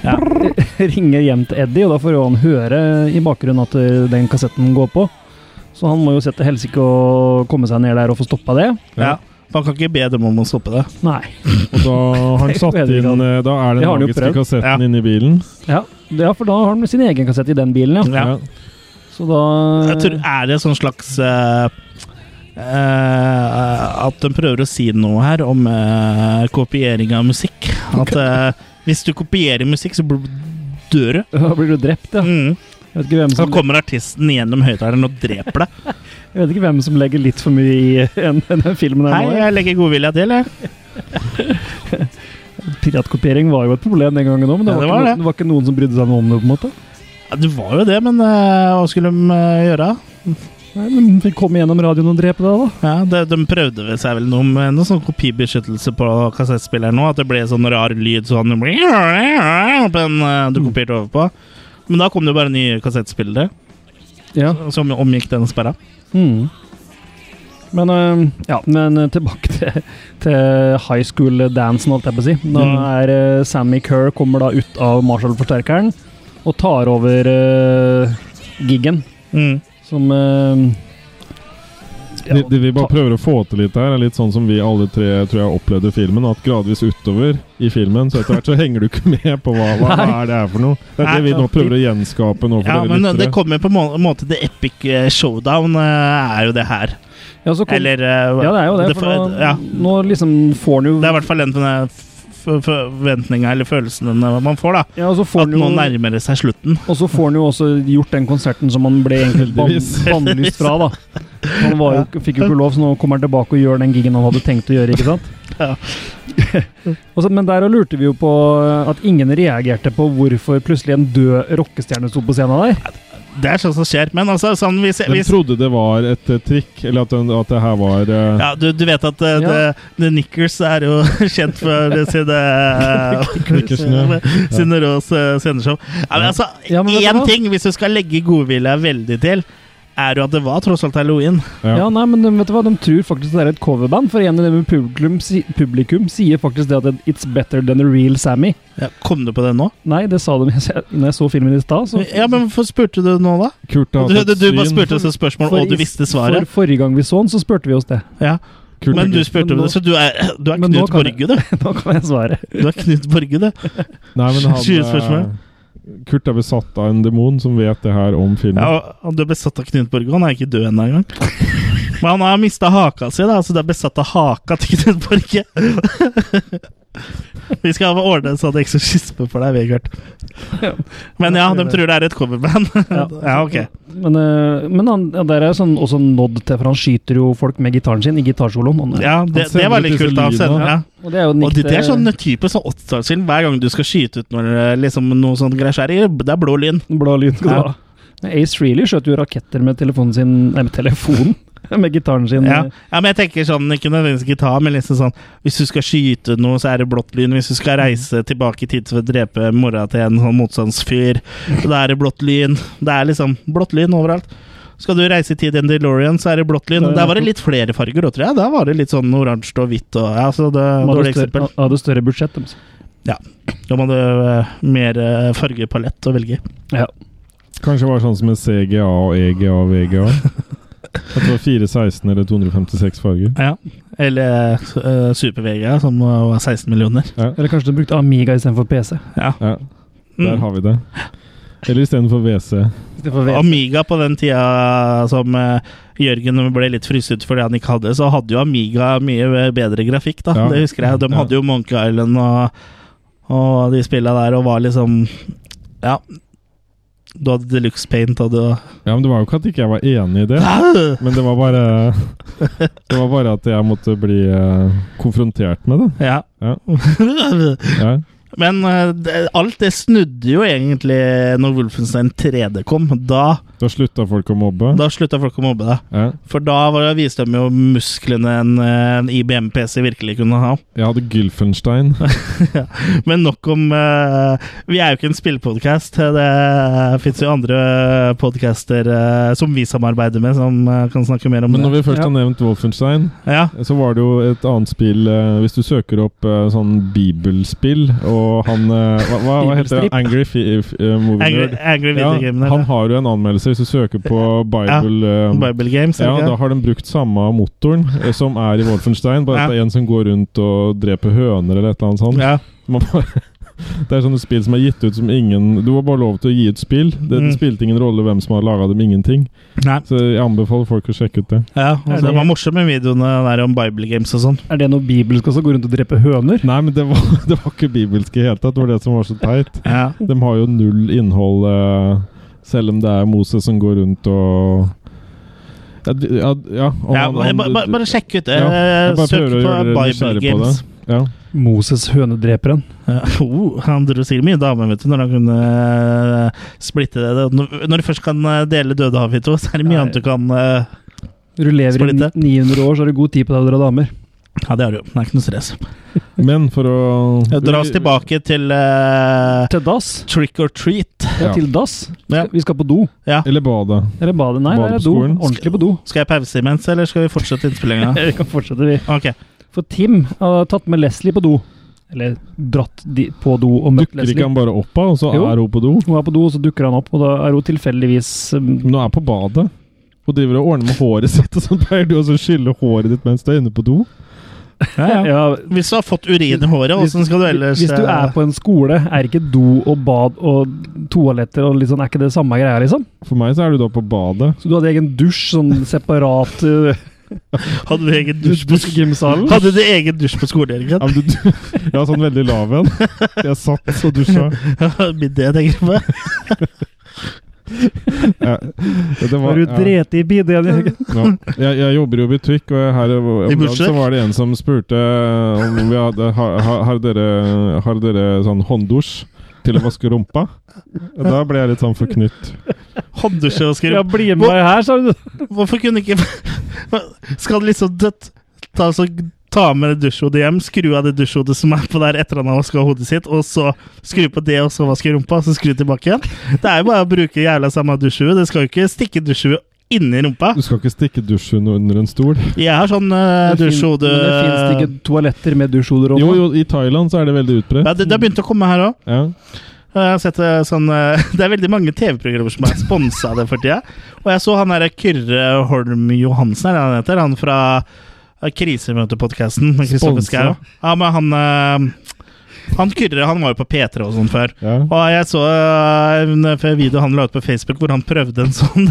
Speaker 1: Ja.
Speaker 3: ringer hjem til Eddie, og da får jo han høre i bakgrunnen at eh, den kassetten går på. Så han må jo sette helsike å komme seg ned der og få stoppa det.
Speaker 1: Ja. Man kan ikke be dem om å stoppe det.
Speaker 3: Nei.
Speaker 2: Og da har han satt
Speaker 3: Jeg vet ikke
Speaker 2: inn eh, Da er
Speaker 3: Det
Speaker 2: den
Speaker 3: har han jo
Speaker 2: magiske
Speaker 3: prøvd.
Speaker 2: kassetten
Speaker 1: Ja.
Speaker 2: inni bilen.
Speaker 3: Ja. ja, for da har han sin egen kassett i den bilen, ja.
Speaker 1: Ja.
Speaker 2: Ja.
Speaker 3: Så da
Speaker 1: Jeg tror, er det sånn slags eh, eh, at de prøver å si noe her om eh, kopiering av musikk. At eh, hvis du kopierer musikk, så bl- dør du.
Speaker 3: Da blir du drept, ja.
Speaker 1: Mm.
Speaker 3: Jeg vet ikke hvem
Speaker 1: Så
Speaker 3: som,
Speaker 1: kommer artisten gjennom høyttaleren og dreper deg.
Speaker 3: jeg vet ikke hvem som legger litt for mye i en, den filmen.
Speaker 1: Hei,
Speaker 3: her nå.
Speaker 1: jeg legger godvilja til, jeg.
Speaker 3: Piratkopiering var jo et problem den gangen òg, men det,
Speaker 1: Ja, det
Speaker 3: var
Speaker 1: var
Speaker 3: ikke
Speaker 1: det.
Speaker 3: noen, det var ikke noen som brydde seg noe om det. på en måte
Speaker 1: Ja, det var jo det, men eh, hva skulle de eh, gjøre?
Speaker 3: Nei, men Vi kom gjennom radioen og drepe deg, da.
Speaker 1: Ja, de, de prøvde vel seg vel noe med noe sånn kopibeskyttelse på kassettspilleren nå, at det ble sånn rar lyd sånn på den eh, du kopierte over på. Men da kom det jo bare nye kassettspillere
Speaker 3: Ja.
Speaker 1: som omgikk den sperra.
Speaker 3: Mm. Men, eh, ja, men eh, tilbake til, til high school-dansen, holdt jeg på å si. Da
Speaker 1: Mm.
Speaker 3: er eh, Sammy Kerr kommer da ut av Marshall-forsterkeren og tar over eh, giggen
Speaker 1: Mm.
Speaker 3: som eh, ja,
Speaker 2: De, de, vi bare prøver å få til litt her. er Litt sånn som vi alle tre tror jeg opplevde filmen. At gradvis utover i filmen, så etter hvert så henger du ikke med på hva, hva er det her for noe. Det er det vi nå prøver å gjenskape nå for
Speaker 1: Ja,
Speaker 2: dere
Speaker 1: men eh, det
Speaker 2: lyttere.
Speaker 1: kommer på en må- måte The Epic eh, Showdown eh, er jo det her.
Speaker 3: ja, så kom,
Speaker 1: Eller eh,
Speaker 3: ja, det er jo det. For
Speaker 1: får-
Speaker 3: nå,
Speaker 1: ja.
Speaker 3: nå liksom får han jo
Speaker 1: Det er i hvert fall den eh, f- f- forventninga eller følelsen eh, man får, da.
Speaker 3: ja, og så får
Speaker 1: At
Speaker 3: han jo,
Speaker 1: nå nærmer det seg slutten.
Speaker 3: Og så får han jo også gjort den konserten som han ble egentlig ban
Speaker 2: Heldigvis.
Speaker 3: bannlyst fra, da. Han var jo, fikk jo ikke lov, så nå kommer han tilbake og gjør den gigen han hadde tenkt å gjøre, ikke sant?
Speaker 1: Ja.
Speaker 3: Og så- men der og lurte vi jo på eh, at ingen reagerte på hvorfor plutselig en død rockestjerne sto på scenen der.
Speaker 1: Det er sånt som skjer. Men altså, sånn vi, ser-
Speaker 2: De
Speaker 1: vi
Speaker 2: trodde det var et eh, trikk, eller at, den, at det her var eh,
Speaker 1: Ja, du, du vet at eh,
Speaker 3: Ja.
Speaker 1: det, The Knickers er jo kjent for sine
Speaker 2: Knickersene.
Speaker 1: eh, Sine Rås eh, sendeshow. Ja, men altså,
Speaker 3: Ja, men vet du
Speaker 1: én
Speaker 3: hva?
Speaker 1: ting, hvis du skal legge godvilja veldig til, er jo at det var tross alt halloween.
Speaker 2: Ja.
Speaker 3: Ja, nei, men de- vet du hva, de tror faktisk det er et coverband, for igjen det med publikum, si, publikum sier faktisk det at it's better than a real Sammy.
Speaker 1: Ja, kom du på det nå?
Speaker 3: Nei, det sa de når jeg så filmen i stad. så-
Speaker 1: Ja, men Hvorfor spurte du nå, da?
Speaker 2: Kurt har
Speaker 1: Du,
Speaker 2: hatt
Speaker 1: du,
Speaker 2: et
Speaker 1: du bare
Speaker 2: syn.
Speaker 1: spurte oss et spørsmål,
Speaker 3: For
Speaker 1: og du
Speaker 3: i-
Speaker 1: visste svaret.
Speaker 3: For forrige gang vi så den, så spurte vi oss det.
Speaker 1: Ja.
Speaker 2: Kurt
Speaker 1: Men du
Speaker 2: har-
Speaker 1: spurte om
Speaker 3: Men
Speaker 1: det, så du er, du er
Speaker 3: Men nå
Speaker 1: Knut
Speaker 3: kan
Speaker 1: Borge,
Speaker 3: jeg-
Speaker 1: du.
Speaker 3: Nå kan jeg svare.
Speaker 1: Du er Knut Borge, du.
Speaker 2: Nei, men han,
Speaker 1: Skyld spørsmål.
Speaker 2: eh, Kurt er besatt av en demon som vet det her om filmen.
Speaker 1: Ja, og- og du er besatt av Knut Borge. Han er ikke død ennå engang. Men han har mista haka si, da, så du er besatt av haka til Knut Borge. Vi skal ordne en sånn eksorsisme for deg, Vegard. Men ja, de tror det er et coverband. Ja, ok.
Speaker 3: Men, eh, men han, ja, der er sånn, også en nod til, for han skyter jo folk med gitaren sin i gitarsoloen. Han,
Speaker 1: Ja, det, det var litt kult. da så- ja.
Speaker 3: Og det er jo
Speaker 1: Og det, det er sånn
Speaker 3: sånn
Speaker 1: type sånn 80-tallsfilm. Hver gang du skal skyte ut noe, liksom, noe sånt greier, så er det det er blå lyn.
Speaker 3: blå lyn. skal
Speaker 1: Ja.
Speaker 3: du ha. Men Ace Frehley skjøt jo raketter med telefonen sin Nei, med telefonen! med gitaren sin.
Speaker 1: Ja. ja, men jeg tenker sånn, ikke nødvendigvis gitar, men liksom sånn Hvis du skal skyte noe, så er det blått lyn. Hvis du skal reise tilbake i tid for å drepe mora til en sånn motstandsfyr, da er det blått lyn. Det er liksom blått lyn overalt. Skal du reise i tid i en DeLorean, så er det blått lyn.
Speaker 3: Da er det
Speaker 1: Der var det
Speaker 3: blått-
Speaker 1: litt flere farger òg, tror jeg. Der var det litt sånn oransje og hvitt og Ja, så det
Speaker 3: De
Speaker 1: er
Speaker 3: hadde
Speaker 1: dårlig
Speaker 3: større,
Speaker 1: eksempel.
Speaker 3: hadde større budsjett. dem.
Speaker 1: Da må du eh, mer eh, fargepalett å velge i.
Speaker 3: Ja.
Speaker 2: Kanskje det var sånn som med CGA og EGA og VGA. At det var 416 eller 256 farger.
Speaker 1: Ja. Eller uh, Super-VG, som var 16 millioner.
Speaker 3: Eller kanskje de brukte Amiga istedenfor PC.
Speaker 1: Ja.
Speaker 2: Ja, der
Speaker 1: Mm.
Speaker 2: har vi det. Eller istedenfor WC.
Speaker 3: Istedenfor VC.
Speaker 1: Amiga på den tida som eh, Jørgen ble litt fryst ut fordi han ikke hadde, så hadde jo Amiga mye bedre grafikk, da.
Speaker 2: Ja.
Speaker 1: Det husker jeg. De
Speaker 2: Ja.
Speaker 1: hadde jo Monkey Island og, og de spilla der og var liksom Ja. Du hadde Deluxe Paint og du
Speaker 2: Ja, men det var jo ikke at ikke jeg var enig i det. Men det var bare Det var bare at jeg måtte bli eh, konfrontert med det.
Speaker 1: Ja.
Speaker 2: Ja. Ja.
Speaker 1: Men eh, det- alt det snudde jo egentlig når Wolfenstein 3D kom. Da,
Speaker 2: Da slutta folk å mobbe.
Speaker 1: da slutta folk å mobbe deg.
Speaker 2: Ja.
Speaker 1: For da var- viste de jo musklene en, eh, en IBM-PC virkelig kunne ha.
Speaker 2: Jeg hadde Gylfenstein.
Speaker 1: Men nok om eh, Vi er jo ikke en spillpodkast. Det fins jo andre podcaster eh, som vi samarbeider med, som eh, kan snakke mer om
Speaker 2: Men
Speaker 1: det.
Speaker 2: når vi først
Speaker 3: Ja.
Speaker 2: har nevnt Wolfenstein,
Speaker 1: Ja,
Speaker 2: så var det jo et annet spill eh, Hvis du søker opp eh, sånn bibelspill og han eh, hva, hva, hva heter det?
Speaker 3: Bibelstripp.
Speaker 2: Angry Fi F eh, Movie
Speaker 1: Angry,
Speaker 2: Nerd.
Speaker 1: Angry Video
Speaker 2: Ja,
Speaker 1: Game.
Speaker 2: han har jo en anmeldelse hvis du søker på Bible. eh,
Speaker 1: Bible Games.
Speaker 2: Ja,
Speaker 1: ikke?
Speaker 2: da har de brukt samme motoren eh, som er i Wolfenstein, bare
Speaker 1: Ja.
Speaker 2: at det er en som går rundt og dreper høner eller et eller annet sånt.
Speaker 1: ja.
Speaker 2: Man bare Det er sånne spill som er gitt ut som ingen Du var bare lov til å gi ut spill. Det, det
Speaker 1: Mm.
Speaker 2: spilte ingen rolle hvem som har laga dem. Ingenting.
Speaker 1: Nei.
Speaker 2: Så jeg anbefaler folk å sjekke ut det.
Speaker 1: Ja, altså, det var morsomme videoene der om Bible Games og sånn.
Speaker 3: Er det noe bibelsk også? Gå rundt og drepe høner?
Speaker 2: Nei, men det var, det var ikke bibelsk i det hele tatt. Det var det som var så teit.
Speaker 1: Ja.
Speaker 2: De har jo null innhold, eh, selv om det er Moses som går rundt og Ja, d- ja, ja, og
Speaker 1: Ja,
Speaker 2: han-
Speaker 1: bare,
Speaker 2: han-
Speaker 1: bare, bare sjekk ut. eh,
Speaker 2: Ja, jeg bare
Speaker 1: Søk
Speaker 2: prøver å
Speaker 1: på
Speaker 2: gjøre dere
Speaker 1: Bible
Speaker 2: nysgjerrig på
Speaker 1: Games.
Speaker 2: det. Ja.
Speaker 3: Moses hønedreperen.
Speaker 1: Ja, oh, han dro sikkert mye damer, vet du, når han kunne eh, splitte det. Når- Når du først kan eh, dele Dødehavet i to, så er det mye
Speaker 3: Nei.
Speaker 1: annet du kan eh,
Speaker 3: Du lever i
Speaker 1: Splitte.
Speaker 3: 900 år, så har du god tid på deg å dra damer.
Speaker 1: Ja, det har du jo. Det er ikke noe stress. Eh,
Speaker 2: Men for å
Speaker 1: Dra oss tilbake til eh,
Speaker 3: Til dass?
Speaker 1: trick or treat.
Speaker 3: Ja,
Speaker 2: Ja.
Speaker 3: til dass.
Speaker 1: Ja.
Speaker 3: Vi skal på do.
Speaker 2: Eller badet.
Speaker 3: Eller badet. Nei,
Speaker 2: Bade på
Speaker 3: det er do.
Speaker 2: skolen.
Speaker 3: Ordentlig på do.
Speaker 1: Skal jeg pause imens, eller skal vi fortsette innspillinga?
Speaker 3: Vi kan fortsette, vi.
Speaker 1: Ok.
Speaker 3: For Tim har tatt med Leslie på do. Eller dratt de på do og møtt
Speaker 2: Dukker ikke
Speaker 3: Leslie.
Speaker 2: han bare opp av, og så
Speaker 3: Jo.
Speaker 2: er hun på do?
Speaker 3: Hun er på do, så dukker han opp, og da er hun tilfeldigvis um,
Speaker 2: Men hun er på badet og driver og ordner med håret sitt, og så pleier du også å skylle håret ditt mens du er inne på do.
Speaker 3: ja,
Speaker 1: Hvis du har fått urin i håret,
Speaker 3: Hvis-
Speaker 1: åssen skal du ellers
Speaker 3: Hvis du
Speaker 1: eh,
Speaker 3: er på en skole, er ikke do og bad og toaletter og litt sånn, er ikke det samme greia, liksom?
Speaker 2: For meg så er du da på badet.
Speaker 3: Så du hadde egen dusj, sånn separat uh,
Speaker 1: eh, Hadde du egen dusj
Speaker 3: dusj på gymsalen?
Speaker 1: Hadde du egen dusj på skolen?
Speaker 2: Ja,
Speaker 1: Jørgen?
Speaker 2: men du, ja, sånn veldig lav en. Jeg satt og dusja.
Speaker 1: Blir det jeg tenker på?
Speaker 2: Ja. Det var-
Speaker 3: Har du
Speaker 2: ja.
Speaker 3: dret i bideen? Jørgen?
Speaker 2: Ja. Jeg, jeg jobber jo i butikk, og her om dagen
Speaker 1: butikk?
Speaker 2: så var det en som spurte om vi hadde har, har- har dere, har dere sånn hånddusj til å vaske rumpa. Og da ble jeg litt sånn forknytt.
Speaker 1: Hånddusje og skriv
Speaker 3: Ja, bli med meg her,
Speaker 2: Eh,
Speaker 3: sa du.
Speaker 1: Hvorfor kunne ikke Skal det liksom dødt ta, så, ta med det dusjhodet hjem, skru av det dusjhodet som er på der etter han har vaska hodet sitt, og så skru på det, og så vaske rumpa, og så skru tilbake igjen? Det er jo bare å bruke jævla samme dusjhue. Det skal jo ikke stikke dusjhue inni rumpa.
Speaker 2: Du skal ikke stikke dusjen under en stol.
Speaker 1: Jeg har sånn uh,
Speaker 3: Det fin-
Speaker 1: dusjhode
Speaker 3: Men det fins ikke toaletter med dusjhoder
Speaker 2: Jo,
Speaker 3: oppe?
Speaker 2: jo, i Thailand så er det veldig
Speaker 1: ja,
Speaker 2: utbredt.
Speaker 1: det, det har begynt å komme her òg.
Speaker 2: Ja.
Speaker 1: Jeg har sett eh, sånn eh, Det er veldig mange TV-programmer som er sponsa av det for tida. Og jeg så han der Kyrre Holm Johansen, er det han heter? Han fra Krisemøtepodkasten med Kristoffer
Speaker 2: Sponsa?
Speaker 1: Schau. Ja, men han eh, Han Kyrre han var jo på P3 og sånn før.
Speaker 2: Ja.
Speaker 1: Og jeg så eh, en video han la ut på Facebook hvor han prøvde en sånn.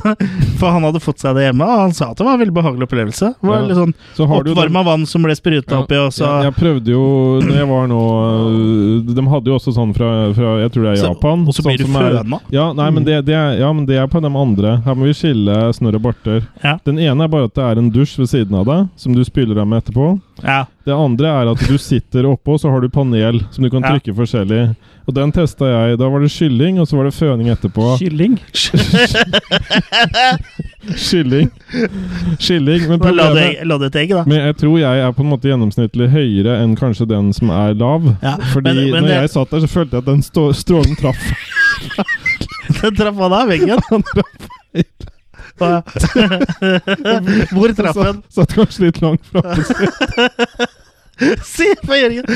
Speaker 1: For han hadde fått seg det hjemme, og han sa at det var en veldig behagelig opplevelse. Det var
Speaker 2: Ja.
Speaker 1: litt sånn
Speaker 2: Så har du den-
Speaker 1: Oppvarma vann som ble spruta
Speaker 2: Ja,
Speaker 1: oppi, og så
Speaker 2: jeg, jeg prøvde jo Når jeg var nå øh, De hadde jo også sånn fra, fra jeg tror det er
Speaker 1: Så-
Speaker 2: Japan.
Speaker 1: og så blir
Speaker 2: sånn
Speaker 1: du
Speaker 2: som er-
Speaker 1: føna.
Speaker 2: Ja, nei,
Speaker 1: Mm.
Speaker 2: men det, det er, ja, men det er på de andre. Her må vi skille snørr og barter.
Speaker 1: Ja.
Speaker 2: Den ene er bare at det er en dusj ved siden av deg, som du spyler av med etterpå.
Speaker 1: Ja.
Speaker 2: Det andre er at du sitter oppå, og så har du panel som du kan
Speaker 1: Ja.
Speaker 2: trykke forskjellig. Og den testa jeg. Da var det skylling, og så var det føning etterpå.
Speaker 3: Kylling?
Speaker 2: Skylling. Skylling. Men
Speaker 1: Da La du,
Speaker 2: problemet
Speaker 1: egg- la du et egg, da?
Speaker 2: men jeg tror jeg er på en måte gjennomsnittlig høyere enn kanskje den som er lav.
Speaker 1: Ja,
Speaker 2: Fordi
Speaker 1: men- men
Speaker 2: når
Speaker 1: det-
Speaker 2: jeg satt der, så følte jeg at den stå, strålen traff.
Speaker 1: Den traff han av veggen. Hva- Hvor traff den?
Speaker 2: Så- Satt kanskje litt langt framme.
Speaker 1: Se på Jørgen!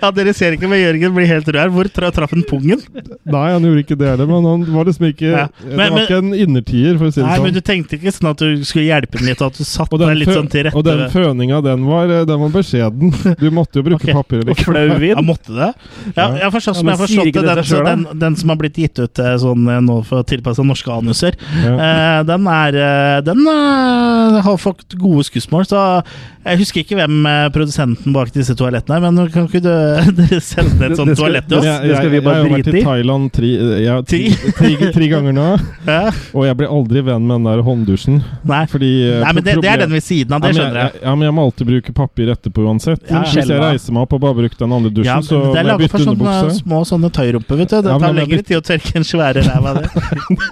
Speaker 1: Ja, Dere ser ikke, men Jørgen blir helt rød. her. Hvor tra traff den pungen?
Speaker 2: Nei, han gjorde ikke det heller, men han var liksom ikke
Speaker 1: Ja.
Speaker 2: Det
Speaker 1: Men-
Speaker 2: var
Speaker 1: men-
Speaker 2: ikke en innertier, for å si det
Speaker 1: Nei, men
Speaker 2: sånn.
Speaker 1: Du tenkte ikke sånn at du skulle hjelpe den litt, og at du satte
Speaker 2: Og den,
Speaker 1: deg litt
Speaker 2: fø-
Speaker 1: sånn til rette?
Speaker 2: og den føninga, den var, eh, den var beskjeden. Du måtte jo bruke
Speaker 1: Ok.
Speaker 2: papir. Eller? ikke.
Speaker 1: ja, måtte det? Ja, jeg har forstått,
Speaker 3: Ja,
Speaker 1: som
Speaker 3: men
Speaker 1: jeg har
Speaker 3: sier
Speaker 1: forstått det,
Speaker 3: ikke det
Speaker 1: den,
Speaker 3: seg selv,
Speaker 1: så den, den som har blitt gitt ut eh, sånn eh, nå for tilpassa norske anuser,
Speaker 2: Ja.
Speaker 1: Eh, den er eh, Den eh, har fått gode skussmål, så jeg husker ikke hvem eh, produsenten bak disse toalettene er, men kan ikke dø- dere sende et
Speaker 3: Det-
Speaker 1: sånt
Speaker 3: det skal-
Speaker 1: toalett
Speaker 2: Men
Speaker 1: til
Speaker 2: jeg,
Speaker 1: oss?
Speaker 3: det skal
Speaker 2: jeg,
Speaker 3: vi
Speaker 2: jeg
Speaker 3: bare
Speaker 2: har jo vært
Speaker 3: drite i.
Speaker 2: i Thailand tre, jeg,
Speaker 1: Ti?
Speaker 2: tre, tre ganger nå,
Speaker 1: Ja.
Speaker 2: og jeg blir aldri venn med den der hånddusjen.
Speaker 1: Nei.
Speaker 2: Fordi eh,
Speaker 1: Nei, men det, det er den ved siden av, det
Speaker 2: ja, men
Speaker 1: skjønner jeg.
Speaker 2: jeg. Ja, men jeg må alltid bruke papir etterpå uansett.
Speaker 1: Ja,
Speaker 2: Hvis jeg
Speaker 3: skjelva.
Speaker 2: reiser meg opp og bare bruker den andre dusjen,
Speaker 1: Ja,
Speaker 2: så
Speaker 1: men det
Speaker 2: må
Speaker 1: er
Speaker 2: jeg
Speaker 1: laget
Speaker 2: bytte
Speaker 1: for sånne
Speaker 2: underbukse.
Speaker 1: små sånne tøyrumper, vet du. Det
Speaker 2: Ja, men
Speaker 1: tar
Speaker 2: den er
Speaker 1: lengre tid å tørke en svære ræv av det.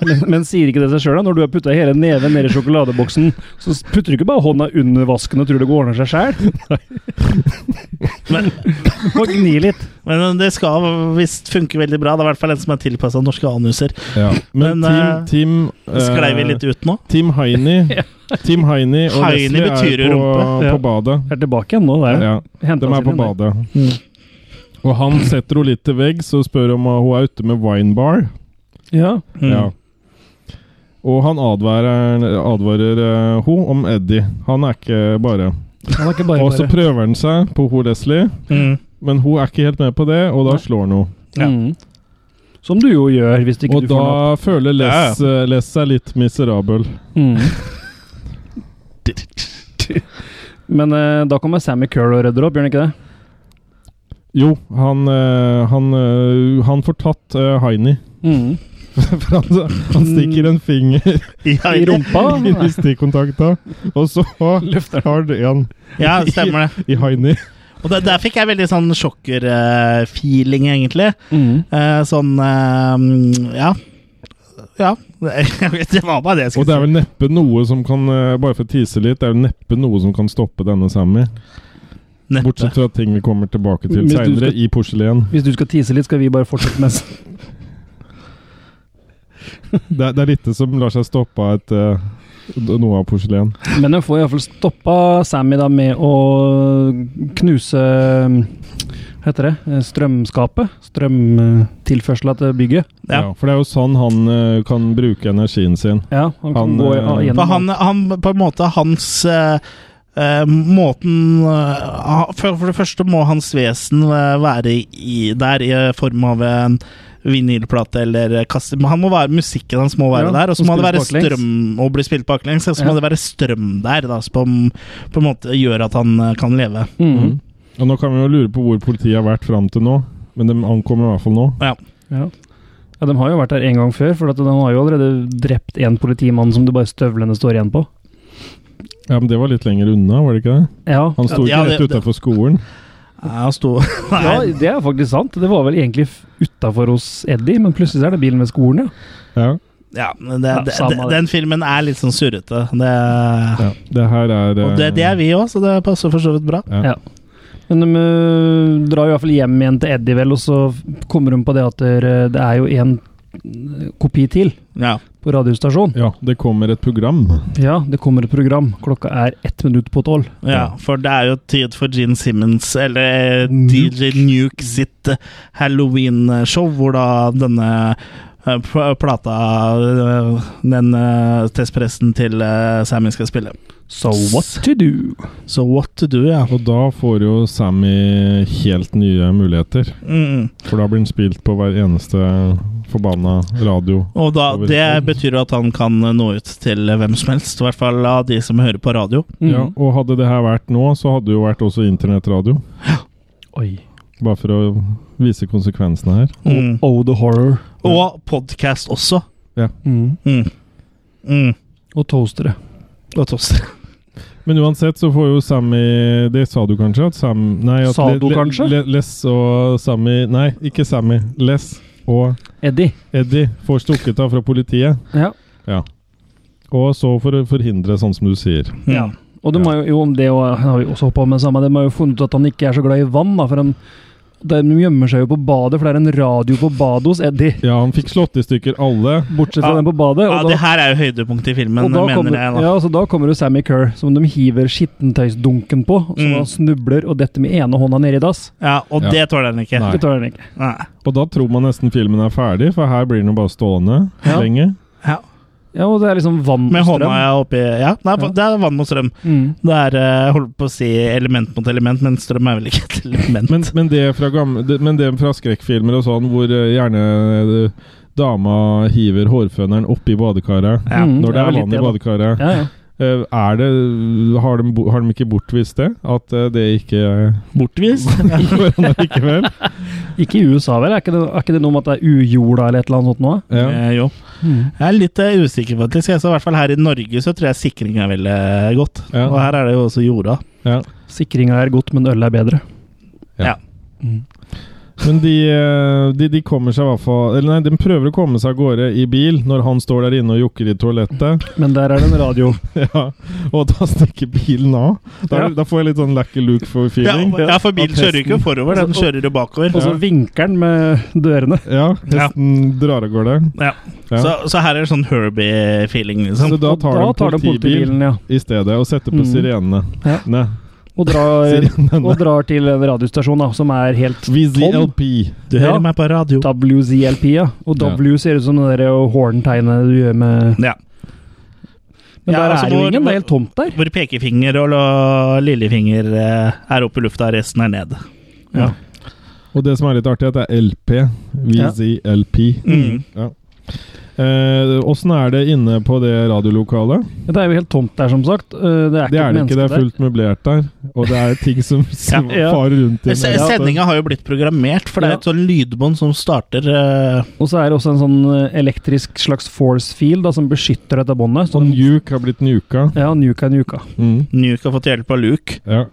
Speaker 3: Men, men sier ikke det seg sjøl, da? Når du har putta hele neven nedi sjokoladeboksen, så putter du ikke bare hånda under vasken og tror det går ordner seg sjæl?
Speaker 1: Men,
Speaker 3: Må gni litt.
Speaker 1: men det skal visst funke veldig bra. Det er i hvert fall en som er tilpassa norske anuser.
Speaker 2: Ja. Men,
Speaker 1: Men, eh,
Speaker 2: Team, team eh,
Speaker 1: Sklei vi litt ut nå?
Speaker 2: Team Heini Team Heini og
Speaker 1: Heini
Speaker 2: Leslie
Speaker 1: betyr
Speaker 2: er
Speaker 1: jo
Speaker 2: på,
Speaker 1: rumpe.
Speaker 3: Ja.
Speaker 2: på badet.
Speaker 3: Er tilbake igjen nå, der.
Speaker 2: Ja,
Speaker 3: Hentet
Speaker 2: de
Speaker 3: oss
Speaker 2: er på
Speaker 3: inn igjen, der.
Speaker 2: badet.
Speaker 3: Mm.
Speaker 2: Og han setter henne litt til veggs og spør om hun er ute med winebar.
Speaker 3: Ja.
Speaker 1: Mm.
Speaker 2: Ja. Og han advarer, advarer eh, hun om Eddie. Han er ikke bare.
Speaker 3: Han er ikke bare
Speaker 2: Og så
Speaker 3: bare.
Speaker 2: prøver han seg på hun Leslie,
Speaker 1: Mm.
Speaker 2: men hun er ikke helt med på det, og da slår han henne.
Speaker 1: Ja.
Speaker 3: Mm. Som du jo gjør, hvis ikke
Speaker 2: Og
Speaker 3: du får noe.
Speaker 2: da føler Les, eh, Les seg litt miserabel.
Speaker 3: Mm. Men eh, da kommer Sammy Curl og redder opp, gjør han ikke det?
Speaker 2: Jo, han, eh, han, eh, han får tatt eh, Heini.
Speaker 3: Mm.
Speaker 2: For han, han stikker en finger
Speaker 1: Ja,
Speaker 3: I rumpa?
Speaker 2: i stikkontakta, og så løfter han en
Speaker 1: ja, stemmer det.
Speaker 2: i Heini.
Speaker 1: Og der, der fikk jeg veldig sånn sjokker-feeling, egentlig.
Speaker 3: Mm.
Speaker 1: Eh, sånn eh, Ja. Ja. Jeg vet, Det var bare det jeg
Speaker 2: Og
Speaker 1: skulle
Speaker 2: det
Speaker 1: si.
Speaker 2: er vel neppe noe som kan eh, Bare for å tease litt, det er vel neppe noe som kan stoppe denne Sammy.
Speaker 1: Neppe.
Speaker 2: Bortsett fra ting vi kommer tilbake til
Speaker 3: Hvis du
Speaker 2: seinere,
Speaker 3: skal-
Speaker 2: i porselen.
Speaker 3: Hvis du skal tise litt, skal vi bare fortsette med
Speaker 2: Det, er- det er lite som lar seg stoppe av et, eh, noe av porselen.
Speaker 3: Men jeg får iallfall stoppa Sammy da med å knuse mm, Hva heter det? Eh, Strømskapet? Strømtilførselen til bygget.
Speaker 1: Ja.
Speaker 2: for det er jo sånn han eh, kan bruke energien sin.
Speaker 3: Ja, han kan
Speaker 2: Han,
Speaker 3: gå
Speaker 2: eh,
Speaker 3: i- ah,
Speaker 1: For
Speaker 3: gjennom
Speaker 1: han, han på en måte Hans eh, eh, Måten eh, for, for det første må hans vesen eh, være i, der i form av en vinylplate eller kasse Men Han må være, musikken hans må være
Speaker 3: Ja,
Speaker 1: der, og så
Speaker 3: og
Speaker 1: må det være
Speaker 3: spilles baklengs.
Speaker 1: strøm og bli spilt baklengs. Og så
Speaker 3: Ja.
Speaker 1: må det være strøm der, da, som på, en- på en måte gjør at han eh, kan leve.
Speaker 3: Mhm.
Speaker 2: Og nå kan vi jo lure på hvor politiet har vært fram til nå, men de ankommer i hvert fall nå.
Speaker 3: Ja. ja, de har jo vært der en gang før, for at de har jo allerede drept en politimann som det bare støvlene står igjen på.
Speaker 2: Ja, men det var litt lenger unna, var det ikke det?
Speaker 3: Ja,
Speaker 2: Han sto ikke
Speaker 1: Ja, det-
Speaker 2: rett utafor skolen.
Speaker 1: Ja, Han sto
Speaker 3: ja
Speaker 1: Nei,
Speaker 3: det er faktisk sant. Det var vel egentlig utafor hos Eddie, men plutselig så er det bilen ved skolen, ja.
Speaker 2: Ja.
Speaker 1: ja, men det, det,
Speaker 3: samme
Speaker 1: det,
Speaker 3: det.
Speaker 1: den filmen er litt sånn surrete. Det,
Speaker 2: ja. Det her er
Speaker 1: og det, det er vi òg, så det passer for så vidt bra.
Speaker 2: Ja.
Speaker 3: Ja. Men de øh, drar jo iallfall hjem igjen til Eddie, vel, og så kommer de på det at der, øh, det er jo en øh, kopi til
Speaker 1: Ja.
Speaker 3: på radiostasjonen.
Speaker 2: ja, det kommer et program.
Speaker 3: Ja, det kommer et program. Klokka er ett minutt på tolv.
Speaker 1: Ja, for det er jo tid for Gene Simmons, eller DJ Nuke sitt eh, Halloween-show, hvor da denne eh, pl- plata eh, Den eh, testpressen til eh, Sammy skal spille.
Speaker 3: So what to do?
Speaker 1: So what to do, ja.
Speaker 2: Og da får jo Sammy helt nye muligheter.
Speaker 1: Mm.
Speaker 2: For da blir den spilt på hver eneste forbanna radio.
Speaker 1: Og da, det betyr jo at han kan eh, nå ut til hvem som helst, i hvert fall av de som hører på radio.
Speaker 3: Mm.
Speaker 2: Ja, og hadde det her vært nå, så hadde det jo vært også internettradio.
Speaker 3: Oi.
Speaker 2: Bare for å vise konsekvensene her.
Speaker 1: Mm.
Speaker 3: Oh, the horror.
Speaker 1: Og podcast også.
Speaker 3: Mm.
Speaker 1: Mm. Mm.
Speaker 3: Og toastere.
Speaker 1: Og toaster.
Speaker 2: Men uansett så får jo Sammy Det sa du kanskje? At Sam, nei, at
Speaker 3: Sa du kanskje?
Speaker 2: Le, Les og Sammy Nei, ikke Sammy. Les og
Speaker 3: Eddie.
Speaker 2: Eddie får stukket av fra politiet.
Speaker 3: Ja.
Speaker 2: Og så for å forhindre, sånn som du sier.
Speaker 1: Mm.
Speaker 3: Ja. Mm. Og de
Speaker 2: Ja.
Speaker 3: har jo, jo om det og- har vi også hoppet med samme, de har jo funnet ut at han ikke er så glad i vann, da, for han de gjemmer seg jo på badet, for det er en radio på badet hos Eddie.
Speaker 2: Ja, han fikk slått i stykker alle.
Speaker 3: Bortsett fra
Speaker 1: Ja.
Speaker 3: den på badet.
Speaker 1: Ja,
Speaker 3: Og da,
Speaker 1: det her er jo høydepunktet i filmen,
Speaker 3: og da,
Speaker 1: mener
Speaker 3: kommer,
Speaker 1: jeg. da.
Speaker 3: ja, så da kommer jo Sammy Kerr, som de hiver skittentøysdunken på. Som
Speaker 1: Mm.
Speaker 3: han snubler og detter med ene hånda nedi dass.
Speaker 1: Ja, og
Speaker 2: Ja.
Speaker 1: det tåler han ikke.
Speaker 2: Nei.
Speaker 3: Det tåler han ikke.
Speaker 1: Nei.
Speaker 2: Og da tror man nesten filmen er ferdig, for her blir den jo bare stående
Speaker 3: Ja.
Speaker 2: lenge.
Speaker 1: Ja.
Speaker 3: Ja, og det er liksom vann
Speaker 1: Med
Speaker 3: og
Speaker 1: hånda
Speaker 3: strøm.
Speaker 1: jeg oppi Ja, nei,
Speaker 3: Ja.
Speaker 1: det er vann mot strøm.
Speaker 3: Mm.
Speaker 1: Det er eh, jeg holdt på å si element mot element, men strøm er vel ikke et element.
Speaker 2: Men, men, det fra gamle, det, men det fra skrekkfilmer og sånn, hvor eh, gjerne eh, dama hiver hårføneren oppi badekaret
Speaker 1: ja.
Speaker 3: Mm.
Speaker 2: når det
Speaker 3: det er
Speaker 2: er vann
Speaker 3: vel litt
Speaker 2: i
Speaker 3: det, da.
Speaker 2: badekaret
Speaker 3: Ja, ja.
Speaker 2: Eh, Er det, har, de, bo- har de ikke bortvist det? At eh, det ikke
Speaker 1: Bortvist.
Speaker 2: går an likevel?
Speaker 3: Ikke i USA, vel? Er ikke, det, er ikke det noe med at det er ujola eller et eller annet sånt nå?
Speaker 2: Ja.
Speaker 1: Eh, jo. Jeg er litt eh, usikker, faktisk. Jeg, så I hvert fall her i Norge så tror jeg sikring er veldig eh, godt.
Speaker 2: Ja.
Speaker 1: Og her er det jo også jorda.
Speaker 2: Ja.
Speaker 3: Sikringa er godt, men øl er bedre.
Speaker 2: Ja.
Speaker 1: Ja.
Speaker 3: Mm.
Speaker 2: Men de, eh, de, de kommer seg i hvert fall Eller nei, de prøver å komme seg av gårde i bil når han står der inne og jokker i toalettet.
Speaker 3: Men der er det en radio.
Speaker 2: Ja, Og da stikker bilen av. Da,
Speaker 3: Ja.
Speaker 2: da får jeg litt sånn Lucky
Speaker 1: Ja,
Speaker 2: Luke-feeling.
Speaker 1: ja, for bilen kjører jo ikke forover, den kjører jo bakover.
Speaker 3: Og så vinker den med dørene.
Speaker 2: Ja, hesten drar av gårde.
Speaker 1: Ja.
Speaker 2: Ja.
Speaker 1: Så, så her er det sånn Herbie-feeling,
Speaker 2: Så
Speaker 1: liksom.
Speaker 2: da
Speaker 3: Og
Speaker 2: tar de politibil
Speaker 3: ja.
Speaker 2: i stedet og setter på
Speaker 3: Mm.
Speaker 2: sirenene.
Speaker 3: Ja.
Speaker 2: Ne.
Speaker 3: Og drar, og
Speaker 2: Sirenene.
Speaker 3: drar til en radiostasjon da, som er helt Eh, tom.
Speaker 2: VZLP.
Speaker 1: Du hører
Speaker 3: Ja.
Speaker 1: meg på radio.
Speaker 3: WZLP, ja. Og
Speaker 2: Ja.
Speaker 3: W ser ut som det der eh, horntegnet du gjør med
Speaker 1: Ja.
Speaker 3: Men
Speaker 1: Ja,
Speaker 3: der
Speaker 1: altså,
Speaker 3: er jo
Speaker 1: hvor-
Speaker 3: ingen, det er helt tomt der.
Speaker 1: Hvor pekefinger og la- lillefinger eh, er oppe i lufta, resten er ned.
Speaker 3: Ja.
Speaker 2: Og det som er litt artig, er at det er LP. VZLP.
Speaker 1: Mm.
Speaker 2: Ja. Eh, Åssen er det inne på det radiolokalet?
Speaker 3: Det er jo helt tomt der, som sagt. Eh, Det
Speaker 2: Det er
Speaker 3: er ikke et
Speaker 2: det ikke,
Speaker 3: menneske
Speaker 2: det er
Speaker 3: der.
Speaker 2: fullt møblert der. Og det er ting som som
Speaker 3: Ja.
Speaker 2: farer rundt i
Speaker 1: Se- Sendinga har jo blitt programmert, for det er et sånn lydbånd som starter eh,
Speaker 3: Og så er det også en sånn eh, elektrisk slags force field da, som beskytter dette båndet.
Speaker 2: Og
Speaker 3: Sånn,
Speaker 2: Nuke har blitt nuka.
Speaker 3: ja, nuka er nuka.
Speaker 2: Mm.
Speaker 1: Nuke har fått hjelp av Luke.
Speaker 2: Ja.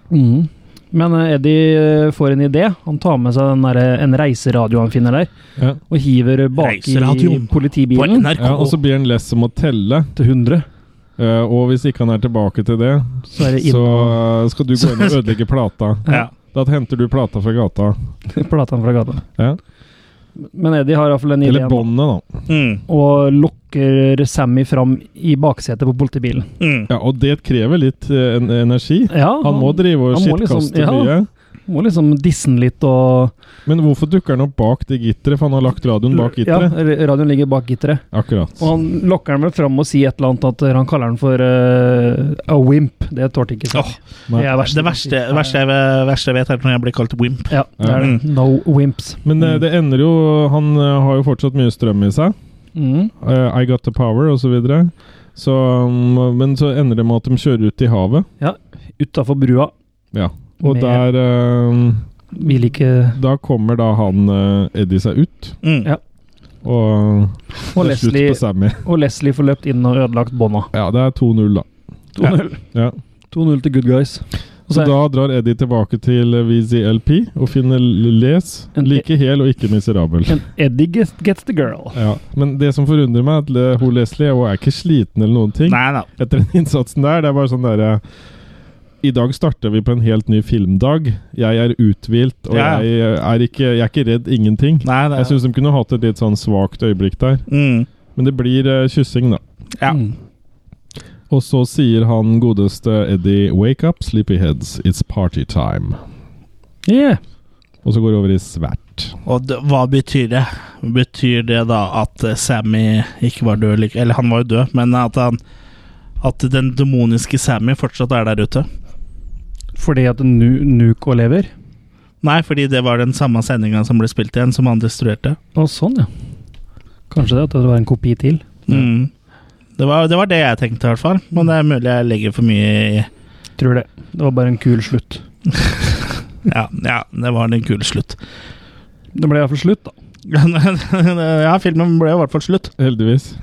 Speaker 3: Men eh, Eddie eh, får en idé. Han tar med seg den der, eh, en reiseradio han finner der,
Speaker 2: Ja.
Speaker 3: og hiver eh, bak i
Speaker 1: Reiseradio? På
Speaker 3: politibilen
Speaker 1: NRK.
Speaker 2: ja, Og så blir han less om å telle.
Speaker 3: til 100.
Speaker 2: Eh, og hvis ikke han er tilbake til det,
Speaker 3: Så er det inn
Speaker 2: så eh, skal du gå inn og ødelegge plata.
Speaker 1: ja.
Speaker 2: Da henter du plata fra gata.
Speaker 3: plata fra gata.
Speaker 2: Ja.
Speaker 3: Men Eddie har iallfall den
Speaker 2: Eller
Speaker 3: ideen
Speaker 2: båndet, da.
Speaker 1: Mm,
Speaker 3: og lokker Sammy fram i baksetet på politibilen.
Speaker 1: mm.
Speaker 2: Ja, og det krever litt eh, en, energi.
Speaker 3: Ja,
Speaker 2: Han må drive og
Speaker 3: han må liksom-
Speaker 2: skittkaste
Speaker 3: ja.
Speaker 2: mye.
Speaker 3: må liksom disse den litt og
Speaker 2: Men hvorfor dukker han opp bak det gitteret? For han har lagt radioen bak gitteret.
Speaker 3: Ja, r- radioen ligger bak gitteret.
Speaker 2: Akkurat.
Speaker 3: Og han lokker den vel fram og sier et eller annet at han kaller den for eh, a wimp. Det tålte ikke seg.
Speaker 1: Åh,
Speaker 2: Nei.
Speaker 3: er
Speaker 1: Det verste, verste, jeg, verste jeg vet, er når jeg blir kalt wimp.
Speaker 3: Ja, det er det. No wimps.
Speaker 2: Men eh, det ender jo Han eh, har jo fortsatt mye strøm i seg.
Speaker 3: Mm.
Speaker 2: Eh, I got the power, osv. Så videre. så, um, men så ender det med at de kjører ut i havet.
Speaker 3: Utafor brua.
Speaker 2: Ja. Og
Speaker 3: Med-
Speaker 2: der eh,
Speaker 3: Vil ikke
Speaker 2: Da kommer da han eh, Eddie seg ut.
Speaker 1: Mm.
Speaker 3: Ja.
Speaker 2: Og
Speaker 3: Og
Speaker 2: det er slutt
Speaker 3: Leslie,
Speaker 2: på Sammy.
Speaker 3: og Leslie får løpt inn og ødelagt bånda.
Speaker 2: Ja, det er 2-0, da.
Speaker 3: 2-0
Speaker 2: Ja.
Speaker 3: 2-0 til good guys. Og
Speaker 2: Så
Speaker 3: så er
Speaker 2: da drar Eddie tilbake til eh, VZLP og finner Les
Speaker 3: En-
Speaker 2: like hel og ikke miserabel.
Speaker 3: en Eddie gets, gets the girl.
Speaker 2: Ja, Men det som forundrer meg, er at le- hun Leslie hun er ikke sliten eller noen ting.
Speaker 1: Nei da.
Speaker 2: Etter den innsatsen der. Det er bare sånn derre I dag starter vi på en helt ny filmdag. Jeg er uthvilt, og
Speaker 1: Ja.
Speaker 2: jeg, eh, er ikke, jeg er ikke redd ingenting.
Speaker 1: Nei, det,
Speaker 2: Jeg syns de kunne hatt et litt sånn svakt øyeblikk der.
Speaker 1: mm.
Speaker 2: Men det blir eh, kyssing, da.
Speaker 1: Ja.
Speaker 3: Mm.
Speaker 2: Og så sier han godeste Eddie 'Wake up, sleepyheads. It's party time'.
Speaker 3: Yeah.
Speaker 2: Og så går det over i svært.
Speaker 1: Og d hva betyr det? Betyr det da at eh, Sammy ikke var død like Eller han var jo død, men at han At den demoniske Sammy fortsatt er der ute?
Speaker 3: Fordi at nu, Nuko lever.
Speaker 1: Nei, fordi det var den samme sendinga som ble spilt igjen, som han destruerte.
Speaker 3: Å, sånn, ja. Kanskje det at det var en kopi til.
Speaker 1: Mm. Det, var, det var det jeg tenkte, i hvert fall. Men det er mulig jeg legger for mye i
Speaker 3: Tror det. Det var bare en kul slutt.
Speaker 1: Ja, ja det var en kul slutt.
Speaker 3: Det ble iallfall slutt, da.
Speaker 1: ja, filmen ble i hvert fall slutt.
Speaker 2: Heldigvis.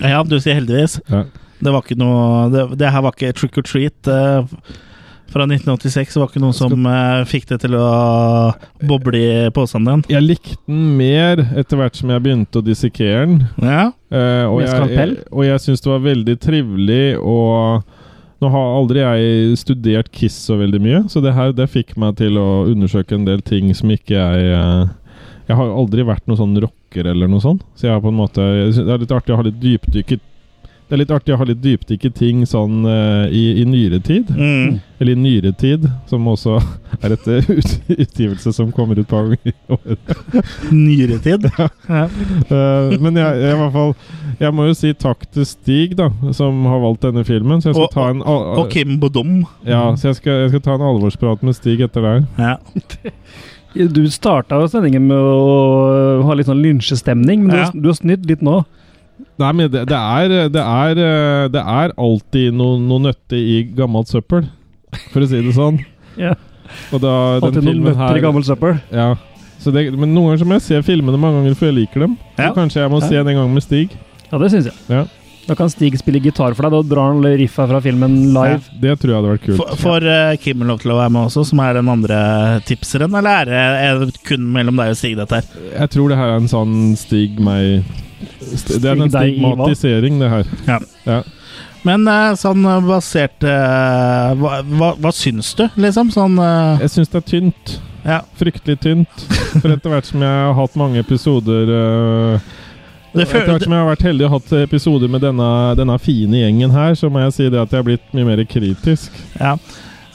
Speaker 1: Ja, du sier heldigvis.
Speaker 2: Ja.
Speaker 1: Det var ikke noe Det, det her var ikke trick or treat. eh, fra 1986 det var ikke noen som eh, fikk det til å boble i posen din.
Speaker 2: Jeg likte den mer etter hvert som jeg begynte å dissekere den.
Speaker 1: Ja.
Speaker 2: Eh, og,
Speaker 3: Med
Speaker 2: jeg, jeg,
Speaker 3: skalpell?
Speaker 2: og jeg syns det var veldig trivelig og Nå har aldri jeg studert Kiss så veldig mye, så det her det fikk meg til å undersøke en del ting som ikke jeg eh, Jeg har aldri vært noen sånn rocker eller noe sånt, så jeg har på en måte jeg synes Det er litt artig å ha litt dypdykket det er litt artig å ha litt dypdykket ting sånn eh, i, i nyere tid.
Speaker 1: Mm.
Speaker 2: Eller i nyere tid, som også er et eh, ut- utgivelse som kommer ut et par ganger i året.
Speaker 1: Nyere tid. Ja.
Speaker 2: Eh, men jeg, jeg, i hvert fall, jeg må jo si takk til Stig, da, som har valgt denne filmen. Så jeg skal
Speaker 1: Og-
Speaker 2: ta en, al-
Speaker 1: Og Kim Bodom.
Speaker 2: ja, så jeg skal, jeg skal ta en alvorsprat med Stig etter der.
Speaker 1: Ja.
Speaker 3: Du starta jo sendingen med å ha litt sånn lynsjestemning, men du,
Speaker 1: Ja.
Speaker 3: har- du har snydd litt nå.
Speaker 2: Nei, men det, det, er, det, er, eh, det er alltid noe, noe nøtte i gammelt søppel, for å si det sånn.
Speaker 3: Ja.
Speaker 2: Og da, den
Speaker 3: Alltid noen
Speaker 2: filmen
Speaker 3: nøtter i
Speaker 2: her
Speaker 3: gammel søppel.
Speaker 2: ja. så det, Men noen ganger så må jeg se filmene mange ganger, for jeg liker dem. Så
Speaker 1: Ja.
Speaker 2: kanskje jeg må
Speaker 3: Ja.
Speaker 2: se den en gang med Stig.
Speaker 3: Ja, det syns jeg.
Speaker 2: Ja.
Speaker 3: Da kan Stig spille gitar for deg. Da drar han riffa fra filmen live.
Speaker 2: Det tror jeg hadde vært kult.
Speaker 1: F- Får eh, Kim lov til å være med også, som er den andre tipseren, eller er det, er det kun mellom deg og Stig, dette her?
Speaker 2: Jeg tror det her er en sånn Stig meg st- Det er en
Speaker 3: Stig deg i hva?
Speaker 2: stigmatisering, det her.
Speaker 1: Ja.
Speaker 2: Ja.
Speaker 1: Men eh, sånn eh, basert eh, hva, hva, hva syns du, liksom? Sånn eh,
Speaker 2: Jeg syns det er tynt.
Speaker 1: Ja.
Speaker 2: Fryktelig tynt. For etter hvert som jeg har hatt mange episoder øh,
Speaker 1: det
Speaker 2: Etter
Speaker 1: føles
Speaker 2: hvert som jeg har vært heldig og hatt episoder med denne, denne fine gjengen her, så må jeg si det at jeg har blitt mye mer kritisk.
Speaker 1: Ja.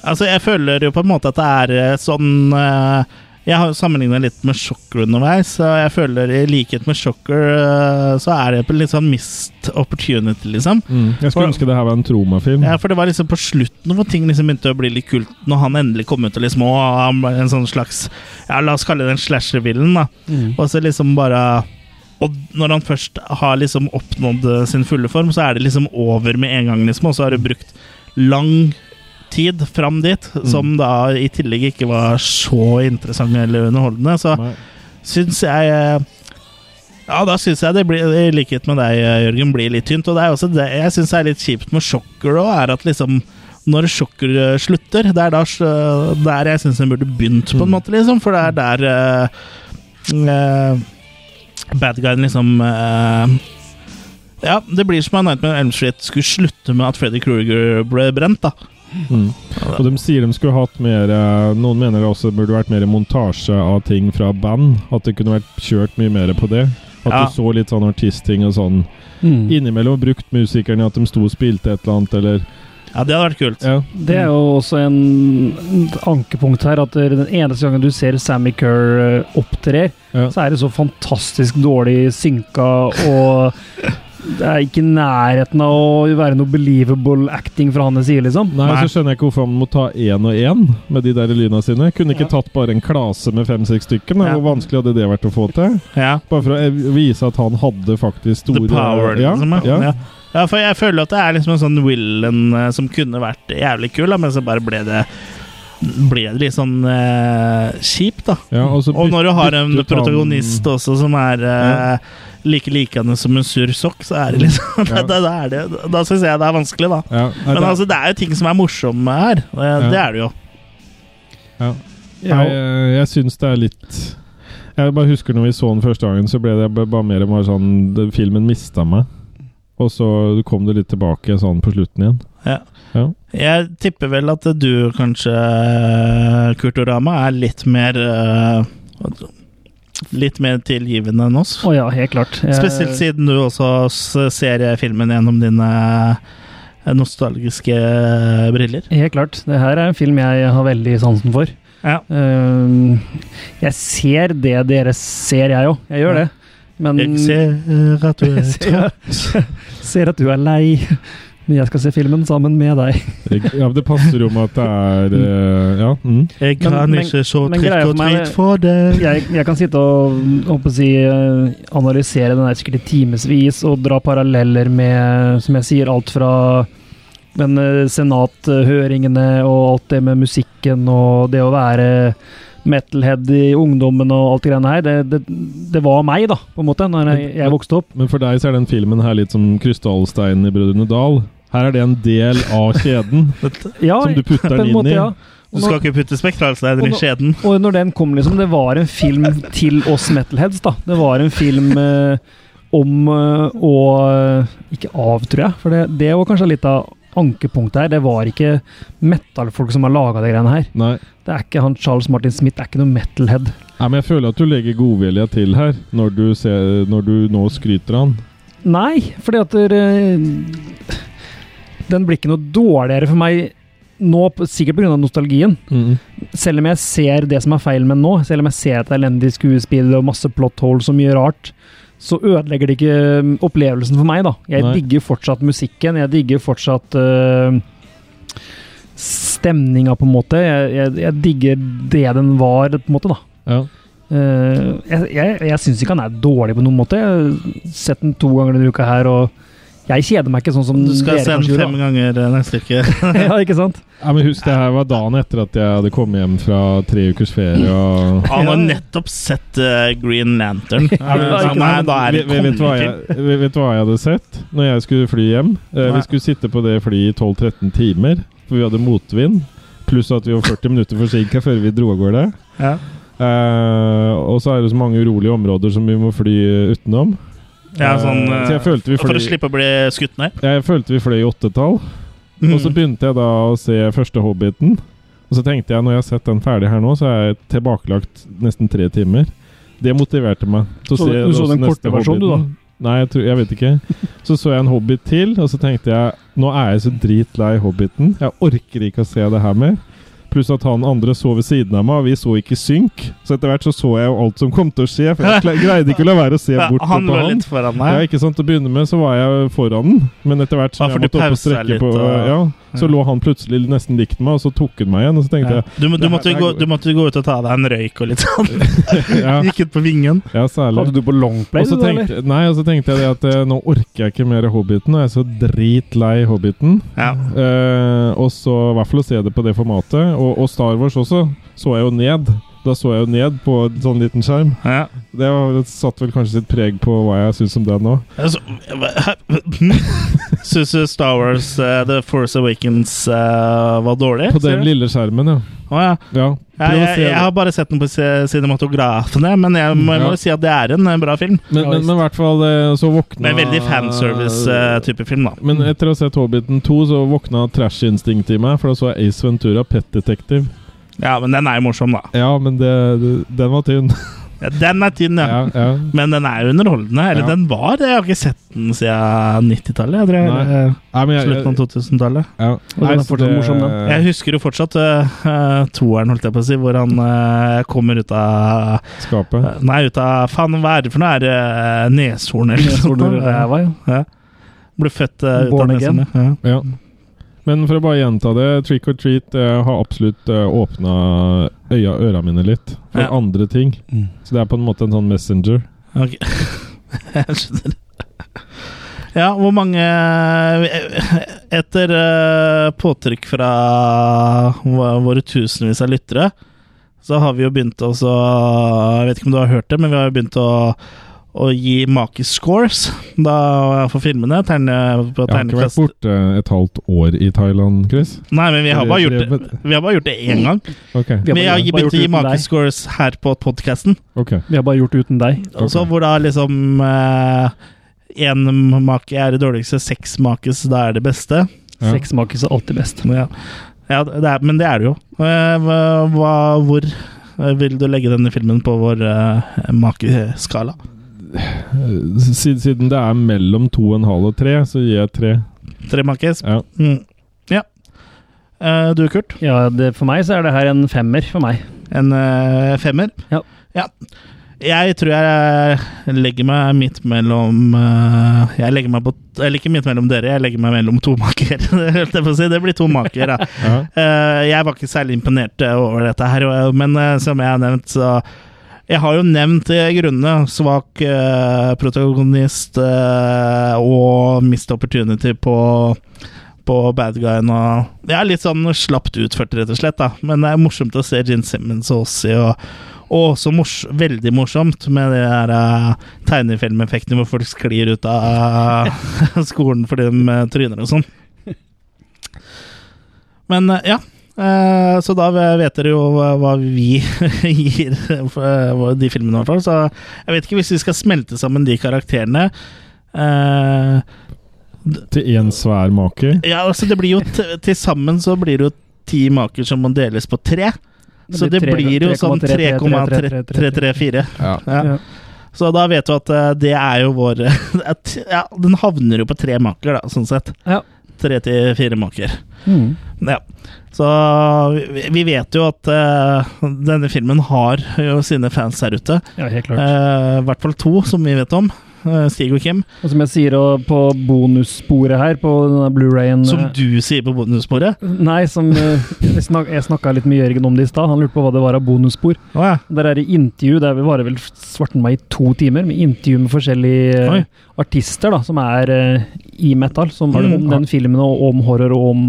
Speaker 1: Altså, jeg føler jo på en måte at det er eh, sånn eh, Jeg har sammenligna litt med Shocker underveis, og jeg føler i likhet med Shocker eh, så er det på litt sånn missed opportunity, liksom.
Speaker 2: Jeg skulle ønske det her var en Troma-film.
Speaker 1: Ja, for det var liksom på slutten hvor ting liksom begynte å bli litt kult, når han endelig kom ut og liksom å, han ble en sånn slags Ja, la oss kalle det en slasher-villen, da. Og så liksom bare Og når han først har liksom oppnådd eh, sin fulle form, så er det liksom over med en gang, liksom, og så har du brukt lang tid fram dit, som da i tillegg ikke var så interessant eller underholdende. Så
Speaker 2: Nei.
Speaker 1: syns jeg eh, Ja, da syns jeg det blir, i likhet med deg, eh, Jørgen, blir litt tynt. Og det er også det jeg syns er litt kjipt med sjokker òg, er at liksom når sjokker eh, slutter, det er da eh, der jeg syns den burde begynt, på en måte, liksom. For det er der eh, eh, bad guyen liksom eh, Ja, det blir som om Nightmare on Elm Street skulle slutte med at Freddy Krueger ble brent, da.
Speaker 2: Mm. Og de sier de skulle hatt mer eh, Noen mener det også burde vært mer montasje av ting fra band. At det kunne vært kjørt mye mer på det. At
Speaker 1: Ja.
Speaker 2: du så litt sånn artistting og sånn.
Speaker 3: Mm.
Speaker 2: Innimellom brukt musikerne at de sto og spilte et eller annet, eller
Speaker 1: Ja, det hadde vært kult.
Speaker 2: ja.
Speaker 3: Det er jo også en et ankepunkt her, at den eneste gangen du ser Sammy Kerr eh, opptrer,
Speaker 2: Ja.
Speaker 3: så er det så fantastisk dårlig synka, og det er ikke i nærheten av å være noe believable acting fra hans side, liksom.
Speaker 2: Nei, så skjønner jeg ikke hvorfor han må ta én og én med de der lyna sine. Kunne ikke tatt bare en klase med fem-seks stykker? da?
Speaker 1: Ja.
Speaker 2: Hvor vanskelig hadde det vært å få til?
Speaker 1: Ja.
Speaker 2: Bare for å eh, vise at han hadde faktisk store
Speaker 1: The power,
Speaker 2: ja,
Speaker 1: liksom. Ja.
Speaker 2: ja.
Speaker 1: Ja. ja, for jeg føler at det er liksom en sånn villain eh, som kunne vært jævlig kul, da, men så bare ble det ble det litt sånn eh, kjipt, da.
Speaker 2: Ja, og, så
Speaker 1: Og når du har en
Speaker 2: byttet han-
Speaker 1: protagonist også som er eh, like likende som en sur sokk, så er det liksom
Speaker 2: Ja.
Speaker 1: Da, da, er det, da syns jeg det er vanskelig, da.
Speaker 2: ja, nei,
Speaker 1: Men
Speaker 2: det-
Speaker 1: altså, det er jo ting som er morsomme her. og, eh,
Speaker 2: Ja.
Speaker 1: Det er det jo.
Speaker 2: ja.
Speaker 3: Ja.
Speaker 2: Nei, jeg, jeg syns det er litt Jeg bare husker når vi så den første gangen, så ble det ba- bare mer bare sånn det, Filmen mista meg. Og så kom det litt tilbake sånn på slutten igjen.
Speaker 1: Ja.
Speaker 2: Ja.
Speaker 1: Jeg tipper vel at du kanskje, eh, Kurtorama, er litt mer eh, Litt mer tilgivende enn oss.
Speaker 3: Å ja, helt klart. Jeg-
Speaker 1: Spesielt siden du også s- ser filmen gjennom dine eh, nostalgiske eh, briller.
Speaker 3: Helt klart. Det her er en film jeg har veldig sansen for.
Speaker 1: Ja.
Speaker 3: Ehm, jeg ser det dere ser, jeg òg. Jeg gjør det. Men
Speaker 1: Jeg ser eh, at du
Speaker 3: Jeg ser, ser at du er lei. Men jeg skal se filmen sammen med deg.
Speaker 2: Jeg- ja, det passer jo med at det er eh, Ja. Mm.
Speaker 1: Jeg kan
Speaker 3: Men- men-
Speaker 1: ikke så
Speaker 3: men
Speaker 1: trykk
Speaker 3: greia for
Speaker 1: og
Speaker 3: meg er-
Speaker 1: treat for deg.
Speaker 3: Jeg, jeg kan sitte og håper å si, eh, analysere den her sikkert i timevis og dra paralleller med, som jeg sier, alt fra den eh, senathøringene og alt det med musikken og det å være metalhead i ungdommen og alt det greiene her. Det, det, det var meg, da, på en måte, når jeg, jeg vokste opp.
Speaker 2: Men for deg så er den filmen her litt som krystallsteinen i Brødrene Dal. Her er det en del av kjeden
Speaker 3: Ja,
Speaker 2: som du putter
Speaker 3: på
Speaker 2: den
Speaker 3: en
Speaker 2: inn
Speaker 3: måte,
Speaker 2: i.
Speaker 3: ja.
Speaker 1: Du skal ikke putte spektralsteiner i
Speaker 3: Og nå-
Speaker 1: skjeden.
Speaker 3: Og når den kom, liksom, det var en film til oss metalheads, da. Det var en film eh, om eh, å Ikke av, tror jeg, for det, det var kanskje litt av ankepunktet her. Det var ikke metalfolk som har laga de greiene her.
Speaker 2: Nei.
Speaker 3: Det er ikke han Charles Martin Smith, det er ikke noe metalhead.
Speaker 2: Nei, men jeg føler at du legger godvilja til her, når du, ser, når du nå skryter av han.
Speaker 3: Nei, fordi at eh, Den blir ikke noe dårligere for meg nå, p- sikkert pga. nostalgien. selv om jeg ser det som er feil med den nå, selv om jeg ser at det er elendig skuespill og masse plot holes og mye rart, så ødelegger det ikke um, opplevelsen for meg, da. Jeg
Speaker 2: Nei.
Speaker 3: digger fortsatt musikken, jeg digger fortsatt øh, stemninga, på en måte. Jeg, jeg, jeg digger det den var, på en måte, da.
Speaker 2: Ja.
Speaker 3: Eh, jeg jeg, jeg syns ikke han er dårlig på noen måte. Jeg har sett den to ganger denne uka her, og jeg kjeder meg ikke sånn som
Speaker 1: Du skal
Speaker 3: dere
Speaker 1: se den
Speaker 3: kanskje
Speaker 1: fem
Speaker 3: gjorde.
Speaker 1: ganger eh, neste uke.
Speaker 3: da. ja, ikke sant?
Speaker 2: Ja, men husk, det her var dagen etter at jeg hadde kommet hjem fra tre ukers ferie og
Speaker 1: Han har nettopp sett eh, Green Lantern.
Speaker 3: ikke
Speaker 1: Nei, da er det
Speaker 2: Vet- vet, du hva
Speaker 1: kongefilm.
Speaker 2: jeg, vet- vet du hva jeg hadde sett når jeg skulle fly hjem? Eh,
Speaker 1: Nei.
Speaker 2: vi skulle sitte på det flyet i 12-13 timer, for vi hadde motvind. Pluss at vi var 40 minutter forsinka før vi dro av gårde.
Speaker 1: Ja.
Speaker 2: Eh, og så er det så mange urolige områder som vi må fly eh, utenom.
Speaker 1: Ja, sånn,
Speaker 2: Eh, så jeg
Speaker 1: eh,
Speaker 2: følte vi
Speaker 1: for å
Speaker 2: fløy,
Speaker 1: slippe å bli skutt ned.
Speaker 2: jeg følte vi fløy i åttetall.
Speaker 3: Mm.
Speaker 2: Og så begynte jeg da å se første Hobbiten. Og så tenkte jeg, når jeg har sett den ferdig her nå, så er jeg tilbakelagt nesten tre timer. Det motiverte meg. til å
Speaker 3: Så
Speaker 2: se
Speaker 3: du så den
Speaker 2: også neste
Speaker 3: korte versjonen, du, da?
Speaker 2: Hobbiten. Nei, jeg, tror, jeg vet ikke. Så så jeg en Hobbit til, og så tenkte jeg nå er jeg så dritlei Hobbiten. Jeg orker ikke å se det her mer. Pluss at han andre så ved siden av meg, og vi så ikke i synk. Så etter hvert så så jeg jo alt som kom til å skje, for jeg kle- greide ikke å la være å se
Speaker 1: Ja,
Speaker 2: bort på
Speaker 1: han
Speaker 2: han.
Speaker 1: lå litt foran
Speaker 2: Ja,
Speaker 1: meg.
Speaker 2: ikke sant? Til å begynne med så var jeg foran den, men etter
Speaker 1: Ja,
Speaker 2: hvert som
Speaker 1: for du
Speaker 2: jeg måtte opp og
Speaker 1: pausa
Speaker 2: strekke
Speaker 1: litt,
Speaker 2: på,
Speaker 1: og-
Speaker 2: ja, så
Speaker 1: ja.
Speaker 2: lå han plutselig nesten likt meg, og så tok han meg igjen. Og så tenkte
Speaker 1: Ja. Du, må- du,
Speaker 2: Det her-
Speaker 1: måtte
Speaker 2: det her
Speaker 1: gå,
Speaker 2: går-
Speaker 1: du måtte gå ut og ta deg en røyk og litt sånn.
Speaker 2: jeg ja,
Speaker 1: Gikk ut på vingen.
Speaker 2: ja, særlig.
Speaker 4: Hadde du på longplay,
Speaker 2: Og så
Speaker 4: du, da, eller?
Speaker 2: tenkte, nei, og så tenkte jeg det at eh, nå orker jeg ikke mer Hobbiten, og jeg er så dritlei Hobbiten.
Speaker 1: Ja.
Speaker 2: Eh, og så i hvert fall å se det på det formatet. Og, og Star Wars også så jeg jo ned. Da så jeg jo ned på en sånn liten skjerm.
Speaker 1: Ja.
Speaker 2: Det, var, det satt vel kanskje sitt preg på hva jeg syns om den nå.
Speaker 1: Altså, Syns du Star Wars eh, The Force Awakens eh, var dårlig?
Speaker 2: På den
Speaker 1: sier du?
Speaker 2: lille skjermen, ja.
Speaker 1: Å, ja.
Speaker 2: ja
Speaker 1: Jeg,
Speaker 2: prøv å
Speaker 1: jeg,
Speaker 2: se
Speaker 1: jeg
Speaker 2: det.
Speaker 1: har bare sett den på ci- cinematografene, men jeg må, jeg må
Speaker 2: Ja.
Speaker 1: jo si at det er en eh, bra film.
Speaker 2: Men, men, men i hvert fall eh, så våkna
Speaker 1: Men veldig
Speaker 2: Ah.
Speaker 1: eh, fanservice-type film, da.
Speaker 2: Men etter å ha sett Hobbiten 2, så våkna trash-instinktet i meg. For da så jeg Ace Ventura, Pet Detective.
Speaker 1: Ja, men den er jo morsom, da.
Speaker 2: Ja, men det, det, den var tynn.
Speaker 1: Ja, den er tynn, ja.
Speaker 2: Ja, ja.
Speaker 1: Men den er jo underholdende. Eller
Speaker 2: Ja.
Speaker 1: den var det. Jeg har ikke sett den siden 90-tallet. jeg tror,
Speaker 2: Nei.
Speaker 1: eller, eh,
Speaker 2: Nei, men jeg,
Speaker 1: Slutten av 2000-tallet.
Speaker 2: ja.
Speaker 4: den er
Speaker 2: Nei, så
Speaker 4: fortsatt morsom, den.
Speaker 1: Jeg husker jo fortsatt eh, eh, toeren, holdt jeg på å si, hvor han eh, kommer ut av
Speaker 2: Skapet.
Speaker 1: Eh, Nei, ut av faen hva er det for noe? Er det eh, neshorn eller noe sånt?
Speaker 4: Solbriller,
Speaker 1: da?
Speaker 4: ræva, ja.
Speaker 1: Ble født eh, ut
Speaker 4: Born
Speaker 1: av
Speaker 4: again.
Speaker 1: neshornet. Ja.
Speaker 2: Ja. Men for å bare gjenta det, Trick or Treat eh, har absolutt uh, åpna øya øra mine litt for
Speaker 1: Ja.
Speaker 2: andre ting.
Speaker 4: Mm.
Speaker 2: Så det er på en måte en sånn messenger.
Speaker 1: Ok. Jeg skjønner. Ja, hvor mange Etter eh, påtrykk fra vå- våre tusenvis av lyttere, så har vi jo begynt å så- Jeg vet ikke om du har hørt det, men vi har jo begynt å å gi makis scores da, for filmene. Terne, på
Speaker 2: Jeg har ikke vært
Speaker 1: ternekast
Speaker 2: borte et halvt år i Thailand, Chris.
Speaker 1: Nei, men vi har bare gjort det Vi har bare gjort det én gang.
Speaker 2: Ok,
Speaker 4: Vi har
Speaker 1: Men jeg har
Speaker 4: bare- bare gjort
Speaker 1: begynt
Speaker 4: det
Speaker 1: å gi
Speaker 4: uten deg.
Speaker 1: makescores her på podkasten.
Speaker 2: ok.
Speaker 4: Vi har bare gjort det uten deg.
Speaker 2: Ok.
Speaker 1: Så hvor da liksom én make er det dårligste, seks makes da er det beste.
Speaker 2: Ja.
Speaker 4: Sexmakis er alltid best.
Speaker 1: Ja, ja det er, Men det er det jo. Eh, hva- Hva, hvor eh, vil du legge denne filmen på vår eh, makeskala?
Speaker 2: Eh, s- Siden det er mellom to og en halv og tre, så gir jeg tre.
Speaker 1: Tre makes?
Speaker 2: Ja.
Speaker 1: Mm. ja. Eh, du, Kurt?
Speaker 4: Ja, det, For meg så er det her en femmer. for meg.
Speaker 1: En eh, femmer?
Speaker 4: Ja.
Speaker 1: Jeg tror jeg legger meg midt mellom eh, Jeg legger meg på Eller ikke midt mellom dere, jeg legger meg mellom to maker. holdt jeg på å si. Det blir to maker, da.
Speaker 2: Ja.
Speaker 1: Eh, jeg var ikke særlig imponert eh, over dette her, og- men eh, som jeg har nevnt, så Jeg har jo nevnt eh, grunnene. Svak eh, protagonist eh, og missed opportunity på på bad guyen og Jeg er litt sånn slapt utført, rett og slett, da. Men det er morsomt å se Gene Simmons og Ossie, og, og også mors veldig morsomt med de der eh, tegnefilmeffektene hvor folk sklir ut av skolen fordi de eh, tryner og sånn. Men eh, ja. eh, Så da vet dere jo hva hva vi gir for, eh, de filmene, i hvert fall. Så jeg vet ikke hvis vi skal smelte sammen de karakterene. eh,
Speaker 2: Til én svær make.
Speaker 1: ja, altså det blir jo t- Til sammen så blir det jo ti maker som må deles på tre. Så det blir jo sånn 3,334.
Speaker 2: Ja.
Speaker 1: Ja.
Speaker 4: Ja.
Speaker 1: Så da vet du at eh, det er jo vår at, Ja, den havner jo på tre maker, da, sånn sett.
Speaker 4: Ja.
Speaker 1: Tre til fire maker.
Speaker 4: Mm.
Speaker 1: Ja. Så vi, vi vet jo at eh, denne filmen har jo sine fans her ute.
Speaker 4: Ja, helt
Speaker 1: Eh,
Speaker 4: klart.
Speaker 1: I hvert fall to som vi vet om. eh, Stig og Kim.
Speaker 4: Og som jeg sier og på bonussporet her, på denne Blu-rayen
Speaker 1: Som
Speaker 4: eh,
Speaker 1: du sier på bonussporet.
Speaker 4: Nei, som eh, jeg snak- jeg snakka litt med Jørgen om det i stad. Han lurte på hva det var av bonusspor.
Speaker 1: Å ja.
Speaker 4: Der er det intervju. Det er vel- varer vel svarten meg i to timer, med intervju med forskjellige eh,
Speaker 1: Oi.
Speaker 4: artister da, som er eh, i metal. Som
Speaker 1: Har du-
Speaker 4: om den filmen, og om horror, og om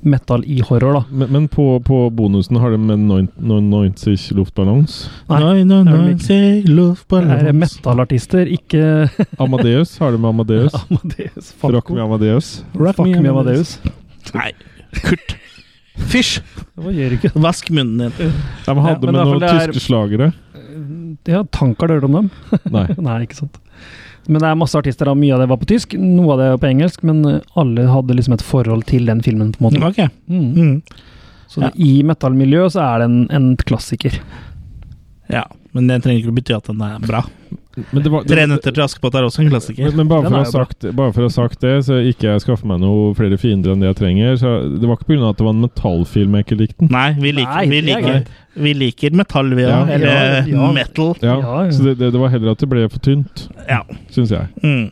Speaker 4: metal i horror, da.
Speaker 2: Men, men på, på bonusen har de en 90 luftballons.
Speaker 4: Nei,
Speaker 1: Nei, nei,
Speaker 4: det er
Speaker 1: nei,
Speaker 4: vel ikke-
Speaker 1: se luftballons.
Speaker 4: Det er metalartister, ikke
Speaker 2: Amadeus har de med Amadeus.
Speaker 4: Amadeus.
Speaker 2: Rock med Amadeus.
Speaker 4: Fuck
Speaker 1: me,
Speaker 4: me,
Speaker 1: Amadeus.
Speaker 4: Amadeus.
Speaker 1: Nei, Kurt. Fysj!
Speaker 4: Det var Jørgen.
Speaker 1: Vask munnen din.
Speaker 2: De hadde
Speaker 4: men i hvert fall
Speaker 2: med noen
Speaker 4: det er-
Speaker 2: tyske slagere.
Speaker 4: Ja, Tankard, hørte du om dem?
Speaker 2: Nei.
Speaker 4: Nei, ikke sant. Men det er masse artister, og mye av det var på tysk, noe av det var på engelsk, men eh, alle hadde liksom et forhold til den filmen, på en måte.
Speaker 1: Ok.
Speaker 4: Mm.
Speaker 1: Mm.
Speaker 4: Så det- i metallmiljøet så er det en, en klassiker.
Speaker 1: Ja, men det trenger ikke å bety at den er bra.
Speaker 2: Men det var, det,
Speaker 1: 'Tre nøtter til Askepott' er også en klassiker.
Speaker 2: Men, men bare,
Speaker 3: Den
Speaker 2: for å ha
Speaker 3: er jo bra.
Speaker 2: sagt, bare for å ha sagt det, så ikke jeg skaffer meg noe flere fiender enn det jeg trenger. Så det var ikke pga. at det var en metallfilm jeg ikke likte den.
Speaker 1: Nei, vi liker,
Speaker 3: Nei,
Speaker 1: vi
Speaker 3: det er
Speaker 1: liker,
Speaker 3: greit.
Speaker 1: vi liker metall, vi
Speaker 2: Ja.
Speaker 1: òg. Eller
Speaker 3: Ja, ja.
Speaker 1: metal.
Speaker 2: Ja,
Speaker 3: Ja, ja.
Speaker 2: Så det, det, det var heller at det ble for tynt,
Speaker 1: Ja.
Speaker 2: syns jeg.
Speaker 1: Mm.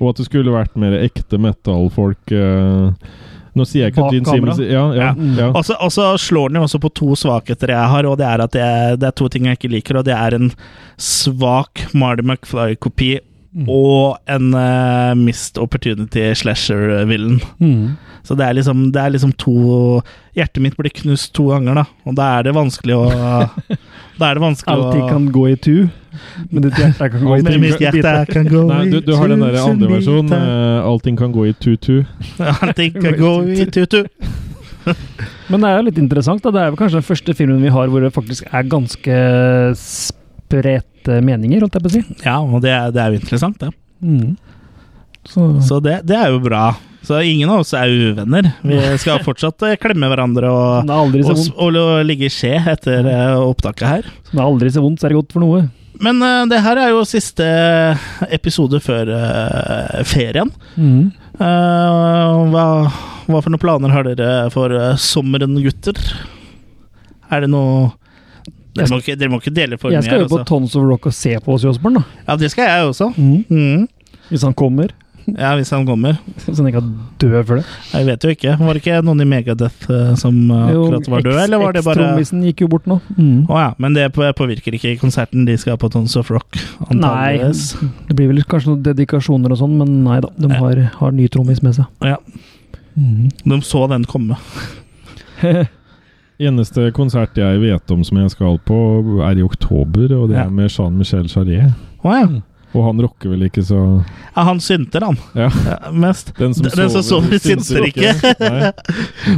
Speaker 2: Og at det skulle vært mer ekte metal-folk eh, Nå sier jeg ikke
Speaker 3: Bak
Speaker 2: at Gene
Speaker 3: kamera.
Speaker 2: Simmons Ja, ja, ja.
Speaker 1: Og så- og så slår den jo også på to svakheter jeg har, og det er at jeg, det er to ting jeg ikke liker, og det er en svak Marty McFly-kopi og en eh, missed opportunity slasher-villen.
Speaker 3: Mm.
Speaker 1: Så det er, liksom, det er liksom to Hjertet mitt blir knust to ganger, da, og da er det vanskelig å Da er det vanskelig
Speaker 3: Alltid
Speaker 1: å
Speaker 3: kan gå i tu, men ditt hjerte kan gå i
Speaker 1: Men mitt hjerte kan gå
Speaker 2: Nei, du, du har den der andre versjonen. eh, 'Allting kan gå i tutu'.
Speaker 1: Allting kan gå i tutu.
Speaker 4: Men det er jo litt interessant. da. Det er vel kanskje den første filmen vi har hvor det faktisk er ganske sprete meninger, holdt jeg på å si. Mm.
Speaker 1: Ja, og det, er- det er jo interessant, det.
Speaker 4: Så,
Speaker 1: Så det, det er jo bra. Så ingen av oss er uvenner. Vi skal fortsatt eh, klemme hverandre og,
Speaker 4: det er aldri så
Speaker 1: og,
Speaker 4: vondt,
Speaker 1: og, ligge i skje etter eh, opptaket her.
Speaker 4: det er aldri så vondt, så er det godt for noe.
Speaker 1: Men eh, det her er jo siste episode før eh, ferien.
Speaker 4: Mm.
Speaker 1: Eh, hva, hva for noen planer har dere for eh, sommeren, gutter? Er det noe dere må, ikke, dere må ikke dele for
Speaker 4: Jeg
Speaker 1: mye.
Speaker 4: skal
Speaker 1: her,
Speaker 4: jo på
Speaker 1: altså.
Speaker 4: Tons of Rock og se på Åse Jåsborn, da.
Speaker 1: Ja, det skal jeg også.
Speaker 4: Mm.
Speaker 1: Mm.
Speaker 4: Hvis han kommer.
Speaker 1: Ja, hvis han kommer.
Speaker 4: Så han ikke er død for det.
Speaker 1: Jeg vet jo ikke. Var det ikke noen i Megadeth eh, som eh, akkurat var død, eller var det bare
Speaker 4: Ekstrommisen gikk jo bort nå. Mm.
Speaker 1: Å ja, men det på- påvirker ikke konserten de skal på Tons of Rock,
Speaker 4: Nei.
Speaker 1: antageligvis.
Speaker 4: Det blir vel kanskje noen dedikasjoner og sånn, men nei da. De har, har ny trommis med seg.
Speaker 1: Ja.
Speaker 4: Mm.
Speaker 1: De så den komme.
Speaker 2: Eneste konsert jeg vet om som jeg skal på, er i oktober, og det
Speaker 1: Ja.
Speaker 2: er med Jean-Michel Jarret.
Speaker 1: Å ja.
Speaker 2: Og han rocker vel ikke så
Speaker 1: ja. Han synter, han.
Speaker 2: Ja.
Speaker 1: Ja, mest.
Speaker 2: Den som
Speaker 1: Den- den som sover, synser ikke.
Speaker 2: Nei.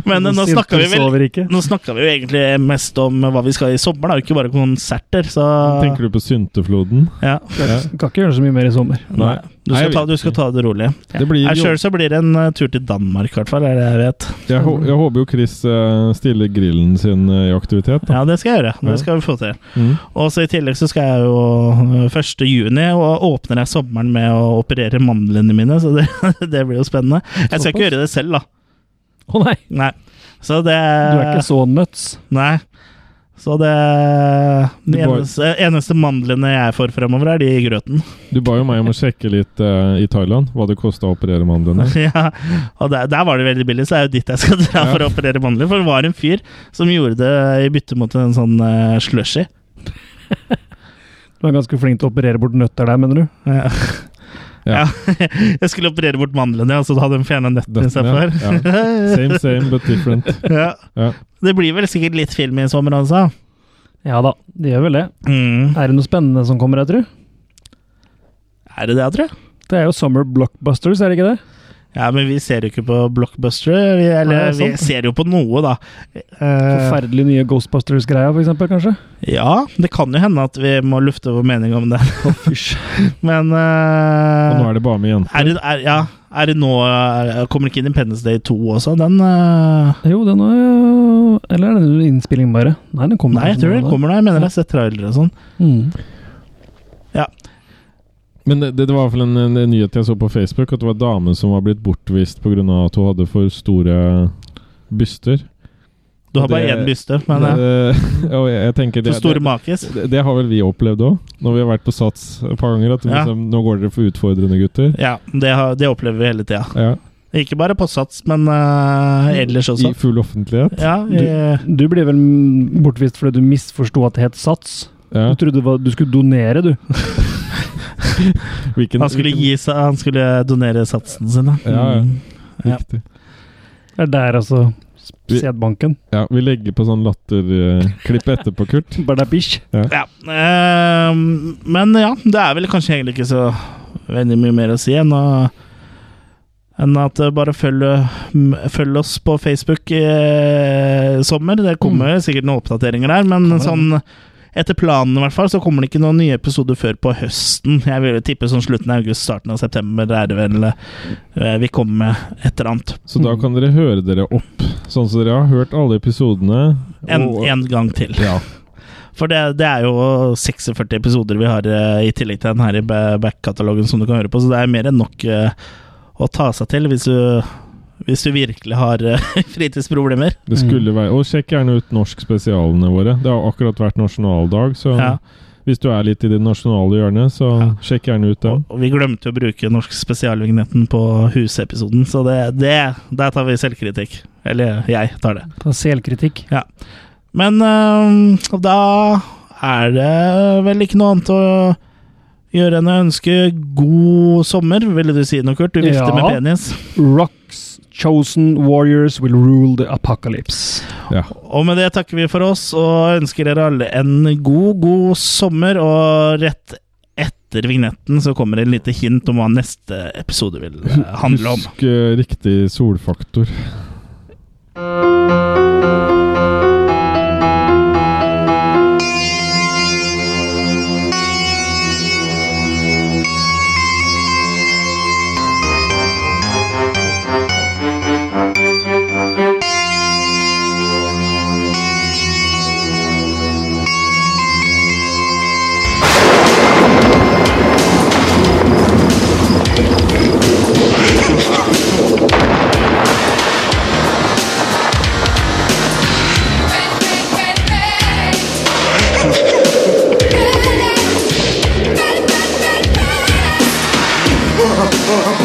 Speaker 1: Men eh, nå
Speaker 4: Sinter
Speaker 1: snakker vi vel
Speaker 4: sover ikke.
Speaker 1: Nå snakka vi jo egentlig mest om hva vi skal i sommer, da, ikke bare konserter. Så
Speaker 2: Tenker du på syntefloden?
Speaker 1: ja.
Speaker 2: Ja.
Speaker 4: Kan ikke gjøre så mye mer i sommer.
Speaker 1: Nei. Du
Speaker 2: Nei,
Speaker 1: skal,
Speaker 2: jeg
Speaker 1: ta,
Speaker 2: vet
Speaker 1: du skal
Speaker 2: ikke.
Speaker 1: ta det rolig.
Speaker 2: Det blir
Speaker 1: Jeg
Speaker 2: jo,
Speaker 1: Sjøl så blir det en eh, tur til Danmark, i hvert fall. Er det jeg vet.
Speaker 2: jeg, hå- jeg håper jo Chris eh, stiller grillen sin eh, i aktivitet. Da.
Speaker 1: Ja, det skal jeg gjøre.
Speaker 2: Ja.
Speaker 1: Det skal vi få til.
Speaker 2: Mm.
Speaker 1: Og så I tillegg så skal jeg jo eh, 1. juni, og åpner jeg sommeren med å operere mandlene mine. Så det, det blir jo spennende. Jeg skal ikke gjøre det selv, da.
Speaker 4: Å nei,
Speaker 1: Nei. Så det
Speaker 4: du er ikke så nuts.
Speaker 1: Nei. Så det De
Speaker 2: Du bare-
Speaker 1: eneste, eneste mandlene jeg får fremover, er de i grøten.
Speaker 2: Du ba jo meg om å sjekke litt eh, i Thailand hva det kosta å operere mandlene.
Speaker 1: Ja, og der, der var det veldig billig, så er jo dit jeg skal dra
Speaker 2: Ja.
Speaker 1: for å operere mandler. For det var en fyr som gjorde det i bytte mot en sånn uh, slushy.
Speaker 4: Du er ganske flink til å operere bort nøtter der, mener du?
Speaker 1: Ja.
Speaker 2: Ja.
Speaker 1: jeg skulle operere bort mandlene, og så hadde de fjerna nøttene
Speaker 2: Nøttene,
Speaker 1: istedenfor.
Speaker 2: Same, same, but different.
Speaker 1: Ja.
Speaker 2: Ja.
Speaker 1: Det blir vel sikkert litt film i sommer, altså.
Speaker 4: Ja da, det gjør vel det.
Speaker 1: Mm.
Speaker 4: Er det noe spennende som kommer, jeg tror?
Speaker 1: Er det det, tror jeg?
Speaker 4: Det er jo Summer Blockbusters, er det ikke det?
Speaker 1: Ja, men vi ser jo ikke på blockbuster. Vi, eller,
Speaker 4: Nei, det er
Speaker 1: vi
Speaker 4: sant.
Speaker 1: ser jo på noe, da. Eh,
Speaker 4: Forferdelig nye Ghostbusters-greia, for eksempel, kanskje?
Speaker 1: ja, det kan jo hende at vi må lufte vår mening om det,
Speaker 4: Fysj.
Speaker 1: men
Speaker 2: Og
Speaker 1: eh,
Speaker 2: nå er det bare med jenter.
Speaker 1: Er det, er, ja, er det nå er, Kommer ikke Independence Day 2 også? Den eh,
Speaker 4: Jo, den er jo Eller er det en innspilling, bare? Nei, den kommer
Speaker 1: Nei, jeg
Speaker 4: kanskje
Speaker 1: tror
Speaker 4: nå,
Speaker 1: den
Speaker 4: da.
Speaker 1: kommer nå. Jeg mener jeg har sett trailere og sånn.
Speaker 4: Mm.
Speaker 2: Men det, det var i hvert fall en, en, en nyhet jeg så på Facebook, at det var en dame som var blitt bortvist pga. at hun hadde for store byster.
Speaker 1: Du har bare
Speaker 2: Det-
Speaker 1: én byste, men eh,
Speaker 2: Det- og jeg, jeg tenker det,
Speaker 1: for store
Speaker 2: det,
Speaker 1: makis.
Speaker 2: det, det har vel vi opplevd òg, når vi har vært på Sats et par ganger. At
Speaker 1: Ja.
Speaker 2: liksom, nå går dere for utfordrende gutter.
Speaker 1: Ja, det, har, det opplever vi hele tida.
Speaker 2: Ja,
Speaker 1: Ikke bare på Sats, men eh, ellers
Speaker 2: I
Speaker 1: også.
Speaker 2: full offentlighet.
Speaker 1: Ja, i,
Speaker 4: Du ble vel mm, bortvist fordi du misforsto at det het Sats.
Speaker 2: Ja.
Speaker 4: Du trodde det var- du skulle donere, du.
Speaker 2: Hvilken,
Speaker 1: han, skulle gi, seg- han skulle donere satsen sin, da.
Speaker 2: Ja, ja.
Speaker 1: Mm. ja.
Speaker 2: Riktig.
Speaker 4: Det er der, altså.
Speaker 2: Vi-
Speaker 4: Sædbanken.
Speaker 2: Ja, vi legger på sånn latterklipp etterpå, Kurt.
Speaker 4: Bardabish.
Speaker 1: Ja, eh, men ja, det er vel kanskje egentlig ikke så veldig mye mer å si enn, å, enn at eh, bare følg, m- følg oss på Facebook i eh, sommer. Det kommer sikkert noen oppdateringer der, men sånn etter planen i hvert fall, så kommer det ikke noen nye episoder før på høsten. Jeg vil jo tippe sånn slutten av august, starten av september er det vel eh, vi kommer med et eller annet.
Speaker 2: Så da kan dere høre dere opp, sånn som dere har hørt alle episodene.
Speaker 1: En,
Speaker 2: og-
Speaker 1: en gang til.
Speaker 2: Ja.
Speaker 1: For det, det er jo 46 episoder vi har eh, i tillegg til den her i ba- back-katalogen som du kan høre på, så det er mer enn nok eh, å ta seg til hvis du, hvis du virkelig har eh, fritidsproblemer.
Speaker 2: Det skulle være Og sjekk gjerne ut norsk spesialene våre. Det har akkurat vært nasjonaldag, så
Speaker 1: Ja.
Speaker 2: hvis du er litt i det nasjonale hjørnet, så
Speaker 1: Ja.
Speaker 2: sjekk gjerne ut dem.
Speaker 1: Og, og vi glemte jo å bruke norsk spesialvignetten på husepisoden, så det, det der tar vi selvkritikk. Eller jeg tar det.
Speaker 4: Ta selvkritikk.
Speaker 1: Men øhm, da er det vel ikke noe annet å gjøre enn å ønske god sommer, ville du si noe, Kurt? Du vifter
Speaker 4: Ja.
Speaker 1: med penis.
Speaker 4: Rocks chosen warriors will rule the apocalypse.
Speaker 2: Ja.
Speaker 1: Og med det takker vi for oss og ønsker dere alle en god, god sommer. Og rett etter vignetten så kommer det et lite hint om hva neste episode vil eh, handle om.
Speaker 2: Husk eh, riktig solfaktor.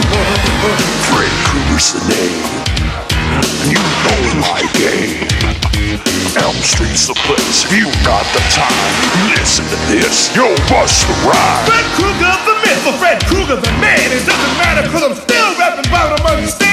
Speaker 5: Fred Krueger's the name. You know my game. Elm Street's the place. If you got the time, listen to this. Yo, bust the rhyme.
Speaker 7: Fred Krueger, the myth, for Fred Krueger, the man. It doesn't matter, cause I'm still rapping about him, understand?